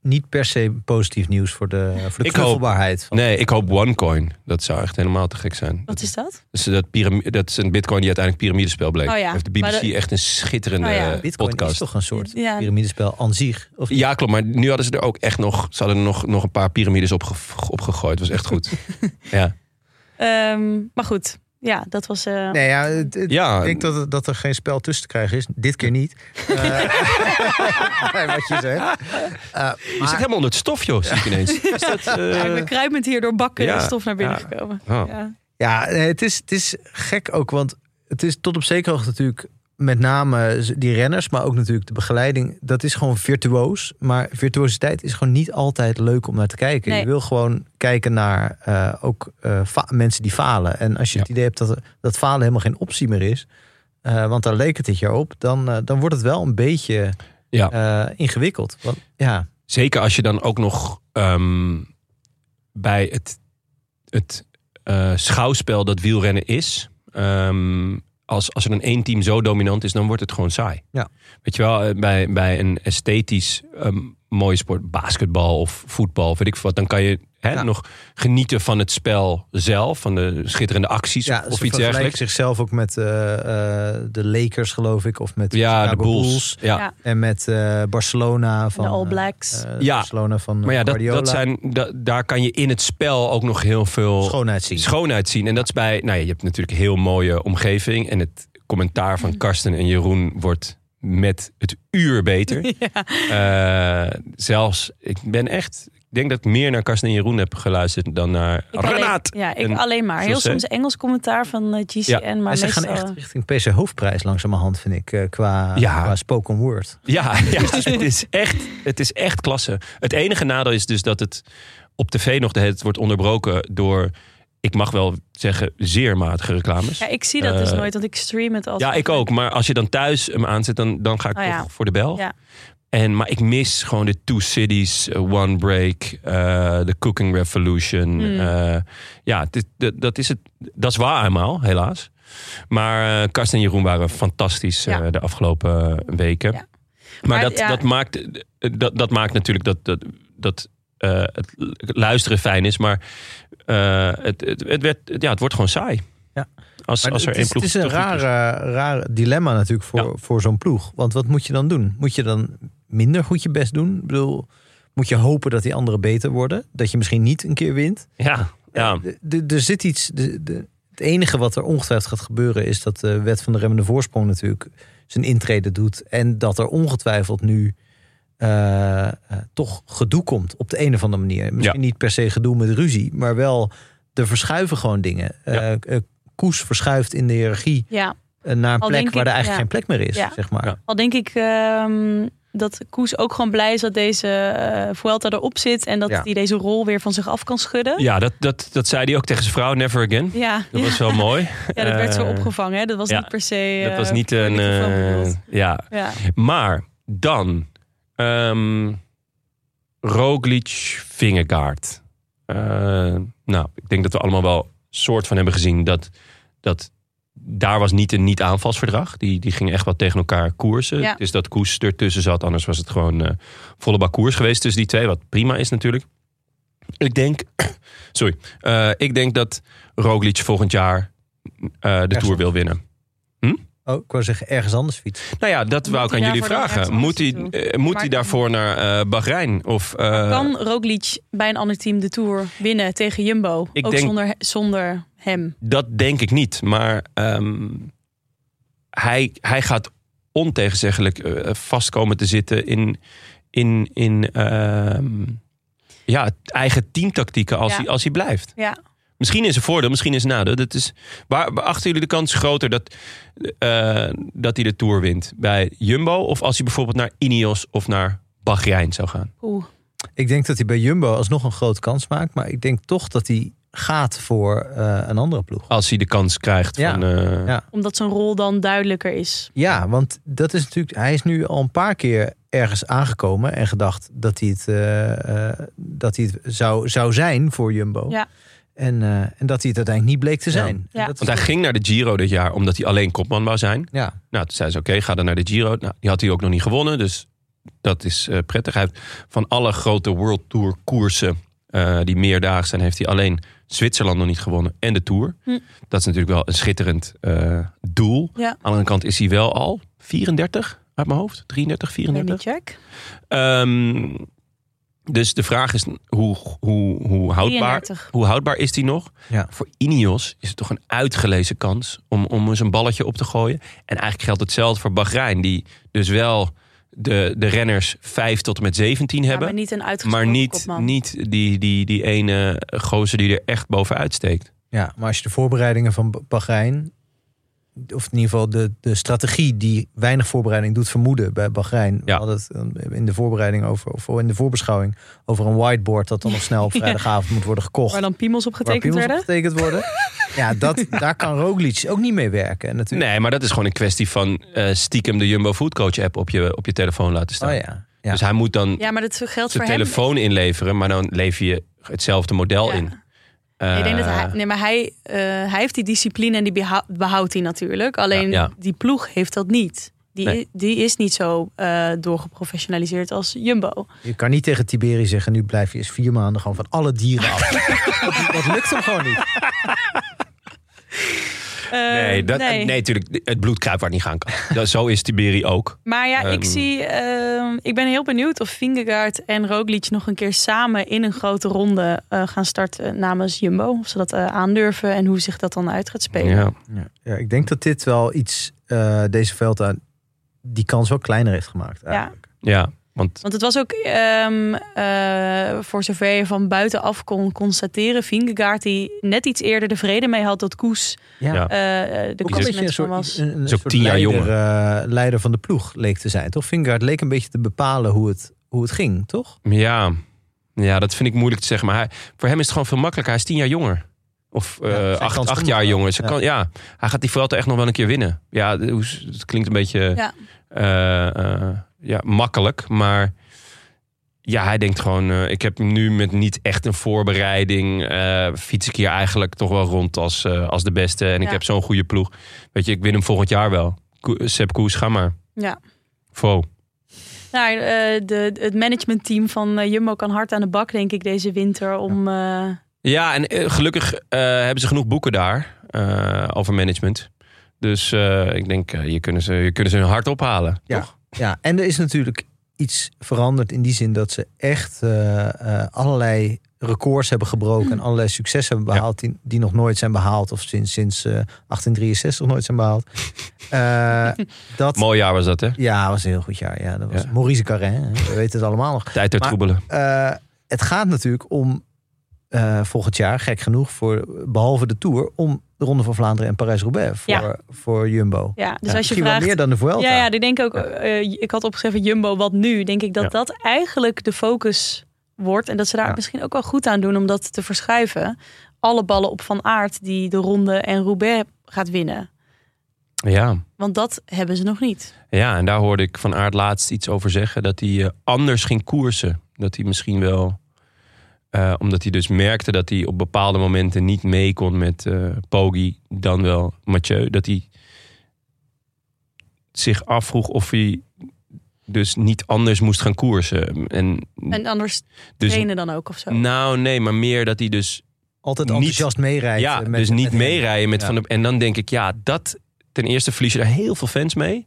[SPEAKER 2] niet per se positief nieuws voor de, voor de
[SPEAKER 1] Ik hoop-
[SPEAKER 2] knuffelbaarheid. van-
[SPEAKER 1] Nee, ik hoop OneCoin. Dat zou echt helemaal te gek zijn.
[SPEAKER 3] Wat is dat?
[SPEAKER 1] Dus dat, pyramide, dat is een bitcoin die uiteindelijk piramidespel bleek.
[SPEAKER 3] Oh ja,
[SPEAKER 1] Heeft de BBC
[SPEAKER 3] maar dat-
[SPEAKER 1] echt een schitterende
[SPEAKER 3] Oh ja.
[SPEAKER 1] eh,
[SPEAKER 2] Bitcoin is
[SPEAKER 1] podcast.
[SPEAKER 2] toch een soort
[SPEAKER 3] Ja.
[SPEAKER 2] piramidespel aan zich? Of niet?
[SPEAKER 1] Ja, klopt. Maar nu hadden ze er ook echt nog, ze hadden er nog, nog een paar piramides op, ge- op gegooid. was echt goed. ja.
[SPEAKER 3] Ehm, maar goed, ja, dat was. eh,
[SPEAKER 2] Nee, ja, het- het-
[SPEAKER 1] ja,
[SPEAKER 2] ik denk dat, dat er geen spel tussen te krijgen is. Dit keer niet. Eh, wat je zegt. Eh,
[SPEAKER 1] je zit
[SPEAKER 2] maar-
[SPEAKER 1] helemaal onder het stof, joh. Zie ik ineens. Is dat, eh,
[SPEAKER 3] Eigenlijk kruipend hier door bakken
[SPEAKER 1] ja,
[SPEAKER 3] en stof naar binnen
[SPEAKER 1] ja.
[SPEAKER 3] gekomen.
[SPEAKER 1] oh.
[SPEAKER 3] Ja.
[SPEAKER 2] Ja, nee, het is, het is gek ook, want het is tot op zekere hoogte natuurlijk met name z- die renners, maar ook natuurlijk de begeleiding. Dat is gewoon virtuoos, maar virtuositeit is gewoon niet altijd leuk om naar te kijken.
[SPEAKER 3] Nee.
[SPEAKER 2] Je wil gewoon kijken naar eh, ook eh, fa- mensen die falen. En als je het idee hebt dat, er- dat falen helemaal geen optie meer is, eh, want daar leek het dit jaar op, dan, eh, dan wordt het wel een beetje
[SPEAKER 1] Ja.
[SPEAKER 2] eh, ingewikkeld. Want, ja,
[SPEAKER 1] Zeker als je dan ook nog ehm, bij het, het eh, schouwspel dat wielrennen is. ehm, als, als er dan één team zo dominant is, dan wordt het gewoon saai.
[SPEAKER 2] Ja.
[SPEAKER 1] Weet je wel, eh, bij, bij een esthetisch ehm, mooie sport, basketbal of voetbal, weet ik veel wat, dan kan je hè,
[SPEAKER 2] Ja.
[SPEAKER 1] nog genieten van het spel zelf, van de schitterende acties
[SPEAKER 2] ja,
[SPEAKER 1] of-
[SPEAKER 2] ze
[SPEAKER 1] of iets
[SPEAKER 2] vergelijken
[SPEAKER 1] dergelijks.
[SPEAKER 2] zichzelf ook met eh, eh, de Lakers, geloof ik, of met
[SPEAKER 1] Ja, de
[SPEAKER 2] Chicago
[SPEAKER 1] Bulls. Ja.
[SPEAKER 3] Ja.
[SPEAKER 2] En met eh, Barcelona van.
[SPEAKER 3] De All Blacks.
[SPEAKER 2] eh,
[SPEAKER 1] Ja.
[SPEAKER 2] Barcelona van
[SPEAKER 1] Maar ja, dat,
[SPEAKER 2] Guardiola.
[SPEAKER 1] dat zijn, da- daar kan je in het spel ook nog heel veel
[SPEAKER 2] Schoonheid zien.
[SPEAKER 1] schoonheid zien. En dat is bij, nou ja, je hebt natuurlijk een heel mooie omgeving. En het commentaar van Karsten en Jeroen wordt met het uur beter. Eh, zelfs, ik ben echt, ik denk dat ik meer naar Karsten en Jeroen heb geluisterd dan naar
[SPEAKER 3] Ik alleen-
[SPEAKER 1] Renaat.
[SPEAKER 3] ja, ik
[SPEAKER 1] En
[SPEAKER 3] alleen maar. Heel
[SPEAKER 1] José.
[SPEAKER 3] soms Engels commentaar van eh, GCN,
[SPEAKER 1] Ja.
[SPEAKER 3] maar
[SPEAKER 2] en ze
[SPEAKER 3] meestal...
[SPEAKER 2] gaan echt richting PC Hoofdprijs langzamerhand, vind ik, eh, qua,
[SPEAKER 1] Ja.
[SPEAKER 2] qua spoken word.
[SPEAKER 1] Ja, ja het, is echt, het is echt klasse. Het enige nadeel is dus dat het op tv nog de hele tijd wordt onderbroken door, ik mag wel zeggen, zeer matige reclames.
[SPEAKER 3] Ja, ik zie dat dus
[SPEAKER 1] Eh,
[SPEAKER 3] nooit, want ik stream het altijd.
[SPEAKER 1] Ja, ik ook. Maar als je dan thuis hem aanzet, dan, dan ga ik
[SPEAKER 3] Oh ja.
[SPEAKER 1] toch voor de bel.
[SPEAKER 3] Ja.
[SPEAKER 1] En, maar ik mis gewoon de Two Cities, eh, One Break, eh, de Cooking Revolution.
[SPEAKER 3] Hmm.
[SPEAKER 1] eh, ja, het is- dat- dat is het. Dat is waar eenmaal, helaas. Maar eh Karsten en Jeroen waren fantastisch eh,
[SPEAKER 3] Ja.
[SPEAKER 1] de afgelopen weken.
[SPEAKER 3] Ja.
[SPEAKER 1] Maar,
[SPEAKER 3] Maar
[SPEAKER 1] dat,
[SPEAKER 3] ja.
[SPEAKER 1] dat, maakt, eh, dat, dat maakt natuurlijk dat, dat, dat eh, het luisteren fijn is. Maar eh, het, het, het, werd, ja, het wordt gewoon saai.
[SPEAKER 2] Ja.
[SPEAKER 1] Als,
[SPEAKER 2] Maar
[SPEAKER 1] als er
[SPEAKER 2] het,
[SPEAKER 1] één
[SPEAKER 2] is,
[SPEAKER 1] ploeg
[SPEAKER 2] het is een
[SPEAKER 1] te goed
[SPEAKER 2] raar, eh, raar dilemma natuurlijk voor, voor zo'n ploeg. Want wat moet je dan doen? Moet je dan minder goed je best doen? Ik bedoel, moet je hopen dat die anderen beter worden? Dat je misschien niet een keer wint?
[SPEAKER 1] Ja, ja.
[SPEAKER 2] De- Eh, de- Er zit iets. de- de- Het enige wat er ongetwijfeld gaat gebeuren is dat de wet van de remmende voorsprong natuurlijk zijn intrede doet. En dat er ongetwijfeld nu eh, eh, toch gedoe komt op de een of andere manier. Misschien niet per se gedoe met ruzie, maar wel er verschuiven gewoon dingen.
[SPEAKER 1] Ja.
[SPEAKER 2] Eh, eh, Koes verschuift in de hiërarchie
[SPEAKER 3] Ja,
[SPEAKER 2] eh, naar een
[SPEAKER 3] Al
[SPEAKER 2] plek
[SPEAKER 3] denk
[SPEAKER 2] waar
[SPEAKER 3] ik-
[SPEAKER 2] er eigenlijk
[SPEAKER 3] ja.
[SPEAKER 2] geen plek meer is,
[SPEAKER 3] Ja.
[SPEAKER 2] zeg maar.
[SPEAKER 1] Ja.
[SPEAKER 3] al denk ik ehm, dat Koes ook gewoon blij is dat deze eh, Vuelta erop zit. En dat
[SPEAKER 2] Ja.
[SPEAKER 3] hij deze rol weer van zich af kan schudden.
[SPEAKER 1] Ja, dat, dat, dat zei hij ook tegen zijn vrouw, never again.
[SPEAKER 3] Ja,
[SPEAKER 1] Dat
[SPEAKER 3] ja.
[SPEAKER 1] was wel mooi.
[SPEAKER 3] Ja, dat werd zo
[SPEAKER 1] Eh,
[SPEAKER 3] opgevangen. Hè? Dat was
[SPEAKER 1] ja,
[SPEAKER 3] niet per se...
[SPEAKER 1] Dat
[SPEAKER 3] eh,
[SPEAKER 1] was niet
[SPEAKER 3] voor de
[SPEAKER 1] een...
[SPEAKER 3] microfoon
[SPEAKER 1] eh,
[SPEAKER 3] bedoeld.
[SPEAKER 1] ja,
[SPEAKER 3] ja.
[SPEAKER 1] maar dan... ehm Roglic, Vingegaard. Eh, nou, ik denk dat we allemaal wel soort van hebben gezien dat... dat daar was niet een niet-aanvalsverdrag. Die, die gingen echt wel tegen elkaar koersen.
[SPEAKER 3] Ja.
[SPEAKER 1] Het is dat Koes ertussen zat. Anders was het gewoon eh, volle bak koers geweest tussen die twee. Wat prima is natuurlijk. Ik denk... sorry. eh, ik denk dat Roglic volgend jaar eh, de Tour
[SPEAKER 2] anders.
[SPEAKER 1] wil winnen.
[SPEAKER 2] Oh, ik wou zeggen, ergens anders fiets.
[SPEAKER 1] Nou ja, dat
[SPEAKER 3] Moet
[SPEAKER 1] wou ik
[SPEAKER 3] hij
[SPEAKER 1] aan jullie
[SPEAKER 3] daarvoor dan
[SPEAKER 1] vragen.
[SPEAKER 3] ergens
[SPEAKER 1] Moet hij,
[SPEAKER 3] naartoe?
[SPEAKER 1] eh, moet
[SPEAKER 3] Maar-
[SPEAKER 1] hij daarvoor naar eh, Bahrein? Of, eh,
[SPEAKER 3] Kan Roglic bij een ander team de Tour winnen tegen Jumbo?
[SPEAKER 1] Ik
[SPEAKER 3] ook
[SPEAKER 1] denk-
[SPEAKER 3] zonder, zonder hem.
[SPEAKER 1] Dat denk ik niet. Maar ehm, hij, hij gaat ontegenzeggelijk eh, vastkomen te zitten in, in, in ehm, ja, eigen teamtactieken als,
[SPEAKER 3] Ja.
[SPEAKER 1] hij, als hij blijft.
[SPEAKER 3] Ja,
[SPEAKER 1] Misschien is een voordeel, misschien is een nadeel. Dat is, waar waar achten jullie de kans groter dat, eh, dat hij de Tour wint? Bij Jumbo of als hij bijvoorbeeld naar Ineos of naar Bahrein zou gaan?
[SPEAKER 3] oeh.
[SPEAKER 2] Ik denk dat hij bij Jumbo alsnog een grote kans maakt, maar ik denk toch dat hij gaat voor eh, een andere ploeg.
[SPEAKER 1] Als hij de kans krijgt
[SPEAKER 2] Ja.
[SPEAKER 1] van... eh,
[SPEAKER 2] Ja.
[SPEAKER 3] Omdat zijn rol dan duidelijker is.
[SPEAKER 2] Ja, want dat is natuurlijk. Hij is nu al een paar keer ergens aangekomen en gedacht dat hij het, eh, eh, dat hij het zou, zou zijn voor Jumbo.
[SPEAKER 3] Ja.
[SPEAKER 2] En, eh, en dat hij het uiteindelijk niet bleek te
[SPEAKER 1] Ja.
[SPEAKER 2] zijn.
[SPEAKER 3] Ja.
[SPEAKER 2] En dat is-
[SPEAKER 1] Want hij ging naar de Giro dit jaar omdat hij alleen kopman wou zijn.
[SPEAKER 2] ja.
[SPEAKER 1] Nou, toen zei ze oké, ga dan naar de Giro. Nou, die had hij ook nog niet gewonnen, dus dat is eh, prettig. Hij heeft van alle grote World Tour koersen eh, die meerdaags zijn, heeft hij alleen Zwitserland nog niet gewonnen en de Tour.
[SPEAKER 3] Hm.
[SPEAKER 1] Dat is natuurlijk wel een schitterend eh, doel.
[SPEAKER 3] Ja.
[SPEAKER 1] Aan de andere kant is hij wel al 34 uit mijn hoofd. 33,
[SPEAKER 3] Let
[SPEAKER 1] 34.
[SPEAKER 3] me check.
[SPEAKER 1] Ehm, dus de vraag is hoe, hoe, hoe houdbaar
[SPEAKER 3] 33.
[SPEAKER 1] hoe houdbaar is die nog?
[SPEAKER 2] Ja.
[SPEAKER 1] Voor Ineos is het toch een uitgelezen kans om, om eens een balletje op te gooien. En eigenlijk geldt hetzelfde voor Bahrein, die dus wel de, de renners 5 tot en met 17
[SPEAKER 3] Ja,
[SPEAKER 1] hebben.
[SPEAKER 3] maar niet een
[SPEAKER 1] maar
[SPEAKER 3] uitgesproken
[SPEAKER 1] niet,
[SPEAKER 3] kopman.
[SPEAKER 1] niet die, die, die ene gozer die er echt bovenuit steekt.
[SPEAKER 2] Ja, maar als je de voorbereidingen van Ba- Bahrein, of in ieder geval de, de strategie die weinig voorbereiding doet vermoeden bij Bahrein. We
[SPEAKER 1] Ja.
[SPEAKER 2] hadden het eh, in de voorbereiding over, of in de voorbeschouwing over een whiteboard dat dan nog snel op
[SPEAKER 3] Ja.
[SPEAKER 2] vrijdagavond moet worden gekocht.
[SPEAKER 3] Waar dan piemels op
[SPEAKER 2] waar
[SPEAKER 3] getekend
[SPEAKER 2] piemels op
[SPEAKER 3] werden.
[SPEAKER 2] getekend worden. ja, dat, daar kan Roglic ook niet mee werken. En natuurlijk.
[SPEAKER 1] Nee, maar dat is gewoon een kwestie van eh, stiekem de Jumbo Food Coach app op je, op je telefoon laten staan.
[SPEAKER 2] Oh ja. ja.
[SPEAKER 1] Dus hij moet dan
[SPEAKER 3] Ja, maar dat geldt voor
[SPEAKER 1] zijn
[SPEAKER 3] hem.
[SPEAKER 1] telefoon inleveren, maar dan lever je hetzelfde model
[SPEAKER 3] Ja.
[SPEAKER 1] in.
[SPEAKER 3] ik denk dat hij,
[SPEAKER 1] Eh,
[SPEAKER 3] nee, maar hij, eh, hij heeft die discipline en die beha- behoudt hij natuurlijk. Alleen
[SPEAKER 1] Ja.
[SPEAKER 3] die ploeg heeft dat niet. Die,
[SPEAKER 1] Nee.
[SPEAKER 3] die is niet zo eh, doorgeprofessionaliseerd als Jumbo.
[SPEAKER 2] Je kan niet tegen Tiberi zeggen, nu blijf je eens vier maanden gewoon van alle dieren af. dat, dat lukt hem gewoon niet.
[SPEAKER 3] Eh,
[SPEAKER 1] Nee, dat, Eh, nee. natuurlijk. Het bloed kruipt waar het niet gaan kan. Dat, zo is Tiberi ook.
[SPEAKER 3] Maar ja, ik
[SPEAKER 1] Ehm.
[SPEAKER 3] zie. ehm, ik ben heel benieuwd of Vingegaard en Roglic nog een keer samen in een grote ronde eh, gaan starten namens Jumbo. Of ze dat eh, aandurven en hoe zich dat dan uit gaat spelen.
[SPEAKER 1] Ja.
[SPEAKER 2] Ja, ja, ik denk dat dit wel iets, eh, deze Velta, die kans wel kleiner heeft gemaakt. Eigenlijk.
[SPEAKER 1] ja, want
[SPEAKER 3] Want het was ook, ehm, eh, voor zover je van buitenaf kon constateren, Vingegaard die net iets eerder de vrede mee had dat Koes
[SPEAKER 2] Ja.
[SPEAKER 1] Ja.
[SPEAKER 3] eh, eh, de
[SPEAKER 2] Ook een
[SPEAKER 3] koers
[SPEAKER 2] beetje een
[SPEAKER 3] met van
[SPEAKER 2] soort,
[SPEAKER 3] was.
[SPEAKER 2] een, een
[SPEAKER 1] Is ook
[SPEAKER 2] soort
[SPEAKER 1] tien jaar
[SPEAKER 2] leider,
[SPEAKER 1] jonger.
[SPEAKER 2] eh, leider van de ploeg leek te zijn, toch? Vingegaard leek een beetje te bepalen hoe het, hoe het ging, toch?
[SPEAKER 1] ja, ja, dat vind ik moeilijk te zeggen. Maar hij, voor hem is het gewoon veel makkelijker. Hij is tien jaar jonger. Of eh,
[SPEAKER 2] zijn kans
[SPEAKER 1] acht, acht
[SPEAKER 2] komt
[SPEAKER 1] jaar
[SPEAKER 2] wel.
[SPEAKER 1] jonger. Ze
[SPEAKER 2] Ja.
[SPEAKER 1] Kan, ja, hij gaat die Vuelta echt nog wel een keer winnen. Ja, de- hoe s- het klinkt een beetje
[SPEAKER 3] Ja.
[SPEAKER 1] eh, eh, ja, makkelijk. Maar ja, hij denkt gewoon... eh, ik heb nu met niet echt een voorbereiding... eh, fiets ik hier eigenlijk toch wel rond als, eh, als de beste. En ik
[SPEAKER 3] Ja.
[SPEAKER 1] heb zo'n goede ploeg. Weet je, ik win hem volgend jaar wel. Ko- Sepp Koes, ga maar.
[SPEAKER 3] Ja.
[SPEAKER 1] Wow.
[SPEAKER 3] Nou, eh, de, het managementteam van eh, Jumbo kan hard aan de bak, denk ik, deze winter. Om, eh,
[SPEAKER 1] Ja, en eh, gelukkig eh, hebben ze genoeg boeken daar eh, over management. Dus eh, ik denk, eh, je, kunnen ze, je kunnen ze hun hart ophalen.
[SPEAKER 2] Ja.
[SPEAKER 1] Toch?
[SPEAKER 2] Ja, en er is natuurlijk iets veranderd in die zin dat ze echt eh, eh, allerlei records hebben gebroken
[SPEAKER 3] Mm.
[SPEAKER 2] en allerlei successen hebben behaald die, die nog nooit zijn behaald of sinds, sinds eh, 1863 nooit zijn behaald. Eh, dat,
[SPEAKER 1] Mooi jaar was dat, hè?
[SPEAKER 2] ja, was een heel goed jaar. Ja, dat was
[SPEAKER 1] Ja.
[SPEAKER 2] Maurice Carré, hè, we weten het allemaal nog.
[SPEAKER 1] Tijd ter
[SPEAKER 2] Maar-
[SPEAKER 1] troebelen.
[SPEAKER 2] Eh, het gaat natuurlijk om eh, volgend jaar, gek genoeg, voor, behalve de Tour, om de Ronde van Vlaanderen en Parijs-Roubaix voor,
[SPEAKER 3] Ja.
[SPEAKER 2] voor Jumbo.
[SPEAKER 3] ja, dus
[SPEAKER 2] Ja,
[SPEAKER 3] als je
[SPEAKER 2] Misschien wel
[SPEAKER 3] vraagt.
[SPEAKER 2] meer dan de Vuelta.
[SPEAKER 3] Ja, ja, ik denk ook. eh, ik had opgeschreven Jumbo, wat nu? Denk ik dat
[SPEAKER 1] Ja.
[SPEAKER 3] dat eigenlijk de focus wordt. En dat ze daar
[SPEAKER 2] Ja.
[SPEAKER 3] misschien ook wel goed aan doen om dat te verschuiven. Alle ballen op van aard die de ronde en Roubaix gaat winnen.
[SPEAKER 1] Ja.
[SPEAKER 3] Want dat hebben ze nog niet.
[SPEAKER 1] ja, en daar hoorde ik van Aard laatst iets over zeggen. Dat hij eh, anders ging koersen. Dat hij misschien wel... eh, omdat hij dus merkte dat hij op bepaalde momenten niet mee kon met eh Poggi, dan wel Mathieu. Dat hij zich afvroeg of hij dus niet anders moest gaan koersen. En,
[SPEAKER 3] En anders
[SPEAKER 1] dus
[SPEAKER 3] trainen dan ook of zo.
[SPEAKER 1] Nou, nee, maar meer dat hij dus,
[SPEAKER 2] Altijd
[SPEAKER 1] Niet-
[SPEAKER 2] enthousiast meerijden.
[SPEAKER 1] ja,
[SPEAKER 2] met-
[SPEAKER 1] dus niet
[SPEAKER 2] met hem.
[SPEAKER 1] meerijden met
[SPEAKER 2] Ja.
[SPEAKER 1] Van der En dan denk ik, ja, dat... Ten eerste verlies je daar heel veel fans mee.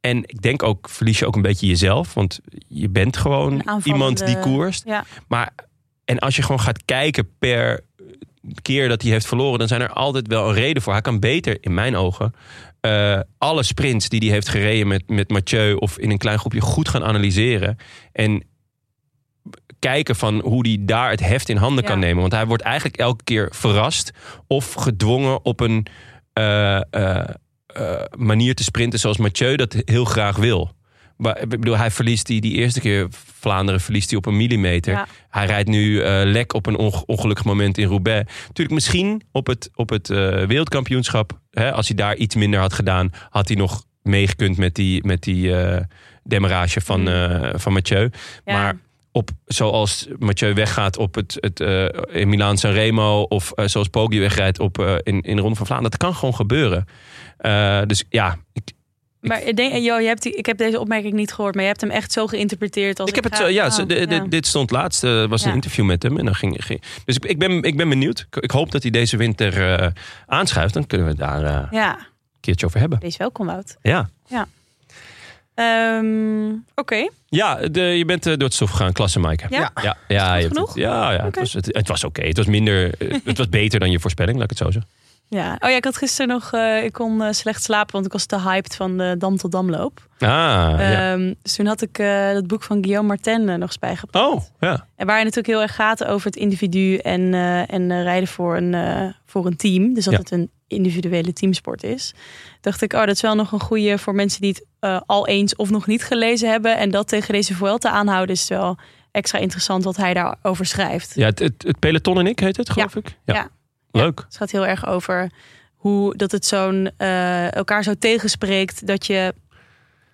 [SPEAKER 1] En ik denk ook, verlies je ook een beetje jezelf. Want je bent
[SPEAKER 3] Een
[SPEAKER 1] gewoon
[SPEAKER 3] aanvallende-
[SPEAKER 1] iemand die koerst.
[SPEAKER 3] ja.
[SPEAKER 1] Maar, en als je gewoon gaat kijken per keer dat hij heeft verloren... dan zijn er altijd wel een reden voor. Hij kan beter, in mijn ogen... eh, alle sprints die hij heeft gereden met, met Mathieu... of in een klein groepje goed gaan analyseren. En kijken van hoe hij daar het heft in handen
[SPEAKER 3] Ja.
[SPEAKER 1] kan nemen. Want hij wordt eigenlijk elke keer verrast of gedwongen op een eh, eh, eh, manier te sprinten zoals Mathieu dat heel graag wil. Maar, ik bedoel, hij verliest die, die eerste keer Vlaanderen verliest hij op een millimeter.
[SPEAKER 3] Ja.
[SPEAKER 1] Hij rijdt nu eh, lek op een onge- ongelukkig moment in Roubaix. Natuurlijk, misschien op het, op het eh, wereldkampioenschap, hè, als hij daar iets minder had gedaan, had hij nog meegekund met die, met die eh, demarrage van,
[SPEAKER 3] Mm.
[SPEAKER 1] eh, van Mathieu.
[SPEAKER 3] Ja.
[SPEAKER 1] Maar op, zoals Mathieu weggaat op het, het eh, in Milaan Sanremo of eh, zoals Poggi wegrijdt op, eh, in, in de Ronde van Vlaanderen. Dat kan gewoon gebeuren. Eh, dus ja, ik,
[SPEAKER 3] Maar ik denk, joh, je hebt die, ik heb deze opmerking niet gehoord, maar je hebt hem echt zo geïnterpreteerd als
[SPEAKER 1] Ik heb het,
[SPEAKER 3] ga-
[SPEAKER 1] eh, ja,
[SPEAKER 3] Oh,
[SPEAKER 1] ze- de- de-
[SPEAKER 3] ja.
[SPEAKER 1] dit stond laatst, eh, was een
[SPEAKER 3] Ja.
[SPEAKER 1] interview met hem. En dan ging, ging- dus ik, ik, ben, ik ben benieuwd. Ik, ik hoop dat hij deze winter eh, aanschuift. Dan kunnen we het daar eh,
[SPEAKER 3] Ja,
[SPEAKER 1] een keertje over hebben.
[SPEAKER 3] wees welkom, Wout.
[SPEAKER 1] Ja,
[SPEAKER 3] Ehm, Oké,
[SPEAKER 1] ja de, je bent eh, door het stof gegaan, klasse Maaike.
[SPEAKER 3] ja.
[SPEAKER 1] Ja, ja, ja, je hebt
[SPEAKER 3] genoeg?
[SPEAKER 1] het- ja, ja het
[SPEAKER 3] Oké.
[SPEAKER 1] was, het, het was oké. Het was minder, eh, het was beter dan je voorspelling, laat ik het zo zeggen.
[SPEAKER 3] Ja. Oh ja, ik had gisteren nog, eh, ik kon eh, slecht slapen, want ik was te hyped van de Dam tot Damloop.
[SPEAKER 1] Ah, ja.
[SPEAKER 3] Ehm, Dus toen had ik eh, dat boek van Guillaume Martin eh, nog eens bijgepakt.
[SPEAKER 1] Oh, ja.
[SPEAKER 3] En waar hij natuurlijk heel erg gaat over het individu en, eh, en eh, rijden voor een, eh, voor een team. Dus dat
[SPEAKER 1] Ja.
[SPEAKER 3] het een individuele teamsport is. Dacht ik, oh, dat is wel nog een goede voor mensen die het eh, al eens of nog niet gelezen hebben. En dat tegen deze Vuelta aanhouden is wel extra interessant wat hij daarover schrijft.
[SPEAKER 1] ja het, het, het peloton en ik heet het, geloof ik. Ja.
[SPEAKER 3] Ja.
[SPEAKER 1] Leuk.
[SPEAKER 3] Het gaat heel erg over hoe dat het zo'n eh, elkaar zo tegenspreekt dat je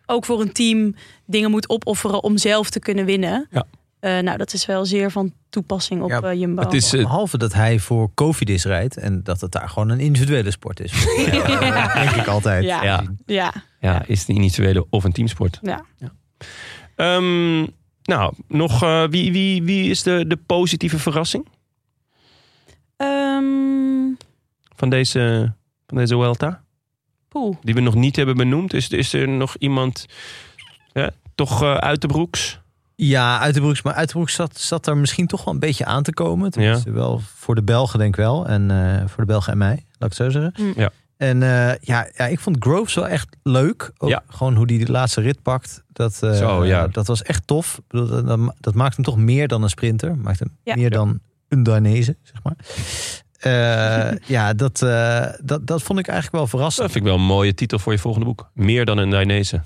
[SPEAKER 3] ook voor een team dingen moet opofferen om zelf te kunnen winnen.
[SPEAKER 1] Ja.
[SPEAKER 3] Eh, nou, dat is wel zeer van toepassing op
[SPEAKER 2] Ja,
[SPEAKER 3] eh, Jumbo.
[SPEAKER 1] Het is, eh,
[SPEAKER 2] Behalve dat hij voor Covidis rijdt en dat het daar gewoon een individuele sport is. Ja, dat denk ik altijd.
[SPEAKER 3] Ja.
[SPEAKER 1] ja,
[SPEAKER 3] ja,
[SPEAKER 1] ja, is het een individuele of een teamsport.
[SPEAKER 3] ja.
[SPEAKER 1] Ehm, nou, nog, eh, wie, wie, wie is de, de positieve verrassing
[SPEAKER 3] Ehm,
[SPEAKER 1] van deze, van deze Welta?
[SPEAKER 3] poeh.
[SPEAKER 1] Die we nog niet hebben benoemd. Is, is er nog iemand, ja, toch eh, uit de broeks?
[SPEAKER 2] Ja, Uiterbroeks. Maar Uiterbroeks zat, zat er misschien toch wel een beetje aan te komen. Tenminste, wel voor de Belgen denk ik wel. En eh, voor de Belgen en mij, laat ik het zo zeggen.
[SPEAKER 3] Mm.
[SPEAKER 1] Ja.
[SPEAKER 2] En eh, ja, ja, ik vond Groves wel echt leuk. Ook
[SPEAKER 1] Ja.
[SPEAKER 2] Gewoon hoe die de laatste rit pakt. Dat, eh,
[SPEAKER 1] Zo, ja.
[SPEAKER 2] dat was echt tof. Ik bedoel, Dat, dat ma- dat maakt hem toch meer dan een sprinter. Maakt hem
[SPEAKER 3] Ja.
[SPEAKER 2] meer dan een Danese, zeg maar. Eh, ja, dat, eh, dat, dat vond ik eigenlijk wel
[SPEAKER 1] Dat
[SPEAKER 2] verrassend.
[SPEAKER 1] vind ik wel een mooie titel voor je volgende boek. Meer dan een Dainese.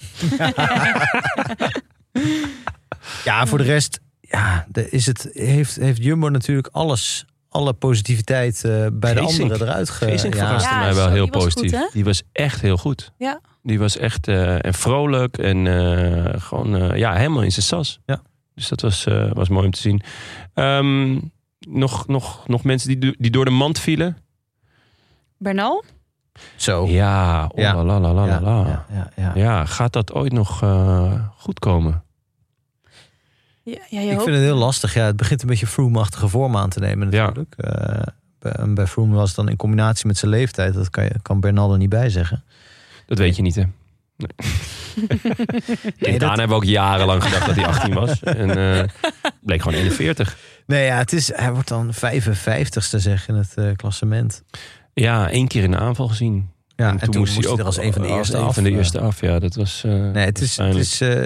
[SPEAKER 2] Ja, voor de rest ja, de, is het, heeft, heeft Jumbo natuurlijk alles, alle positiviteit eh, bij de
[SPEAKER 1] Geesink.
[SPEAKER 2] anderen eruit ge...
[SPEAKER 1] Geesink
[SPEAKER 2] ja.
[SPEAKER 1] verraste
[SPEAKER 3] Ja,
[SPEAKER 1] mij wel
[SPEAKER 3] zo,
[SPEAKER 1] heel
[SPEAKER 3] die was goed,
[SPEAKER 1] positief.
[SPEAKER 3] hè?
[SPEAKER 1] die was echt heel goed.
[SPEAKER 3] Ja.
[SPEAKER 1] Die was echt eh, en vrolijk en eh, gewoon eh, ja, helemaal in zijn sas.
[SPEAKER 2] Ja.
[SPEAKER 1] Dus dat was, eh, was mooi om te zien. Ehm, nog, nog, nog mensen die, do- die door de mand vielen.
[SPEAKER 3] Bernal?
[SPEAKER 2] Zo.
[SPEAKER 1] Ja, oh,
[SPEAKER 2] Ja.
[SPEAKER 1] la, la, la, la,
[SPEAKER 2] Ja,
[SPEAKER 1] la.
[SPEAKER 2] ja, ja, ja.
[SPEAKER 1] Ja, gaat dat ooit nog eh, goed komen?
[SPEAKER 3] Ja, ja, je
[SPEAKER 2] Ik
[SPEAKER 3] hoopt-
[SPEAKER 2] vind het heel lastig. Ja, het begint een beetje Froome-achtige vorm aan te nemen
[SPEAKER 1] Ja.
[SPEAKER 2] natuurlijk. Eh, bij- en bij Froome was het dan in combinatie met zijn leeftijd. Dat kan, je, kan Bernal er niet bij zeggen.
[SPEAKER 1] Dat weet je niet, hè? Nee. Quintana hebben we ook jarenlang gedacht dat hij 18 was. En eh, bleek gewoon 41.
[SPEAKER 2] Nee, ja, het is, hij wordt dan 55ste zeg in het eh, klassement.
[SPEAKER 1] Ja, één keer in de aanval gezien.
[SPEAKER 2] Ja, en, toen, moest hij er als een van de
[SPEAKER 1] als
[SPEAKER 2] eerste
[SPEAKER 1] een
[SPEAKER 2] af.
[SPEAKER 1] van de
[SPEAKER 2] eh.
[SPEAKER 1] eerste af, ja. Dat was... eh,
[SPEAKER 2] Nee, het is, het is, eh,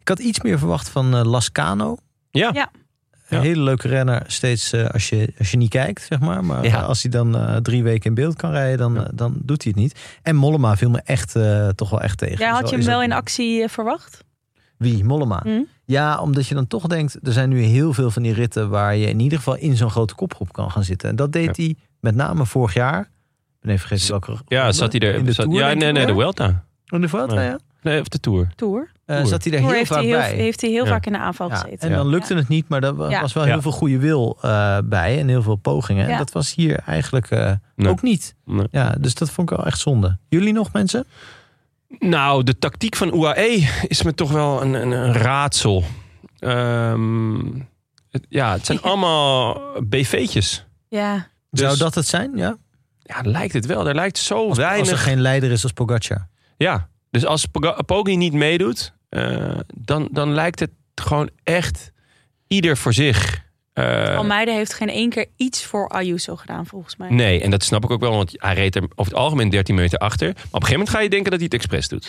[SPEAKER 2] ik had iets meer verwacht van eh, Lascano.
[SPEAKER 1] Ja.
[SPEAKER 3] Ja.
[SPEAKER 2] Een
[SPEAKER 1] Ja.
[SPEAKER 2] hele leuke renner, steeds eh, als, je, als je niet kijkt, zeg maar. Maar
[SPEAKER 1] Ja.
[SPEAKER 2] eh, als hij dan eh, drie weken in beeld kan rijden, dan, eh, dan doet hij het niet. En Mollema viel me echt, eh, toch wel echt tegen.
[SPEAKER 3] Ja,
[SPEAKER 2] Is
[SPEAKER 3] had je hem
[SPEAKER 2] is
[SPEAKER 3] wel in actie eh, verwacht?
[SPEAKER 2] Wie? Mollema?
[SPEAKER 3] Hm?
[SPEAKER 2] Ja, omdat je dan toch denkt, er zijn nu heel veel van die ritten... waar je in ieder geval in zo'n grote kopgroep kan gaan zitten. En dat deed hij met name vorig jaar. Ik ben even vergeten welke
[SPEAKER 1] ja,
[SPEAKER 2] ronde.
[SPEAKER 1] zat hij
[SPEAKER 2] In
[SPEAKER 1] er...
[SPEAKER 2] de
[SPEAKER 1] zat-
[SPEAKER 2] Tour,
[SPEAKER 1] ja,
[SPEAKER 2] denk
[SPEAKER 1] nee,
[SPEAKER 2] ik,
[SPEAKER 1] nee, de
[SPEAKER 2] hoor.
[SPEAKER 1] Welta.
[SPEAKER 2] In de Vuelta,
[SPEAKER 1] Nee.
[SPEAKER 2] ja.
[SPEAKER 1] Nee, of de Tour.
[SPEAKER 3] Tour?
[SPEAKER 2] Eh,
[SPEAKER 1] Tour.
[SPEAKER 2] zat hij er
[SPEAKER 3] Tour
[SPEAKER 2] heel
[SPEAKER 3] heeft
[SPEAKER 2] vaak
[SPEAKER 3] hij heel,
[SPEAKER 2] bij.
[SPEAKER 3] heeft hij heel
[SPEAKER 1] Ja.
[SPEAKER 3] vaak in de aanval
[SPEAKER 2] Ja,
[SPEAKER 3] gezeten.
[SPEAKER 2] en dan
[SPEAKER 3] Ja.
[SPEAKER 2] lukte het niet, maar daar wa-
[SPEAKER 3] Ja.
[SPEAKER 2] was wel
[SPEAKER 1] Ja.
[SPEAKER 2] heel veel goede wil eh, bij en heel veel pogingen. En
[SPEAKER 3] Ja.
[SPEAKER 2] dat was hier eigenlijk eh,
[SPEAKER 1] Nee.
[SPEAKER 2] ook niet.
[SPEAKER 1] Nee.
[SPEAKER 2] Ja, dus dat vond ik wel echt zonde. Jullie nog, mensen?
[SPEAKER 1] Nou, de tactiek van UAE is me toch wel een, een, een raadsel. Ehm, het- ja, het zijn allemaal BV'tjes.
[SPEAKER 3] Ja.
[SPEAKER 1] Dus-
[SPEAKER 2] Zou dat het zijn? Ja?
[SPEAKER 1] Ja, lijkt het wel. Er lijkt zo
[SPEAKER 2] Als,
[SPEAKER 1] weinig...
[SPEAKER 2] als er geen leider is als Pogacar.
[SPEAKER 1] Ja, dus als Poga- Poggi niet meedoet, eh, dan, dan lijkt het gewoon echt ieder voor zich. Eh,
[SPEAKER 3] Almeida heeft geen één keer iets voor Ayuso gedaan, volgens mij.
[SPEAKER 1] Nee, en dat snap ik ook wel, want hij reed er over het algemeen 13 meter achter. Maar op een gegeven moment ga je denken dat hij het expres doet.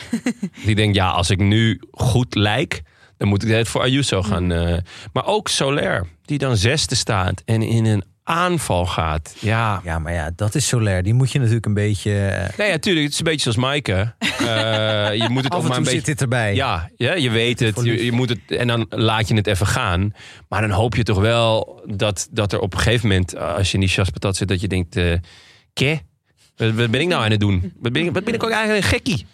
[SPEAKER 1] Die denkt, ja, als ik nu goed lijk, dan moet ik het voor
[SPEAKER 2] Mm.
[SPEAKER 1] Ayuso gaan. eh. maar ook Soler, die dan zesde staat en in een aanval gaat. Ja,
[SPEAKER 2] Ja, maar ja, dat is Soler. Die moet je natuurlijk een beetje... eh,
[SPEAKER 1] nee, natuurlijk, het is een beetje zoals Maaike. Eh, je moet het
[SPEAKER 2] af
[SPEAKER 1] ook
[SPEAKER 2] en
[SPEAKER 1] maar
[SPEAKER 2] toe
[SPEAKER 1] een beetje
[SPEAKER 2] zit dit erbij.
[SPEAKER 1] Ja, ja, je weet het. Je, je moet het. En dan laat je het even gaan. Maar dan hoop je toch wel dat, dat er op een gegeven moment, eh, als je in die chaspatat zit, dat je denkt: eh "Ke? Wat, wat ben ik nou aan het doen? Wat ben ik, wat ben ik ook eigenlijk een gekkie?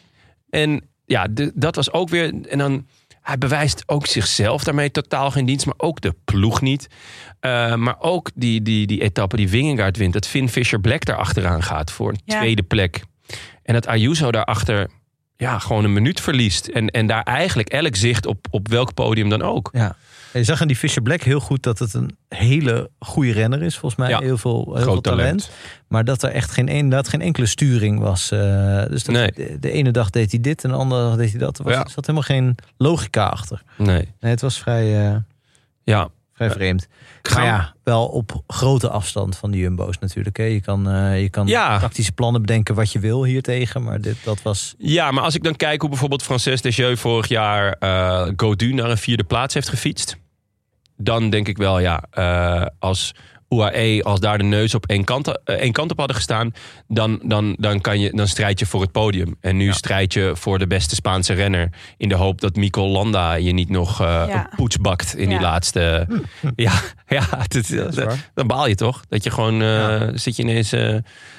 [SPEAKER 1] En ja, de- dat was ook weer. En dan. Hij bewijst ook zichzelf daarmee totaal geen dienst, maar ook de ploeg niet. Eh, maar ook die, die, die etappe die Wingegaard wint, dat Finn Fisher Black daar achteraan gaat voor een
[SPEAKER 3] Ja.
[SPEAKER 1] tweede plek. En dat Ayuso daarachter ja, gewoon een minuut verliest. En, en daar eigenlijk elk zicht op, op welk podium dan ook.
[SPEAKER 2] Ja. En Je zag aan die Fisher Black heel goed dat het een hele goede renner is, volgens mij.
[SPEAKER 1] Ja,
[SPEAKER 2] Heel veel, heel
[SPEAKER 1] groot
[SPEAKER 2] veel talent. Maar dat er echt geen, een- inderdaad geen enkele sturing was. eh, dus dat
[SPEAKER 1] Nee.
[SPEAKER 2] de, de ene dag deed hij dit en de andere dag deed hij dat. Er, was,
[SPEAKER 4] Ja.
[SPEAKER 2] er zat helemaal geen logica achter.
[SPEAKER 1] Nee.
[SPEAKER 2] Nee, het was vrij, eh,
[SPEAKER 1] Ja.
[SPEAKER 2] vrij
[SPEAKER 1] Ja.
[SPEAKER 2] vreemd.
[SPEAKER 1] Gaan-
[SPEAKER 2] Maar ja, wel op grote afstand van de Jumbo's natuurlijk. Hè. Je kan, eh, je kan
[SPEAKER 1] Ja.
[SPEAKER 2] tactische plannen bedenken wat je wil hiertegen. Maar dit, dat was...
[SPEAKER 1] ja, maar als ik dan kijk hoe bijvoorbeeld Frances Desjeux vorig jaar eh Godu naar een vierde plaats heeft gefietst. Dan denk ik wel, ja, eh, als UAE, als daar de neus op één kant, eh, één kant op hadden gestaan, dan, dan, dan, kan je, dan strijd je voor het podium. En nu strijd je voor de beste Spaanse renner. In de hoop dat Mikel Landa je niet nog eh,
[SPEAKER 3] Ja.
[SPEAKER 1] een poets bakt in die
[SPEAKER 3] Ja. Hm.
[SPEAKER 1] laatste. ja, ja het, is- dan baal je toch? Dat je gewoon eh, zit je ineens eh,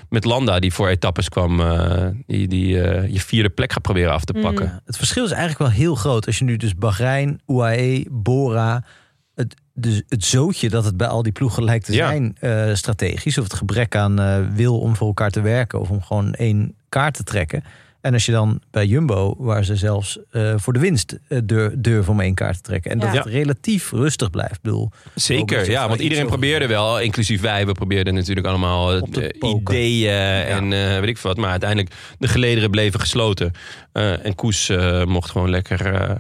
[SPEAKER 1] met Landa, die voor etappes kwam, eh, die, die eh, je vierde plek gaat proberen af te pakken.
[SPEAKER 2] Het verschil is eigenlijk wel heel groot. Als je nu dus Bahrein, UAE, Bora... Het, dus het zootje dat het bij al die ploegen lijkt te
[SPEAKER 1] Ja.
[SPEAKER 2] zijn eh, strategisch... of het gebrek aan eh, wil om voor elkaar te werken... of om gewoon één kaart te trekken. En als je dan bij Jumbo, waar ze zelfs eh, voor de winst eh, durf- durven om één kaart te trekken... en
[SPEAKER 3] Ja.
[SPEAKER 2] dat het
[SPEAKER 1] Ja.
[SPEAKER 2] relatief rustig blijft. Ik bedoel,
[SPEAKER 1] Zeker,
[SPEAKER 2] Robert heeft
[SPEAKER 1] ja,
[SPEAKER 2] wel
[SPEAKER 1] want
[SPEAKER 2] iets
[SPEAKER 1] iedereen
[SPEAKER 2] over
[SPEAKER 1] probeerde wel, inclusief wij, we probeerden natuurlijk allemaal eh,
[SPEAKER 2] Op te
[SPEAKER 1] eh,
[SPEAKER 2] poken.
[SPEAKER 1] ideeën en eh, weet ik veel wat. Maar uiteindelijk, de gelederen bleven gesloten. Eh, en Koes eh, mocht gewoon lekker eh,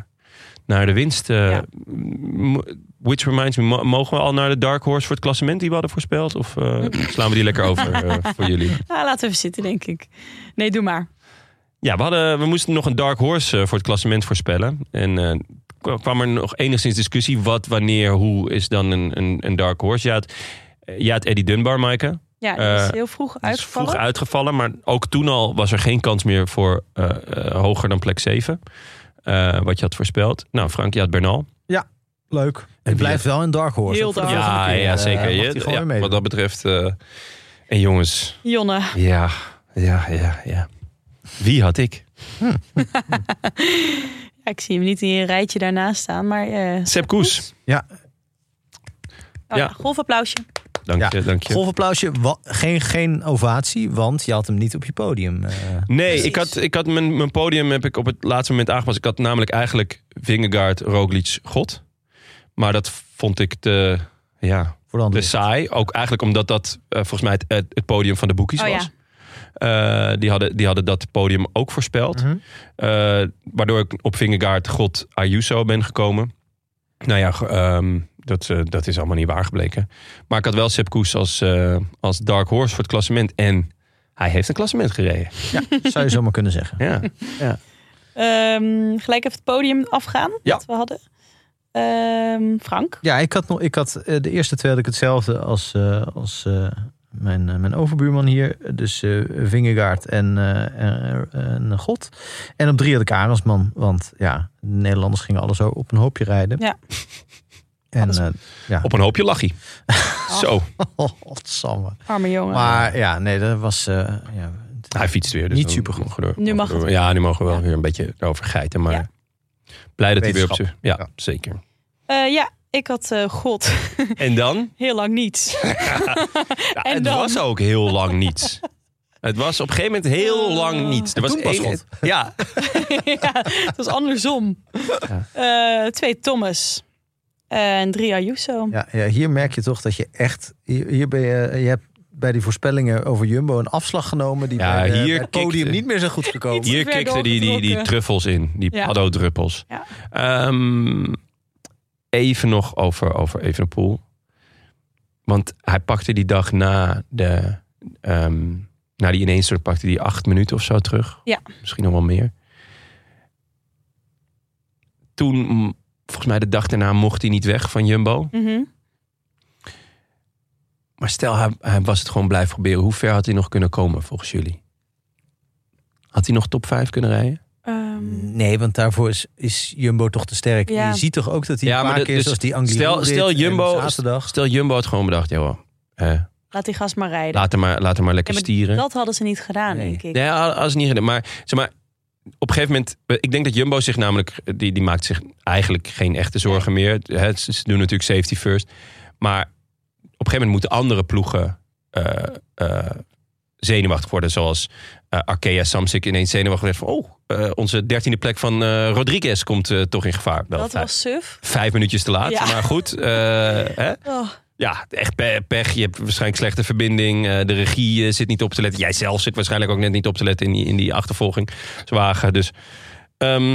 [SPEAKER 1] naar de winst. eh,
[SPEAKER 3] Ja.
[SPEAKER 1] m- Which reminds me, mo- mogen we al naar de Dark Horse voor het klassement die we hadden voorspeld? Of eh, slaan we die lekker over eh, voor jullie?
[SPEAKER 3] Nou, laten we even zitten, denk ik. Nee, doe maar.
[SPEAKER 1] Ja, we, hadden, we moesten nog een dark horse eh, voor het klassement voorspellen. En eh, k- kwam er nog enigszins discussie. Wat, wanneer, hoe is dan een, een, een dark horse? Ja, het, eh, ja, het Eddie Dunbar, Maaike.
[SPEAKER 3] Ja, die is
[SPEAKER 1] Eh,
[SPEAKER 3] heel vroeg
[SPEAKER 1] Die is
[SPEAKER 3] uitgevallen.
[SPEAKER 1] vroeg uitgevallen. Maar ook toen al was er geen kans meer voor eh, eh, hoger dan plek 7. Eh, wat je had voorspeld. Nou, Frank, je had Bernal.
[SPEAKER 2] leuk. Het
[SPEAKER 1] wie
[SPEAKER 2] blijft wel een dark horse.
[SPEAKER 3] Heel
[SPEAKER 2] Ook voor de
[SPEAKER 3] dark.
[SPEAKER 2] volgende
[SPEAKER 1] ja,
[SPEAKER 2] keer,
[SPEAKER 1] ja,
[SPEAKER 2] eh,
[SPEAKER 1] zeker.
[SPEAKER 2] mag
[SPEAKER 1] Je-
[SPEAKER 2] hij gewoon
[SPEAKER 1] ja,
[SPEAKER 2] weer meedoen.
[SPEAKER 1] wat dat betreft. eh, en jongens.
[SPEAKER 3] Jonne.
[SPEAKER 1] Ja, ja, ja, ja. Wie had ik?
[SPEAKER 3] Ja, ik zie hem niet in je rijtje daarnaast staan, maar... eh,
[SPEAKER 1] Sepp Koes.
[SPEAKER 2] Ja,
[SPEAKER 3] oh,
[SPEAKER 1] Ja.
[SPEAKER 3] Golfapplausje.
[SPEAKER 1] Dank
[SPEAKER 2] Ja.
[SPEAKER 1] je, dank je.
[SPEAKER 2] golfapplausje. Wa- geen, geen ovatie, want je had hem niet op je podium. eh.
[SPEAKER 1] Nee,
[SPEAKER 3] Precies.
[SPEAKER 1] ik had, ik had mijn, mijn podium heb ik op het laatste moment aangepast. Ik had namelijk eigenlijk Vingegaard, Roglic, God. Maar dat vond ik te, ja,
[SPEAKER 2] voor de
[SPEAKER 1] te
[SPEAKER 2] andere.
[SPEAKER 1] saai. Ook eigenlijk omdat dat eh, volgens mij het, het, het podium van de boekies
[SPEAKER 3] Oh,
[SPEAKER 1] was.
[SPEAKER 3] ja.
[SPEAKER 1] Eh, die, hadden, die hadden dat podium ook voorspeld.
[SPEAKER 2] Mhm.
[SPEAKER 1] Eh, waardoor ik op Vingegaard, God, Ayuso ben gekomen. Nou ja, ge- ehm, dat, eh, dat is allemaal niet waar gebleken. Maar ik had wel Sepp Koes als, eh, als dark horse voor het klassement. En hij heeft een klassement gereden.
[SPEAKER 2] Zou je zomaar kunnen zeggen.
[SPEAKER 1] Ja.
[SPEAKER 3] Ehm, gelijk even het podium afgaan,
[SPEAKER 1] Ja.
[SPEAKER 3] wat we hadden. Ehm, Frank.
[SPEAKER 2] Ja, ik had, nog, ik had eh, de eerste twee had ik hetzelfde als, eh, als eh, mijn, eh, mijn overbuurman hier. Dus eh Vingegaard en, eh, en, en God. En op drie had ik Arendsman. Want ja, de Nederlanders gingen alles zo op een hoopje rijden.
[SPEAKER 3] Ja.
[SPEAKER 2] En eh oh,
[SPEAKER 1] Op een hoopje lachie. Zo,
[SPEAKER 2] godsamme.
[SPEAKER 3] Arme jongen.
[SPEAKER 2] Maar ja, nee, dat was... eh, ja,
[SPEAKER 1] hij fietst weer. Dus
[SPEAKER 2] Niet
[SPEAKER 1] dan
[SPEAKER 2] supergoed.
[SPEAKER 1] mogen we door-
[SPEAKER 3] Nu mag
[SPEAKER 1] mogen we-
[SPEAKER 3] het.
[SPEAKER 1] Ja, nu mogen we wel weer een beetje over geiten. Maar
[SPEAKER 3] Ja.
[SPEAKER 1] blij dat hij weer op zijn...
[SPEAKER 2] Wetenschap.
[SPEAKER 1] Ja,
[SPEAKER 2] Ja.
[SPEAKER 1] zeker.
[SPEAKER 3] Eh, ja, ik had eh, God
[SPEAKER 1] En dan?
[SPEAKER 3] heel lang niets.
[SPEAKER 1] Ja,
[SPEAKER 3] En
[SPEAKER 1] het
[SPEAKER 3] dan?
[SPEAKER 1] was ook heel lang niets. Het was op een gegeven moment heel
[SPEAKER 3] Oh.
[SPEAKER 1] lang niets. Er was
[SPEAKER 2] Toen pas
[SPEAKER 1] één-
[SPEAKER 2] God.
[SPEAKER 1] Ja,
[SPEAKER 3] ja, het was andersom. Eh, twee Thomas. en drie Ayuso.
[SPEAKER 2] Ja, ja, hier merk je toch dat je echt. Hier, hier ben je, je hebt bij die voorspellingen over Jumbo een afslag genomen die
[SPEAKER 1] Ja,
[SPEAKER 2] bij, de-
[SPEAKER 1] hier
[SPEAKER 2] bij het podium
[SPEAKER 1] kikte-
[SPEAKER 2] niet meer zo goed gekomen.
[SPEAKER 3] Iets-
[SPEAKER 1] hier
[SPEAKER 3] werd
[SPEAKER 1] kikten die, die, die
[SPEAKER 3] doorgetrokken.
[SPEAKER 1] truffels in. Die
[SPEAKER 3] Ja.
[SPEAKER 1] paddo-druppels.
[SPEAKER 3] Ja.
[SPEAKER 1] Ehm, even nog over, over Evenepoel. Want hij pakte die dag na de... ehm na die ineens pakte die acht minuten of zo terug.
[SPEAKER 3] Ja.
[SPEAKER 1] Misschien nog wel meer. Toen, mm, volgens mij de dag daarna, mocht hij niet weg van Jumbo.
[SPEAKER 3] Mhm.
[SPEAKER 1] Maar stel, hij, hij was het gewoon blijven proberen. Hoe ver had hij nog kunnen komen volgens jullie? Had hij nog top 5 kunnen rijden?
[SPEAKER 3] Ehm,
[SPEAKER 2] Nee, want daarvoor is, is Jumbo toch te sterk.
[SPEAKER 3] Ja.
[SPEAKER 2] Je ziet toch ook dat hij
[SPEAKER 1] Ja,
[SPEAKER 2] een
[SPEAKER 1] maar
[SPEAKER 2] paar
[SPEAKER 1] dat-
[SPEAKER 2] keer
[SPEAKER 1] dus
[SPEAKER 2] zoals die Angliru
[SPEAKER 1] stel- stel Jumbo-
[SPEAKER 2] zaterdag.
[SPEAKER 1] Stel, Jumbo had gewoon bedacht, joh, eh,
[SPEAKER 3] laat die gast maar rijden.
[SPEAKER 1] laat, hem maar, laat hem maar lekker
[SPEAKER 3] Ja, maar
[SPEAKER 1] stieren.
[SPEAKER 3] Dat hadden ze niet gedaan, denk ik.
[SPEAKER 1] Nee, ha- hadden ze niet gedaan. Maar, zeg maar op een gegeven moment, eh, ik denk dat Jumbo zich namelijk, eh, die, die maakt zich eigenlijk geen echte zorgen meer. Hè, ze, ze doen natuurlijk safety first. Maar op een gegeven moment moeten andere ploegen eh, eh, zenuwachtig worden. Zoals eh Arkea Samsic ineens zenuwachtig werd van... oh, eh, onze dertiende plek van eh, Rodriguez komt eh, toch in gevaar. Wel
[SPEAKER 3] Dat
[SPEAKER 1] vijf-
[SPEAKER 3] was suf.
[SPEAKER 1] Vijf minuutjes te laat,
[SPEAKER 3] Ja.
[SPEAKER 1] maar goed. eh, hè?
[SPEAKER 3] Oh,
[SPEAKER 1] Ja, echt pe- pech. Je hebt waarschijnlijk slechte verbinding. Eh, de regie eh, zit niet op te letten. Jij zelf zit waarschijnlijk ook net niet op te letten in die, in die achtervolging. Zwager, dus... ehm,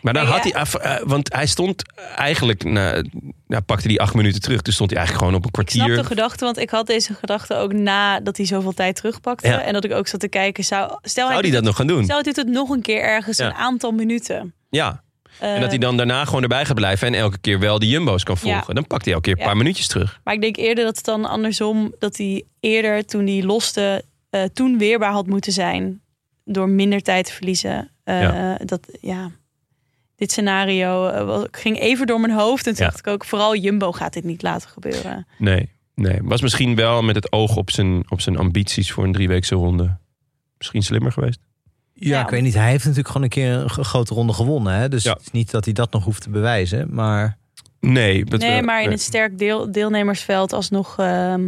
[SPEAKER 1] maar dan
[SPEAKER 3] Nee,
[SPEAKER 1] had
[SPEAKER 3] ja.
[SPEAKER 1] hij... af- eh, want hij stond eigenlijk... Na, nou, pakte die acht minuten terug. Dus stond hij eigenlijk gewoon op een
[SPEAKER 3] ik snap
[SPEAKER 1] kwartier.
[SPEAKER 3] de gedachte, want ik had deze gedachte ook na dat hij zoveel tijd terugpakte.
[SPEAKER 1] Ja.
[SPEAKER 3] En dat ik ook zat te kijken, zou, stel
[SPEAKER 1] Zou
[SPEAKER 3] hij
[SPEAKER 1] hij dat nog gaan doen?
[SPEAKER 3] stel hij doet het nog een keer ergens
[SPEAKER 1] Ja.
[SPEAKER 3] een aantal minuten.
[SPEAKER 1] Ja.
[SPEAKER 3] Eh,
[SPEAKER 1] En dat hij dan daarna gewoon erbij gaat blijven en elke keer wel die jumbo's kan volgen.
[SPEAKER 3] Ja.
[SPEAKER 1] Dan pakt hij elke keer een
[SPEAKER 3] Ja.
[SPEAKER 1] paar minuutjes terug.
[SPEAKER 3] Maar ik denk eerder dat het dan andersom, dat hij eerder toen hij loste, eh, toen weerbaar had moeten zijn. Door minder tijd te verliezen. Eh,
[SPEAKER 1] Ja.
[SPEAKER 3] Dat, ja. Dit scenario eh, was- ging even door mijn hoofd. En toen
[SPEAKER 1] Ja.
[SPEAKER 3] dacht ik ook, vooral Jumbo gaat dit niet laten gebeuren.
[SPEAKER 1] Nee, nee. Was misschien wel met het oog op zijn, op zijn ambities voor een drieweekse ronde. Misschien slimmer geweest.
[SPEAKER 2] Ja,
[SPEAKER 3] Ja.
[SPEAKER 2] ik weet niet. Hij heeft natuurlijk gewoon een keer een g- grote ronde gewonnen. Hè? Dus
[SPEAKER 1] Ja.
[SPEAKER 2] het is niet dat hij dat nog hoeft te bewijzen. Maar
[SPEAKER 1] Nee, dat
[SPEAKER 3] nee,
[SPEAKER 1] wel-
[SPEAKER 3] maar in het sterk deel, deelnemersveld alsnog ehm,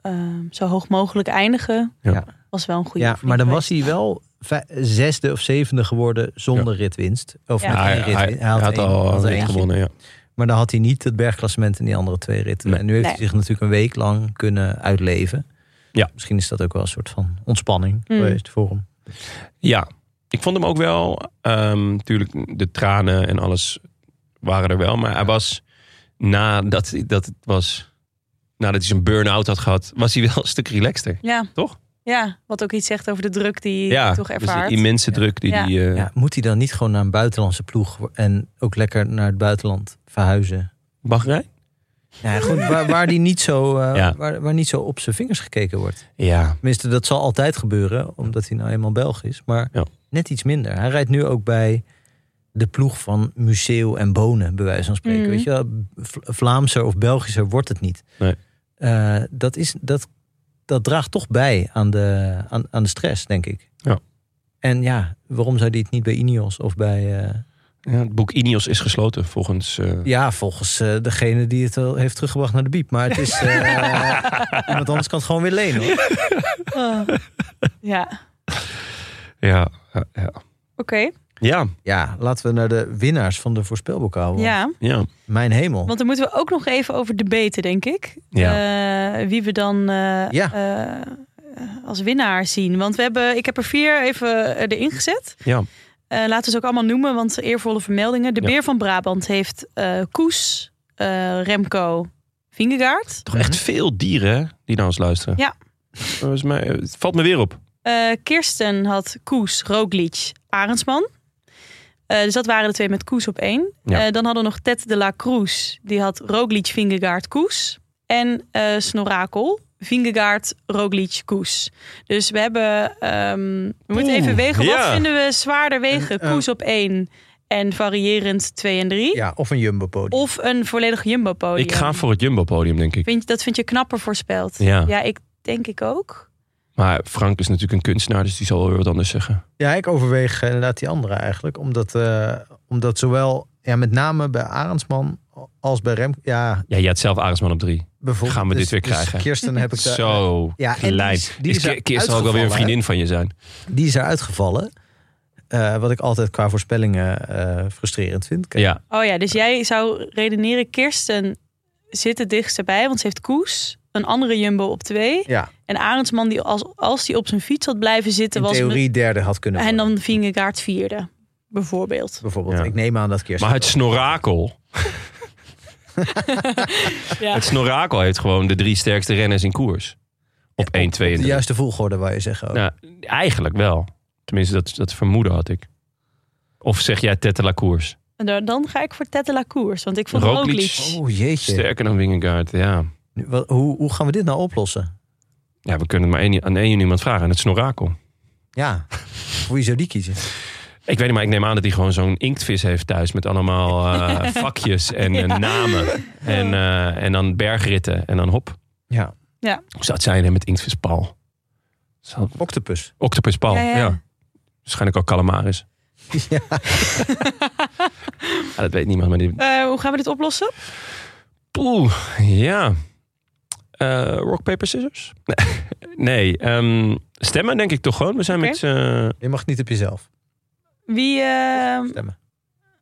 [SPEAKER 3] ehm, zo hoog mogelijk eindigen.
[SPEAKER 1] Ja.
[SPEAKER 3] Was wel een goede
[SPEAKER 2] ja, maar dan
[SPEAKER 3] oefening
[SPEAKER 2] was hij wel vij- zesde of zevende geworden zonder ritwinst. Of
[SPEAKER 3] Ja.
[SPEAKER 2] met
[SPEAKER 1] Ah, Ja,
[SPEAKER 2] één
[SPEAKER 1] hij,
[SPEAKER 2] ritwin-
[SPEAKER 1] hij- hij had,
[SPEAKER 2] één-
[SPEAKER 1] al
[SPEAKER 2] had
[SPEAKER 1] een
[SPEAKER 2] er
[SPEAKER 1] rit
[SPEAKER 2] eentje.
[SPEAKER 1] gewonnen, ja.
[SPEAKER 2] Maar dan had hij niet het bergklassement en die andere twee ritten.
[SPEAKER 1] Nee.
[SPEAKER 2] En nu heeft hij
[SPEAKER 3] Nee.
[SPEAKER 2] zich natuurlijk een week lang kunnen uitleven.
[SPEAKER 1] Ja.
[SPEAKER 2] Misschien is dat ook wel een soort van ontspanning
[SPEAKER 3] Mm.
[SPEAKER 2] geweest voor hem.
[SPEAKER 1] Ja, ik vond hem ook wel. ehm natuurlijk, de tranen en alles waren er wel. Maar hij was nadat dat het was. Nadat hij zijn burn-out had gehad, was hij wel een stuk relaxter.
[SPEAKER 3] Ja.
[SPEAKER 1] Toch?
[SPEAKER 3] Ja, wat ook iets zegt over de druk die
[SPEAKER 1] Ja,
[SPEAKER 3] hij toch
[SPEAKER 1] dus
[SPEAKER 3] ervaart.
[SPEAKER 1] die immense druk die
[SPEAKER 3] Ja.
[SPEAKER 1] die, eh,
[SPEAKER 2] Ja, moet hij dan niet gewoon naar een buitenlandse ploeg en ook lekker naar het buitenland verhuizen?
[SPEAKER 1] Bahrein?
[SPEAKER 2] Ja, goed, waar, waar, die niet zo, eh,
[SPEAKER 1] Ja.
[SPEAKER 2] waar, waar niet zo op zijn vingers gekeken wordt.
[SPEAKER 1] Ja.
[SPEAKER 2] Tenminste, dat zal altijd gebeuren, omdat hij nou eenmaal Belg is. Maar
[SPEAKER 1] Ja.
[SPEAKER 2] net iets minder. Hij rijdt nu ook bij de ploeg van Museo en Bonen, bij wijze van spreken.
[SPEAKER 3] Mm.
[SPEAKER 2] Weet je wel, Vla- Vlaamser of Belgischer wordt het niet.
[SPEAKER 1] Nee.
[SPEAKER 2] Eh, dat, is, dat, dat draagt toch bij aan de, aan, aan de stress, denk ik.
[SPEAKER 1] Ja.
[SPEAKER 2] En ja, waarom zou die het niet bij Ineos of bij... eh,
[SPEAKER 1] Ja, het boek Ineos is gesloten volgens. eh,
[SPEAKER 2] ja, volgens eh, degene die het al heeft teruggebracht naar de biep. Maar het is... eh, iemand anders kan het gewoon weer lenen, hoor.
[SPEAKER 3] Ah. Ja, oké.
[SPEAKER 1] ja, ja, ja. Ja,
[SPEAKER 2] Ja, laten we naar de winnaars van de voorspelbokaal.
[SPEAKER 1] Oh.
[SPEAKER 2] want
[SPEAKER 3] Ja.
[SPEAKER 1] ja.
[SPEAKER 2] Mijn hemel.
[SPEAKER 3] Want dan moeten we ook nog even over debaten, denk ik. Eh, wie we dan eh,
[SPEAKER 2] Ja.
[SPEAKER 3] eh, als winnaar zien. Want we hebben, ik heb er vier even eh, erin gezet.
[SPEAKER 1] Ja.
[SPEAKER 3] Eh, laten we ze ook allemaal noemen, want eervolle vermeldingen. De
[SPEAKER 1] Ja.
[SPEAKER 3] Beer van Brabant heeft eh, Koes, eh, Remco, Vingegaard.
[SPEAKER 1] Toch echt veel dieren hè, die naar ons luisteren.
[SPEAKER 3] Ja.
[SPEAKER 1] Volgens mij, eh, het valt me weer op.
[SPEAKER 3] Eh, Kirsten had Koes, Roglic, Arendsman. Eh, dus dat waren de twee met Koes op één.
[SPEAKER 1] Ja.
[SPEAKER 3] Eh, dan hadden we nog Ted de la Cruz. Die had Roglic, Vingegaard, Koes. En eh Snorakel, Vingegaard, Roglic, Koes. Dus we hebben... ehm, we moeten even wegen.
[SPEAKER 1] ja.
[SPEAKER 3] Wat vinden we zwaarder wegen?
[SPEAKER 2] En, eh,
[SPEAKER 3] Koes op één en variërend twee en drie.
[SPEAKER 2] Ja, of een jumbo-podium.
[SPEAKER 3] Of een volledig jumbo-podium.
[SPEAKER 1] Ik ga voor het Jumbo-podium, denk ik.
[SPEAKER 3] Vind je- dat vind je knapper voorspeld?
[SPEAKER 1] Ja.
[SPEAKER 3] ja, ik denk ik ook.
[SPEAKER 1] Maar Frank is natuurlijk een kunstenaar, dus die zal wel weer wat anders zeggen.
[SPEAKER 2] Ja, ik overweeg eh, inderdaad die andere eigenlijk. Omdat, eh, omdat zowel, ja, met name bij Arendsman als bij Rem... Ja,
[SPEAKER 1] Ja, je had zelf Arendsman op drie.
[SPEAKER 2] bijvoorbeeld...
[SPEAKER 1] Gaan we dit
[SPEAKER 2] dus-
[SPEAKER 1] weer
[SPEAKER 2] dus
[SPEAKER 1] krijgen.
[SPEAKER 2] Kirsten heb ik daar...
[SPEAKER 1] Zo
[SPEAKER 2] Ja, en die
[SPEAKER 1] klein.
[SPEAKER 2] is- die
[SPEAKER 1] Is
[SPEAKER 2] is er
[SPEAKER 1] Ki- Kirsten ook wel weer een
[SPEAKER 2] uitgevallen,
[SPEAKER 1] vriendin van je zijn.
[SPEAKER 2] Die is eruit gevallen. Eh, wat ik altijd qua voorspellingen eh, frustrerend vind. Kijk,
[SPEAKER 1] Ja,
[SPEAKER 3] Oh ja, dus jij zou redeneren, Kirsten zit het dichtst bij, want ze heeft Koes, een andere Jumbo op twee.
[SPEAKER 2] ja,
[SPEAKER 3] En Arendsman, die als, als die op zijn fiets had blijven zitten,
[SPEAKER 2] in
[SPEAKER 3] was
[SPEAKER 2] theorie derde had kunnen
[SPEAKER 3] met- en
[SPEAKER 2] worden.
[SPEAKER 3] dan Vingegaard vierde, bijvoorbeeld.
[SPEAKER 2] Bijvoorbeeld,
[SPEAKER 1] Ja.
[SPEAKER 2] ik neem aan dat Kirsten...
[SPEAKER 1] maar het
[SPEAKER 2] ook-
[SPEAKER 1] snorakel.
[SPEAKER 3] Ja.
[SPEAKER 1] Het snorakel heeft gewoon de drie sterkste renners in koers. Op 1, 2 en
[SPEAKER 2] De
[SPEAKER 1] 3.
[SPEAKER 2] juiste volgorde, wou je zeggen. ook.
[SPEAKER 1] Nou, eigenlijk wel. Tenminste, dat, dat vermoeden had ik. Of zeg jij Tetela Koers?
[SPEAKER 3] En dan, dan ga ik voor Tetela Koers, want ik vond
[SPEAKER 1] Roglic.
[SPEAKER 3] Roglic.
[SPEAKER 2] Oh, jeetje.
[SPEAKER 1] Sterker dan Wingegaard, ja.
[SPEAKER 2] Nu, wat- hoe, hoe gaan we dit nou oplossen?
[SPEAKER 1] Ja, we kunnen het maar één, aan één iemand vragen. En het snorakel.
[SPEAKER 2] Ja, voor wie zou die kiezen?
[SPEAKER 1] Ik weet niet, maar ik neem aan dat hij gewoon zo'n inktvis heeft thuis. Met allemaal eh, vakjes en eh, namen. En, eh, en dan bergritten. En dan hop.
[SPEAKER 2] Ja,
[SPEAKER 1] Hoe zou het zijn hè, met inktvis Paul? Zou-
[SPEAKER 2] octopus.
[SPEAKER 1] Octopus Paul,
[SPEAKER 3] Ja,
[SPEAKER 1] ja.
[SPEAKER 3] ja.
[SPEAKER 1] Waarschijnlijk ook calamaris. Ah,
[SPEAKER 2] Ja.
[SPEAKER 1] Ja, dat weet niemand, maar die...
[SPEAKER 3] Eh, hoe gaan we dit oplossen?
[SPEAKER 1] Poeh, ja. Ehm, Eh, rock, paper, scissors? Nee, nee ehm, stemmen denk ik toch gewoon. We zijn
[SPEAKER 3] Oké.
[SPEAKER 1] met z'n... eh,
[SPEAKER 2] Je mag niet op jezelf
[SPEAKER 3] Wie, eh,
[SPEAKER 2] stemmen.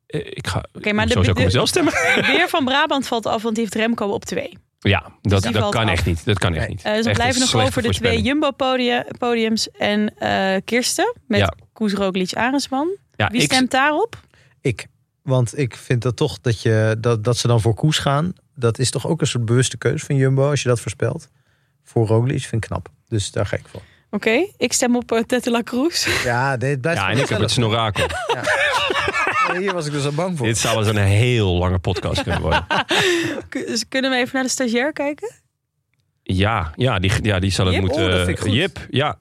[SPEAKER 1] ik ga
[SPEAKER 3] Oké, maar de-
[SPEAKER 1] sowieso
[SPEAKER 3] de-
[SPEAKER 1] kan mezelf stemmen.
[SPEAKER 3] Weer van Brabant valt af, want die heeft Remco op twee.
[SPEAKER 1] Ja, dat,
[SPEAKER 3] Dus die
[SPEAKER 1] dat
[SPEAKER 3] valt
[SPEAKER 1] kan
[SPEAKER 3] af.
[SPEAKER 1] echt niet. Dat kan echt
[SPEAKER 2] Nee.
[SPEAKER 1] niet.
[SPEAKER 3] Eh,
[SPEAKER 1] Echt
[SPEAKER 3] ze
[SPEAKER 1] een
[SPEAKER 3] blijven nog
[SPEAKER 1] slechte
[SPEAKER 3] over de twee
[SPEAKER 1] voorspelling.
[SPEAKER 3] Jumbo-podiums en eh, Kirsten met
[SPEAKER 1] Ja.
[SPEAKER 3] Koes Roglic Arendsman.
[SPEAKER 1] Ja,
[SPEAKER 3] Wie
[SPEAKER 1] ik,
[SPEAKER 3] stemt daarop?
[SPEAKER 2] Ik. Want ik vind dat toch dat, je, dat, dat ze dan voor Koes gaan. Dat is toch ook een soort bewuste keus van Jumbo als je dat voorspelt. Voor Roglic vind ik knap. Dus daar ga ik voor.
[SPEAKER 3] Oké, ik stem op eh, Tete La Cruz.
[SPEAKER 2] Ja, dit blijft
[SPEAKER 1] ja, en
[SPEAKER 2] gewoon
[SPEAKER 1] ik heb het
[SPEAKER 2] gezellig.
[SPEAKER 1] snorakel.
[SPEAKER 2] Hier was ik dus al bang voor.
[SPEAKER 1] Dit zou wel eens een heel lange podcast kunnen worden.
[SPEAKER 3] Kun- dus Kunnen we even naar de stagiair kijken?
[SPEAKER 1] Ja, ja, die, ja, die zal het
[SPEAKER 3] Jip?
[SPEAKER 1] moeten...
[SPEAKER 2] Oh, dat vind ik goed.
[SPEAKER 1] Jip, ja.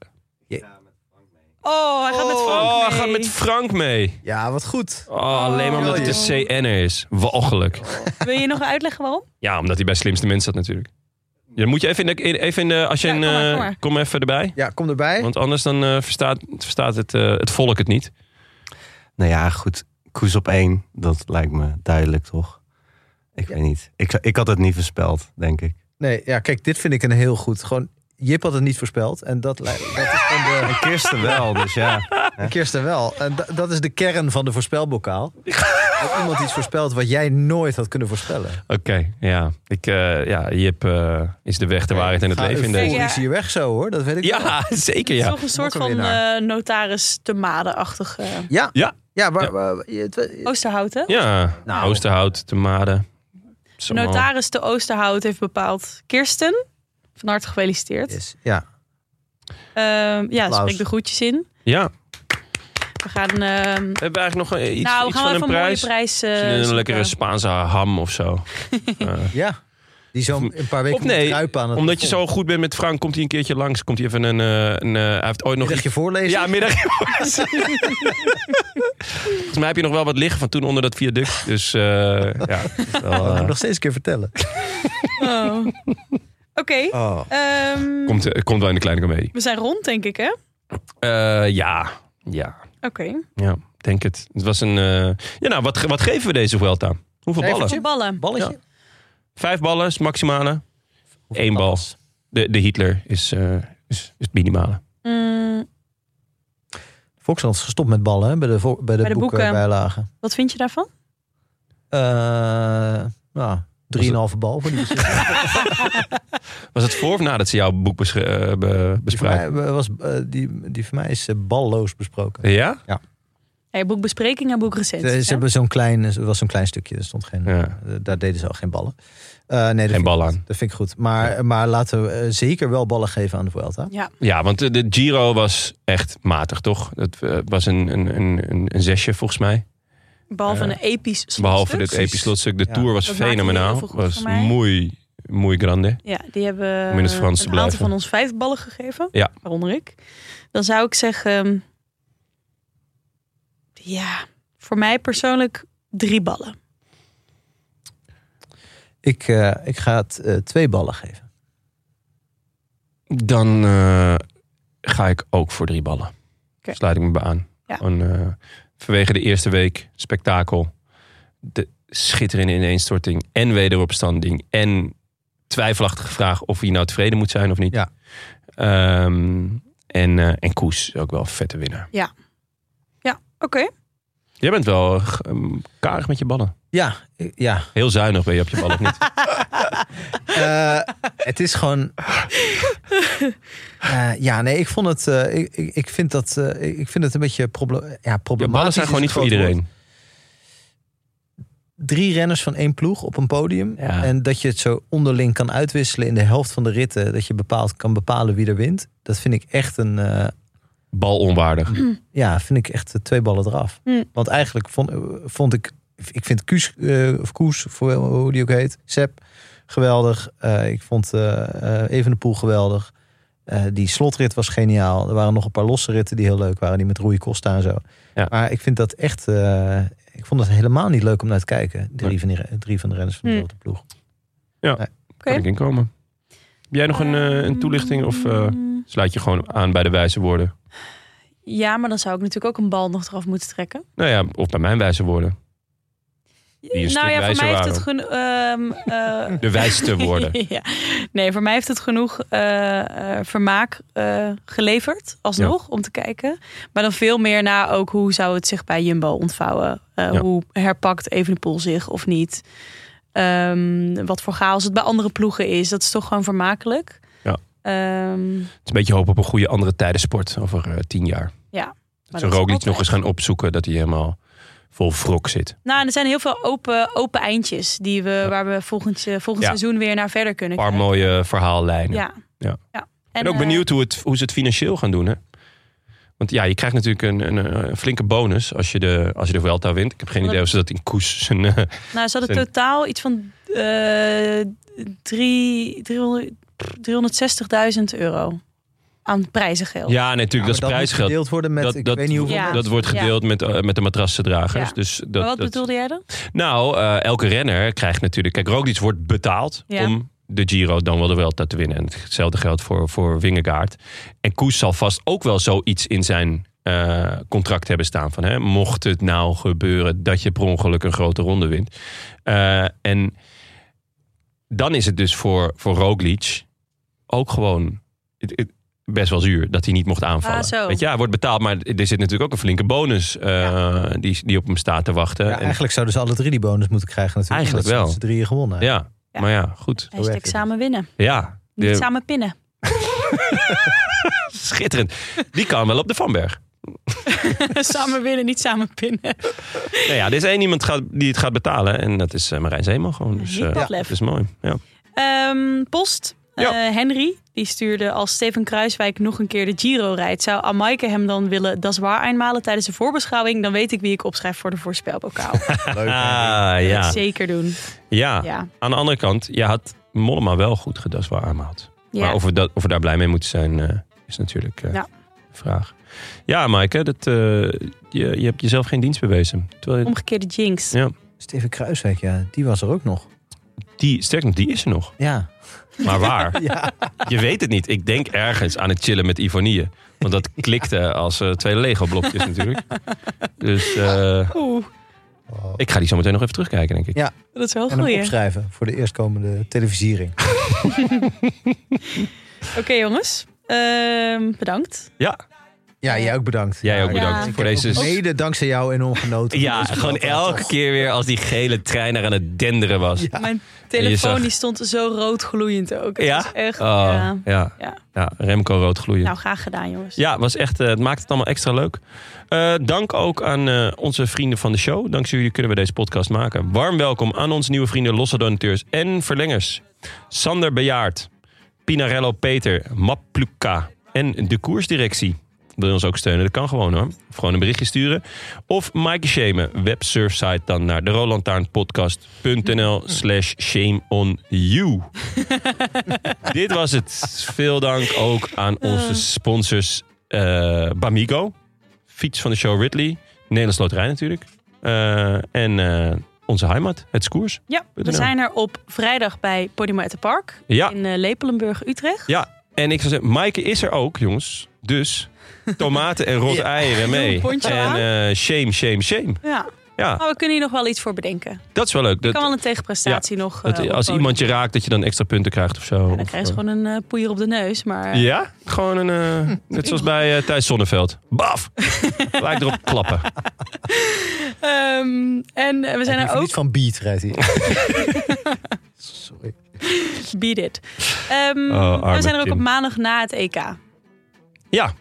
[SPEAKER 3] Oh, hij gaat met Frank
[SPEAKER 1] Oh,
[SPEAKER 3] mee.
[SPEAKER 1] gaat met Frank mee.
[SPEAKER 2] Ja, wat goed.
[SPEAKER 1] Oh, alleen maar omdat
[SPEAKER 2] Oh.
[SPEAKER 1] hij de CN'er is. Walgelijk.
[SPEAKER 3] Wil je nog uitleggen waarom?
[SPEAKER 1] Ja, omdat hij bij slimste mensen zat natuurlijk. Ja, dan moet je even in de... in- Even in de als je
[SPEAKER 3] Ja,
[SPEAKER 1] een,
[SPEAKER 3] kom maar,
[SPEAKER 1] eh,
[SPEAKER 3] kom maar.
[SPEAKER 1] kom even erbij.
[SPEAKER 2] Ja, kom erbij.
[SPEAKER 1] Want anders dan eh, verstaat, verstaat het, eh, het volk het niet.
[SPEAKER 5] Nou ja, goed. Koes op één, dat lijkt me duidelijk, toch? Ik
[SPEAKER 2] Ja.
[SPEAKER 5] weet niet. Ik, ik had het niet voorspeld, denk ik.
[SPEAKER 2] Nee, ja, kijk, dit vind ik een heel goed. Gewoon, Jip had het niet voorspeld. En dat, lei- dat is gewoon de,
[SPEAKER 5] En Kirsten wel, dus ja.
[SPEAKER 2] de Kirsten wel. En da- dat is de kern van de voorspelbokaal. Dat iemand iets voorspelt wat jij nooit had kunnen voorspellen.
[SPEAKER 1] Oké, ja. Ik, eh, ja. Jip eh, is de weg, de waarheid en het
[SPEAKER 2] Ga
[SPEAKER 1] leven in
[SPEAKER 3] euforisch.
[SPEAKER 1] deze.
[SPEAKER 2] euforisch
[SPEAKER 3] Ja.
[SPEAKER 2] hier weg zo hoor, dat weet ik wel.
[SPEAKER 1] Ja, zeker ja.
[SPEAKER 3] Toch een soort
[SPEAKER 2] Wat een
[SPEAKER 3] van
[SPEAKER 2] winnaar.
[SPEAKER 3] eh, notaris te madenachtig eh
[SPEAKER 2] Ja,
[SPEAKER 1] Ja. Oh,
[SPEAKER 2] ja, maar, maar- je- het- het-
[SPEAKER 3] Oosterhouten.
[SPEAKER 1] Ja,
[SPEAKER 2] Nou.
[SPEAKER 1] Oosterhout, te Maden. Zo.
[SPEAKER 3] De notaris te Oosterhout heeft bepaald. Kirsten, van harte gefeliciteerd.
[SPEAKER 2] is- ja.
[SPEAKER 3] Ehm, ja,
[SPEAKER 2] Applaus.
[SPEAKER 3] spreek de groetjes in.
[SPEAKER 1] Ja,
[SPEAKER 3] We gaan... ehm,
[SPEAKER 1] we hebben eigenlijk nog eh, iets,
[SPEAKER 3] nou, we
[SPEAKER 1] iets
[SPEAKER 3] gaan
[SPEAKER 1] van een
[SPEAKER 3] wel even een mooie
[SPEAKER 1] prijs.
[SPEAKER 3] prijs eh,
[SPEAKER 1] Misschien een
[SPEAKER 3] zoeken.
[SPEAKER 1] lekkere Spaanse ham of zo. Eh,
[SPEAKER 2] ja, die zo een paar weken
[SPEAKER 1] of nee,
[SPEAKER 2] moet kruipen aan het
[SPEAKER 1] Omdat je
[SPEAKER 2] plafond.
[SPEAKER 1] zo goed bent met Frank, komt hij een keertje langs. Komt hij even een... eh, een eh, hij heeft ooit nog
[SPEAKER 2] Middagje voorlezen?
[SPEAKER 1] Ja, middag. Volgens mij heb je nog wel wat liggen van toen onder dat viaduct. Dus eh, ja. het is wel,
[SPEAKER 2] Dat moet
[SPEAKER 1] eh,
[SPEAKER 2] ik nog steeds een keer vertellen.
[SPEAKER 3] Oh. Oké.
[SPEAKER 2] Oh.
[SPEAKER 3] ehm,
[SPEAKER 1] komt, eh, komt wel in de kleine komedie.
[SPEAKER 3] We zijn rond, denk ik, hè? Oké.
[SPEAKER 1] Eh, ja, ja, ja. Denk het. Het was een... eh, Ja, nou, wat, ge- wat geven we deze Vuelta? Hoeveel
[SPEAKER 2] Nee,
[SPEAKER 1] ballen?
[SPEAKER 2] Jip?
[SPEAKER 3] Ballen.
[SPEAKER 2] Balletje?
[SPEAKER 1] Vijf ballen is het maximale. Eén bal. De, de Hitler is, eh, is, is het minimale.
[SPEAKER 3] Mm,
[SPEAKER 2] Volksland is gestopt met ballen hè, bij de, vo- bij de,
[SPEAKER 3] Bij de boeken.
[SPEAKER 2] boekenbijlagen.
[SPEAKER 3] wat vind je daarvan?
[SPEAKER 2] Eh, nou, 3,5 bal voor die beslissing.
[SPEAKER 1] Was het voor of nadat ze jouw boek bes- eh, be-
[SPEAKER 2] Die voor
[SPEAKER 1] bespraken?
[SPEAKER 2] mij, was, eh, die, die voor mij is eh, balloos besproken.
[SPEAKER 1] Ja?
[SPEAKER 3] Hey, boekbespreking en boekrecens.
[SPEAKER 2] Eh, Ze, ze
[SPEAKER 3] hè?
[SPEAKER 2] hebben zo'n klein, er was zo'n klein stukje, er stond geen,
[SPEAKER 1] Ja.
[SPEAKER 2] eh, daar deden ze al geen ballen. Eh, nee, dat vind ik
[SPEAKER 1] bal
[SPEAKER 2] goed.
[SPEAKER 1] aan.
[SPEAKER 2] Dat vind ik goed. Maar, maar laten we eh, zeker wel ballen geven aan de Vuelta.
[SPEAKER 3] Ja.
[SPEAKER 1] Ja, want de, de Giro was echt matig, toch? Het eh, was een, een, een, een, een zesje volgens mij.
[SPEAKER 3] Behalve
[SPEAKER 1] Eh,
[SPEAKER 3] een episch slotstuk.
[SPEAKER 1] Behalve dit
[SPEAKER 2] Precies.
[SPEAKER 1] episch slotstuk. De
[SPEAKER 2] Ja.
[SPEAKER 1] Tour was
[SPEAKER 3] Dat maakte heel
[SPEAKER 1] fenomenaal.
[SPEAKER 3] veel goed
[SPEAKER 1] Was
[SPEAKER 3] voor mij.
[SPEAKER 1] mooi, mooi grande.
[SPEAKER 3] Ja, die hebben
[SPEAKER 1] Om in het Frans te
[SPEAKER 3] een aantal
[SPEAKER 1] blijven.
[SPEAKER 3] van ons vijf ballen gegeven.
[SPEAKER 1] Ja.
[SPEAKER 3] Waaronder ik. Dan zou ik zeggen... ehm, Ja, voor mij persoonlijk drie ballen.
[SPEAKER 2] Ik, eh, ik ga het eh, twee ballen geven.
[SPEAKER 1] Dan eh, ga ik ook voor drie ballen.
[SPEAKER 3] Oké.
[SPEAKER 1] Sluit ik me bij aan.
[SPEAKER 3] Ja.
[SPEAKER 1] Gewoon, eh, vanwege de eerste week, spektakel. De schitterende ineenstorting en wederopstanding. En twijfelachtige vraag of hij nou tevreden moet zijn of niet.
[SPEAKER 2] Ja.
[SPEAKER 1] Ehm, en, eh, en Koes, ook wel een vette winnaar.
[SPEAKER 3] Oké.
[SPEAKER 1] Jij bent wel eh, g- ehm, karig met je ballen.
[SPEAKER 2] Ja, eh, ja.
[SPEAKER 1] Heel zuinig ben je op je ballen of niet?
[SPEAKER 2] Eh, het is gewoon. Eh, ja, nee, ik vond het. eh, ik, ik, ik vind dat. eh, ik- ik vind het een beetje proble ja, problematisch.
[SPEAKER 1] Je ballen zijn
[SPEAKER 2] is
[SPEAKER 1] gewoon niet
[SPEAKER 2] het
[SPEAKER 1] voor
[SPEAKER 2] grote
[SPEAKER 1] iedereen.
[SPEAKER 2] woord. drie renners van één ploeg op een podium.
[SPEAKER 1] Ja.
[SPEAKER 2] En dat je het zo onderling kan uitwisselen in de helft van de ritten. Dat je bepaalt, kan bepalen wie er wint. Dat vind ik echt een. eh,
[SPEAKER 1] bal onwaardig.
[SPEAKER 2] ja, vind ik echt eh, twee ballen eraf.
[SPEAKER 3] Hm.
[SPEAKER 2] Want eigenlijk vond, eh, vond ik. Ik vind Kuus, eh, of Koes, of hoe- hoe die ook heet, Sepp, geweldig. Eh, ik vond eh eh Evenepoel geweldig. Eh, die slotrit was geniaal. Er waren nog een paar losse ritten die heel leuk waren. Die met Rui Costa en zo.
[SPEAKER 1] Ja.
[SPEAKER 2] Maar ik vind dat echt... eh, ik vond het helemaal niet leuk om naar te kijken. Drie van, die, re- drie van de renners van de
[SPEAKER 3] Hm.
[SPEAKER 2] grote ploeg.
[SPEAKER 1] Kan ik inkomen. Heb jij
[SPEAKER 3] Ehm,
[SPEAKER 1] nog een, eh, een toelichting of eh,
[SPEAKER 3] Mm,
[SPEAKER 1] sluit je gewoon aan bij de wijze woorden?
[SPEAKER 3] Ja, maar dan zou ik natuurlijk ook een bal nog eraf moeten trekken.
[SPEAKER 1] Nou ja, of bij mijn wijze woorden. die een
[SPEAKER 3] nou
[SPEAKER 1] stuk
[SPEAKER 3] ja, voor
[SPEAKER 1] wijzer
[SPEAKER 3] mij heeft
[SPEAKER 1] waren.
[SPEAKER 3] het genoeg. ehm eh,
[SPEAKER 1] De wijste worden.
[SPEAKER 3] ja. Nee, voor mij heeft het genoeg eh, eh, vermaak eh, geleverd, alsnog, om te kijken. Maar dan veel meer naar ook hoe zou het zich bij Jumbo ontvouwen. Eh,
[SPEAKER 1] Ja.
[SPEAKER 3] Hoe herpakt Evenepoel zich of niet. Ehm, wat voor chaos het bij andere ploegen is. Dat is toch gewoon vermakelijk.
[SPEAKER 1] Ja.
[SPEAKER 3] Ehm,
[SPEAKER 1] Het is een beetje hoop op een goede andere tijdensport over eh, tien jaar.
[SPEAKER 3] maar
[SPEAKER 1] Dat
[SPEAKER 3] dat
[SPEAKER 1] ze
[SPEAKER 3] is
[SPEAKER 1] Roglic
[SPEAKER 3] altijd.
[SPEAKER 1] nog eens gaan opzoeken dat hij helemaal vol wrok zit.
[SPEAKER 3] Nou, en er zijn heel veel open, open eindjes die we, waar we volgend, eh, volgend
[SPEAKER 1] Ja.
[SPEAKER 3] seizoen weer naar verder kunnen
[SPEAKER 1] Een paar mooie verhaallijnen.
[SPEAKER 3] Ja.
[SPEAKER 1] Ja.
[SPEAKER 3] En,
[SPEAKER 1] Ik ben ook
[SPEAKER 3] eh,
[SPEAKER 1] benieuwd hoe, het, hoe ze het financieel gaan doen. Hè? Want ja, je krijgt natuurlijk een, eh, een, een flinke bonus als je, de, als je de Vuelta wint. Ik heb geen
[SPEAKER 3] Dat-
[SPEAKER 1] idee of ze dat in Koes zijn... eh,
[SPEAKER 3] Nou, ze hadden
[SPEAKER 1] Zijn-
[SPEAKER 3] totaal iets van eh, drie- 300 360.000 euro aan prijzengeld.
[SPEAKER 1] ja, nee, natuurlijk, dat
[SPEAKER 2] maar
[SPEAKER 1] is
[SPEAKER 2] moet
[SPEAKER 1] prijsgeld.
[SPEAKER 2] gedeeld worden met
[SPEAKER 1] Dat-
[SPEAKER 2] ik
[SPEAKER 1] dat-
[SPEAKER 2] weet niet hoeveel
[SPEAKER 3] Ja.
[SPEAKER 1] Dat wordt
[SPEAKER 3] Ja.
[SPEAKER 1] gedeeld met, eh, met de matrassendragers.
[SPEAKER 3] Ja.
[SPEAKER 1] Dus dat,
[SPEAKER 3] maar wat
[SPEAKER 1] dat-
[SPEAKER 3] bedoelde jij dan?
[SPEAKER 1] Nou, eh, elke renner krijgt natuurlijk... Kijk, Roglic wordt betaald
[SPEAKER 3] Ja.
[SPEAKER 1] om de Giro dan wel de Vuelta te winnen. En hetzelfde geldt voor, voor Wingegaard. En Koes zal vast ook wel zoiets in zijn eh, contract hebben staan. Van, hè, mocht het nou gebeuren dat je per ongeluk een grote ronde wint. Eh, en dan is het dus voor, voor Roglic ook gewoon... het- het- Best wel zuur dat hij niet mocht aanvallen.
[SPEAKER 3] Ah, zo.
[SPEAKER 1] Weet je, hij wordt betaald, maar er zit natuurlijk ook een flinke bonus eh, die, die op hem staat te wachten.
[SPEAKER 2] Ja,
[SPEAKER 1] En-
[SPEAKER 2] eigenlijk zouden ze alle drie die bonus moeten krijgen natuurlijk.
[SPEAKER 1] Eigenlijk
[SPEAKER 2] omdat ze
[SPEAKER 1] wel.
[SPEAKER 2] met z'n drieën gewonnen. hebben.
[SPEAKER 1] ja,
[SPEAKER 3] Ja.
[SPEAKER 1] maar ja, goed.
[SPEAKER 3] Hashtag
[SPEAKER 2] werkt het.
[SPEAKER 3] samen winnen,
[SPEAKER 1] Ja,
[SPEAKER 3] niet
[SPEAKER 1] de-
[SPEAKER 3] samen pinnen.
[SPEAKER 1] schitterend. Die kan wel op de Vanberg.
[SPEAKER 3] samen winnen, niet samen pinnen.
[SPEAKER 1] Nou ja, er is één iemand gaat, die het gaat betalen en dat is eh, Marijn Zeeman gewoon. Dus,
[SPEAKER 3] Niet
[SPEAKER 1] eh,
[SPEAKER 3] dat
[SPEAKER 1] dat
[SPEAKER 3] lef.
[SPEAKER 1] is mooi. Ja.
[SPEAKER 3] Ehm, post.
[SPEAKER 1] Ja.
[SPEAKER 3] Eh, Henry, die stuurde als Steven Kruiswijk nog een keer de Giro rijdt. Zou Amaike hem dan willen dat waar einmalen tijdens de voorbeschouwing? Dan weet ik wie ik opschrijf voor de voorspelbokaal.
[SPEAKER 2] Leuk.
[SPEAKER 1] Ah,
[SPEAKER 3] Dat
[SPEAKER 1] ja. Ah.
[SPEAKER 3] zeker doen.
[SPEAKER 1] ja.
[SPEAKER 3] Ja.
[SPEAKER 1] Aan de andere kant, je had Mollema wel goed gedas waar aanhaalt. Maar of we, dat, of we daar blij mee moeten zijn, eh, is natuurlijk eh,
[SPEAKER 3] Ja.
[SPEAKER 1] de vraag. Ja, Maaike, dat, eh, je, je hebt jezelf geen dienst bewezen. Terwijl je-
[SPEAKER 3] Omgekeerde jinx.
[SPEAKER 1] Ja.
[SPEAKER 2] Steven Kruiswijk, ja, die was er ook nog.
[SPEAKER 1] die, sterk nog, die is er nog.
[SPEAKER 2] Ja.
[SPEAKER 1] Maar waar?
[SPEAKER 2] Ja.
[SPEAKER 1] Je weet het niet. Ik denk ergens aan het chillen met Ivonie. Want dat klikte als eh, twee Lego-blokjes natuurlijk. Dus eh,
[SPEAKER 3] Oeh,
[SPEAKER 2] Oh.
[SPEAKER 1] ik ga die zo meteen nog even terugkijken, denk ik.
[SPEAKER 2] Ja.
[SPEAKER 3] dat is wel een
[SPEAKER 2] En hem
[SPEAKER 3] goeie.
[SPEAKER 2] opschrijven voor de eerstkomende televisiering.
[SPEAKER 3] Oké jongens, Ehm, bedankt.
[SPEAKER 1] Ja,
[SPEAKER 2] Ja, jij ook bedankt.
[SPEAKER 1] Jij ook
[SPEAKER 2] Ja,
[SPEAKER 1] bedankt
[SPEAKER 3] Ja.
[SPEAKER 2] ik
[SPEAKER 1] voor
[SPEAKER 2] heb ook
[SPEAKER 1] deze...
[SPEAKER 2] Mede dankzij jou enorm genoten.
[SPEAKER 1] Ja,
[SPEAKER 2] Dus
[SPEAKER 1] gewoon
[SPEAKER 2] dat, eh,
[SPEAKER 1] elke
[SPEAKER 2] toch.
[SPEAKER 1] keer weer als die gele treiner aan het denderen was.
[SPEAKER 2] Ja.
[SPEAKER 3] Mijn
[SPEAKER 1] En je
[SPEAKER 3] telefoon
[SPEAKER 1] zag-
[SPEAKER 3] die stond zo rood gloeiend ook. Het
[SPEAKER 1] Ja?
[SPEAKER 3] was echt,
[SPEAKER 1] Oh,
[SPEAKER 3] ja.
[SPEAKER 1] ja.
[SPEAKER 3] Ja.
[SPEAKER 1] ja, Remco rood gloeien.
[SPEAKER 3] Nou, graag gedaan jongens.
[SPEAKER 1] Ja, was echt, eh, het maakt het allemaal extra leuk. Eh, dank ook aan eh, onze vrienden van de show. Dankzij jullie kunnen we deze podcast maken. Warm welkom aan onze nieuwe vrienden, losse donateurs en verlengers. Sander Bejaard, Pinarello Peter, Mapluka en de Koersdirectie. Wil je ons ook steunen? Dat kan gewoon hoor. Of gewoon een berichtje sturen. Of Maaike Shamen. Websurfsite dan naar de rolantaarnpodcast.nl slash shame on you. Dit was het. Veel dank ook aan onze sponsors eh, Bamigo. Fiets van de show Ridley. Nederlands Loterij natuurlijk. Eh, en eh, onze heimat, het Skoers.
[SPEAKER 3] Ja, we
[SPEAKER 1] .nl.
[SPEAKER 3] zijn er op vrijdag bij Podimaete Park
[SPEAKER 1] Ja,
[SPEAKER 3] in eh, Lepelenburg, Utrecht.
[SPEAKER 1] ja. En ik zou zeggen, Maaike is er ook, jongens. Dus tomaten en rot eieren mee.
[SPEAKER 3] Doe een pontje
[SPEAKER 1] En
[SPEAKER 3] aan.
[SPEAKER 1] eh, shame, shame, shame.
[SPEAKER 3] Ja,
[SPEAKER 1] Ja,
[SPEAKER 3] maar we kunnen hier nog wel iets voor bedenken.
[SPEAKER 1] dat is wel leuk.
[SPEAKER 3] kan
[SPEAKER 1] Dat,
[SPEAKER 3] wel een tegenprestatie nog. eh,
[SPEAKER 1] dat
[SPEAKER 3] op
[SPEAKER 1] als
[SPEAKER 3] het
[SPEAKER 1] iemand je raakt, dat je dan extra punten krijgt of zo.
[SPEAKER 3] podium. Ja,
[SPEAKER 1] Of,
[SPEAKER 3] dan krijg je
[SPEAKER 1] eh,
[SPEAKER 3] gewoon een eh, poeier op de neus. Maar eh,
[SPEAKER 1] Ja? Gewoon een. eh, net zoals bij eh, Thijs Zonneveld. Baf! Lijkt erop klappen.
[SPEAKER 3] ehm, en eh, we zijn
[SPEAKER 2] Hij
[SPEAKER 3] er
[SPEAKER 2] heeft
[SPEAKER 3] ook
[SPEAKER 2] Niet van beat rijdt hij. Sorry.
[SPEAKER 3] Beat It. Ehm,
[SPEAKER 1] Oh,
[SPEAKER 3] en
[SPEAKER 1] arme
[SPEAKER 3] we zijn er ook
[SPEAKER 1] Tim.
[SPEAKER 3] op maandag na het EK.
[SPEAKER 1] Ja,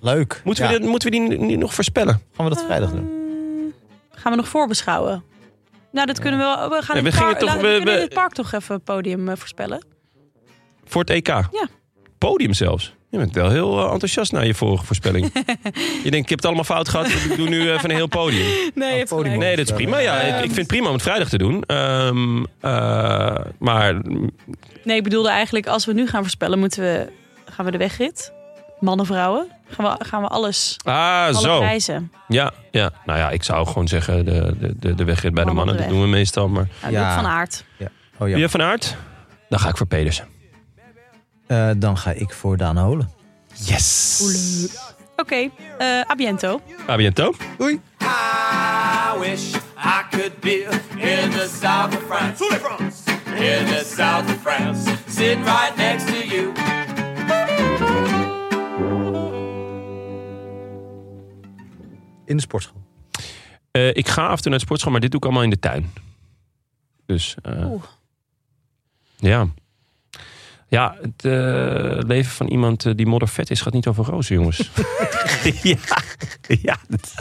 [SPEAKER 2] Leuk.
[SPEAKER 1] moeten we,
[SPEAKER 2] Ja,
[SPEAKER 1] dit- moeten we die nu nog voorspellen?
[SPEAKER 2] Gaan we dat vrijdag doen?
[SPEAKER 3] Ehm, gaan we nog voorbeschouwen? Nou, dat kunnen we wel. We gaan
[SPEAKER 1] Ja, we
[SPEAKER 3] het,
[SPEAKER 1] gingen
[SPEAKER 3] park,
[SPEAKER 1] toch-
[SPEAKER 3] laten-
[SPEAKER 1] we-
[SPEAKER 3] kunnen
[SPEAKER 1] we-
[SPEAKER 3] het park toch even het podium eh, voorspellen.
[SPEAKER 1] Voor het EK?
[SPEAKER 3] Ja.
[SPEAKER 1] Podium zelfs. Je bent wel heel eh, enthousiast na je vorige voorspelling. je denkt, ik heb het allemaal fout gehad. Ik doe nu eh, even een heel podium.
[SPEAKER 3] Nee,
[SPEAKER 2] het Oh, podium.
[SPEAKER 1] Nee, dat is prima. Ja, ik, ik vind het prima om het vrijdag te doen. Ehm, eh, maar
[SPEAKER 3] Nee, ik bedoelde eigenlijk, als we nu gaan voorspellen, moeten we, gaan we de wegrit. Mannen, vrouwen. Gaan we, gaan we alles,
[SPEAKER 1] ah,
[SPEAKER 3] alle
[SPEAKER 1] zo.
[SPEAKER 3] prijzen.
[SPEAKER 1] Ja, ja, nou ja, ik zou gewoon zeggen de, de, de, de wegrit bij de
[SPEAKER 3] Mannen
[SPEAKER 1] mannen.
[SPEAKER 3] op de
[SPEAKER 1] Dat doen we meestal. Maar
[SPEAKER 3] Nou,
[SPEAKER 2] Ja.
[SPEAKER 3] Joep van Aert.
[SPEAKER 2] Oh, ja.
[SPEAKER 1] wie van aard? Dan ga ik voor Pedersen.
[SPEAKER 2] Eh, dan ga ik voor Daan Holen.
[SPEAKER 1] Yes.
[SPEAKER 3] Oké, eh abiento.
[SPEAKER 1] A bientôt.
[SPEAKER 6] I wish I could. good beer in the south of France. In the south of France, sitting right next to you.
[SPEAKER 2] in de sportschool.
[SPEAKER 1] Eh, ik ga af en toe naar de sportschool, maar dit doe ik allemaal in de tuin. Dus eh,
[SPEAKER 3] Oeh.
[SPEAKER 1] ja. Ja, het eh, leven van iemand eh, die moddervet is gaat niet over rozen, jongens. ja, ja, dat-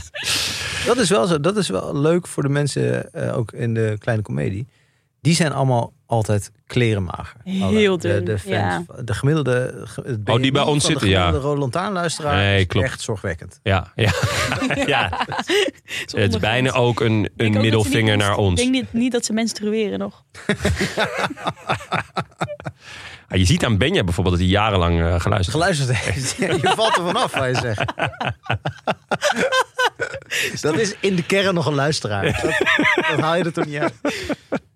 [SPEAKER 2] Dat is wel zo. Dat is wel leuk voor de mensen, eh, ook in de kleine komedie. Die zijn allemaal altijd klerenmager.
[SPEAKER 3] Heel
[SPEAKER 2] Alle- De, de,
[SPEAKER 3] dun,
[SPEAKER 2] fans,
[SPEAKER 3] ja.
[SPEAKER 2] de gemiddelde. ge- Het
[SPEAKER 1] Oh, bij
[SPEAKER 2] BMI
[SPEAKER 1] ons
[SPEAKER 2] van
[SPEAKER 1] zitten,
[SPEAKER 2] de
[SPEAKER 1] ja.
[SPEAKER 2] gemiddelde Rode Lantaarnluisteraar
[SPEAKER 1] Nee,
[SPEAKER 2] is
[SPEAKER 1] klopt.
[SPEAKER 2] echt zorgwekkend.
[SPEAKER 1] ja, ja. ja. Het is bijna ook een, een
[SPEAKER 3] Ik ook dat ze niet
[SPEAKER 1] middelvinger
[SPEAKER 3] menstru-
[SPEAKER 1] naar ons.
[SPEAKER 3] Ik denk niet, niet dat ze menstrueren nog.
[SPEAKER 1] Ah, je ziet aan Benja bijvoorbeeld dat hij jarenlang eh, geluisterd heeft.
[SPEAKER 2] Geluisterd heeft. Ja, je valt er vanaf, waar je zegt. Dat is in de kern nog een luisteraar. Dat, dat haal je er toch niet uit.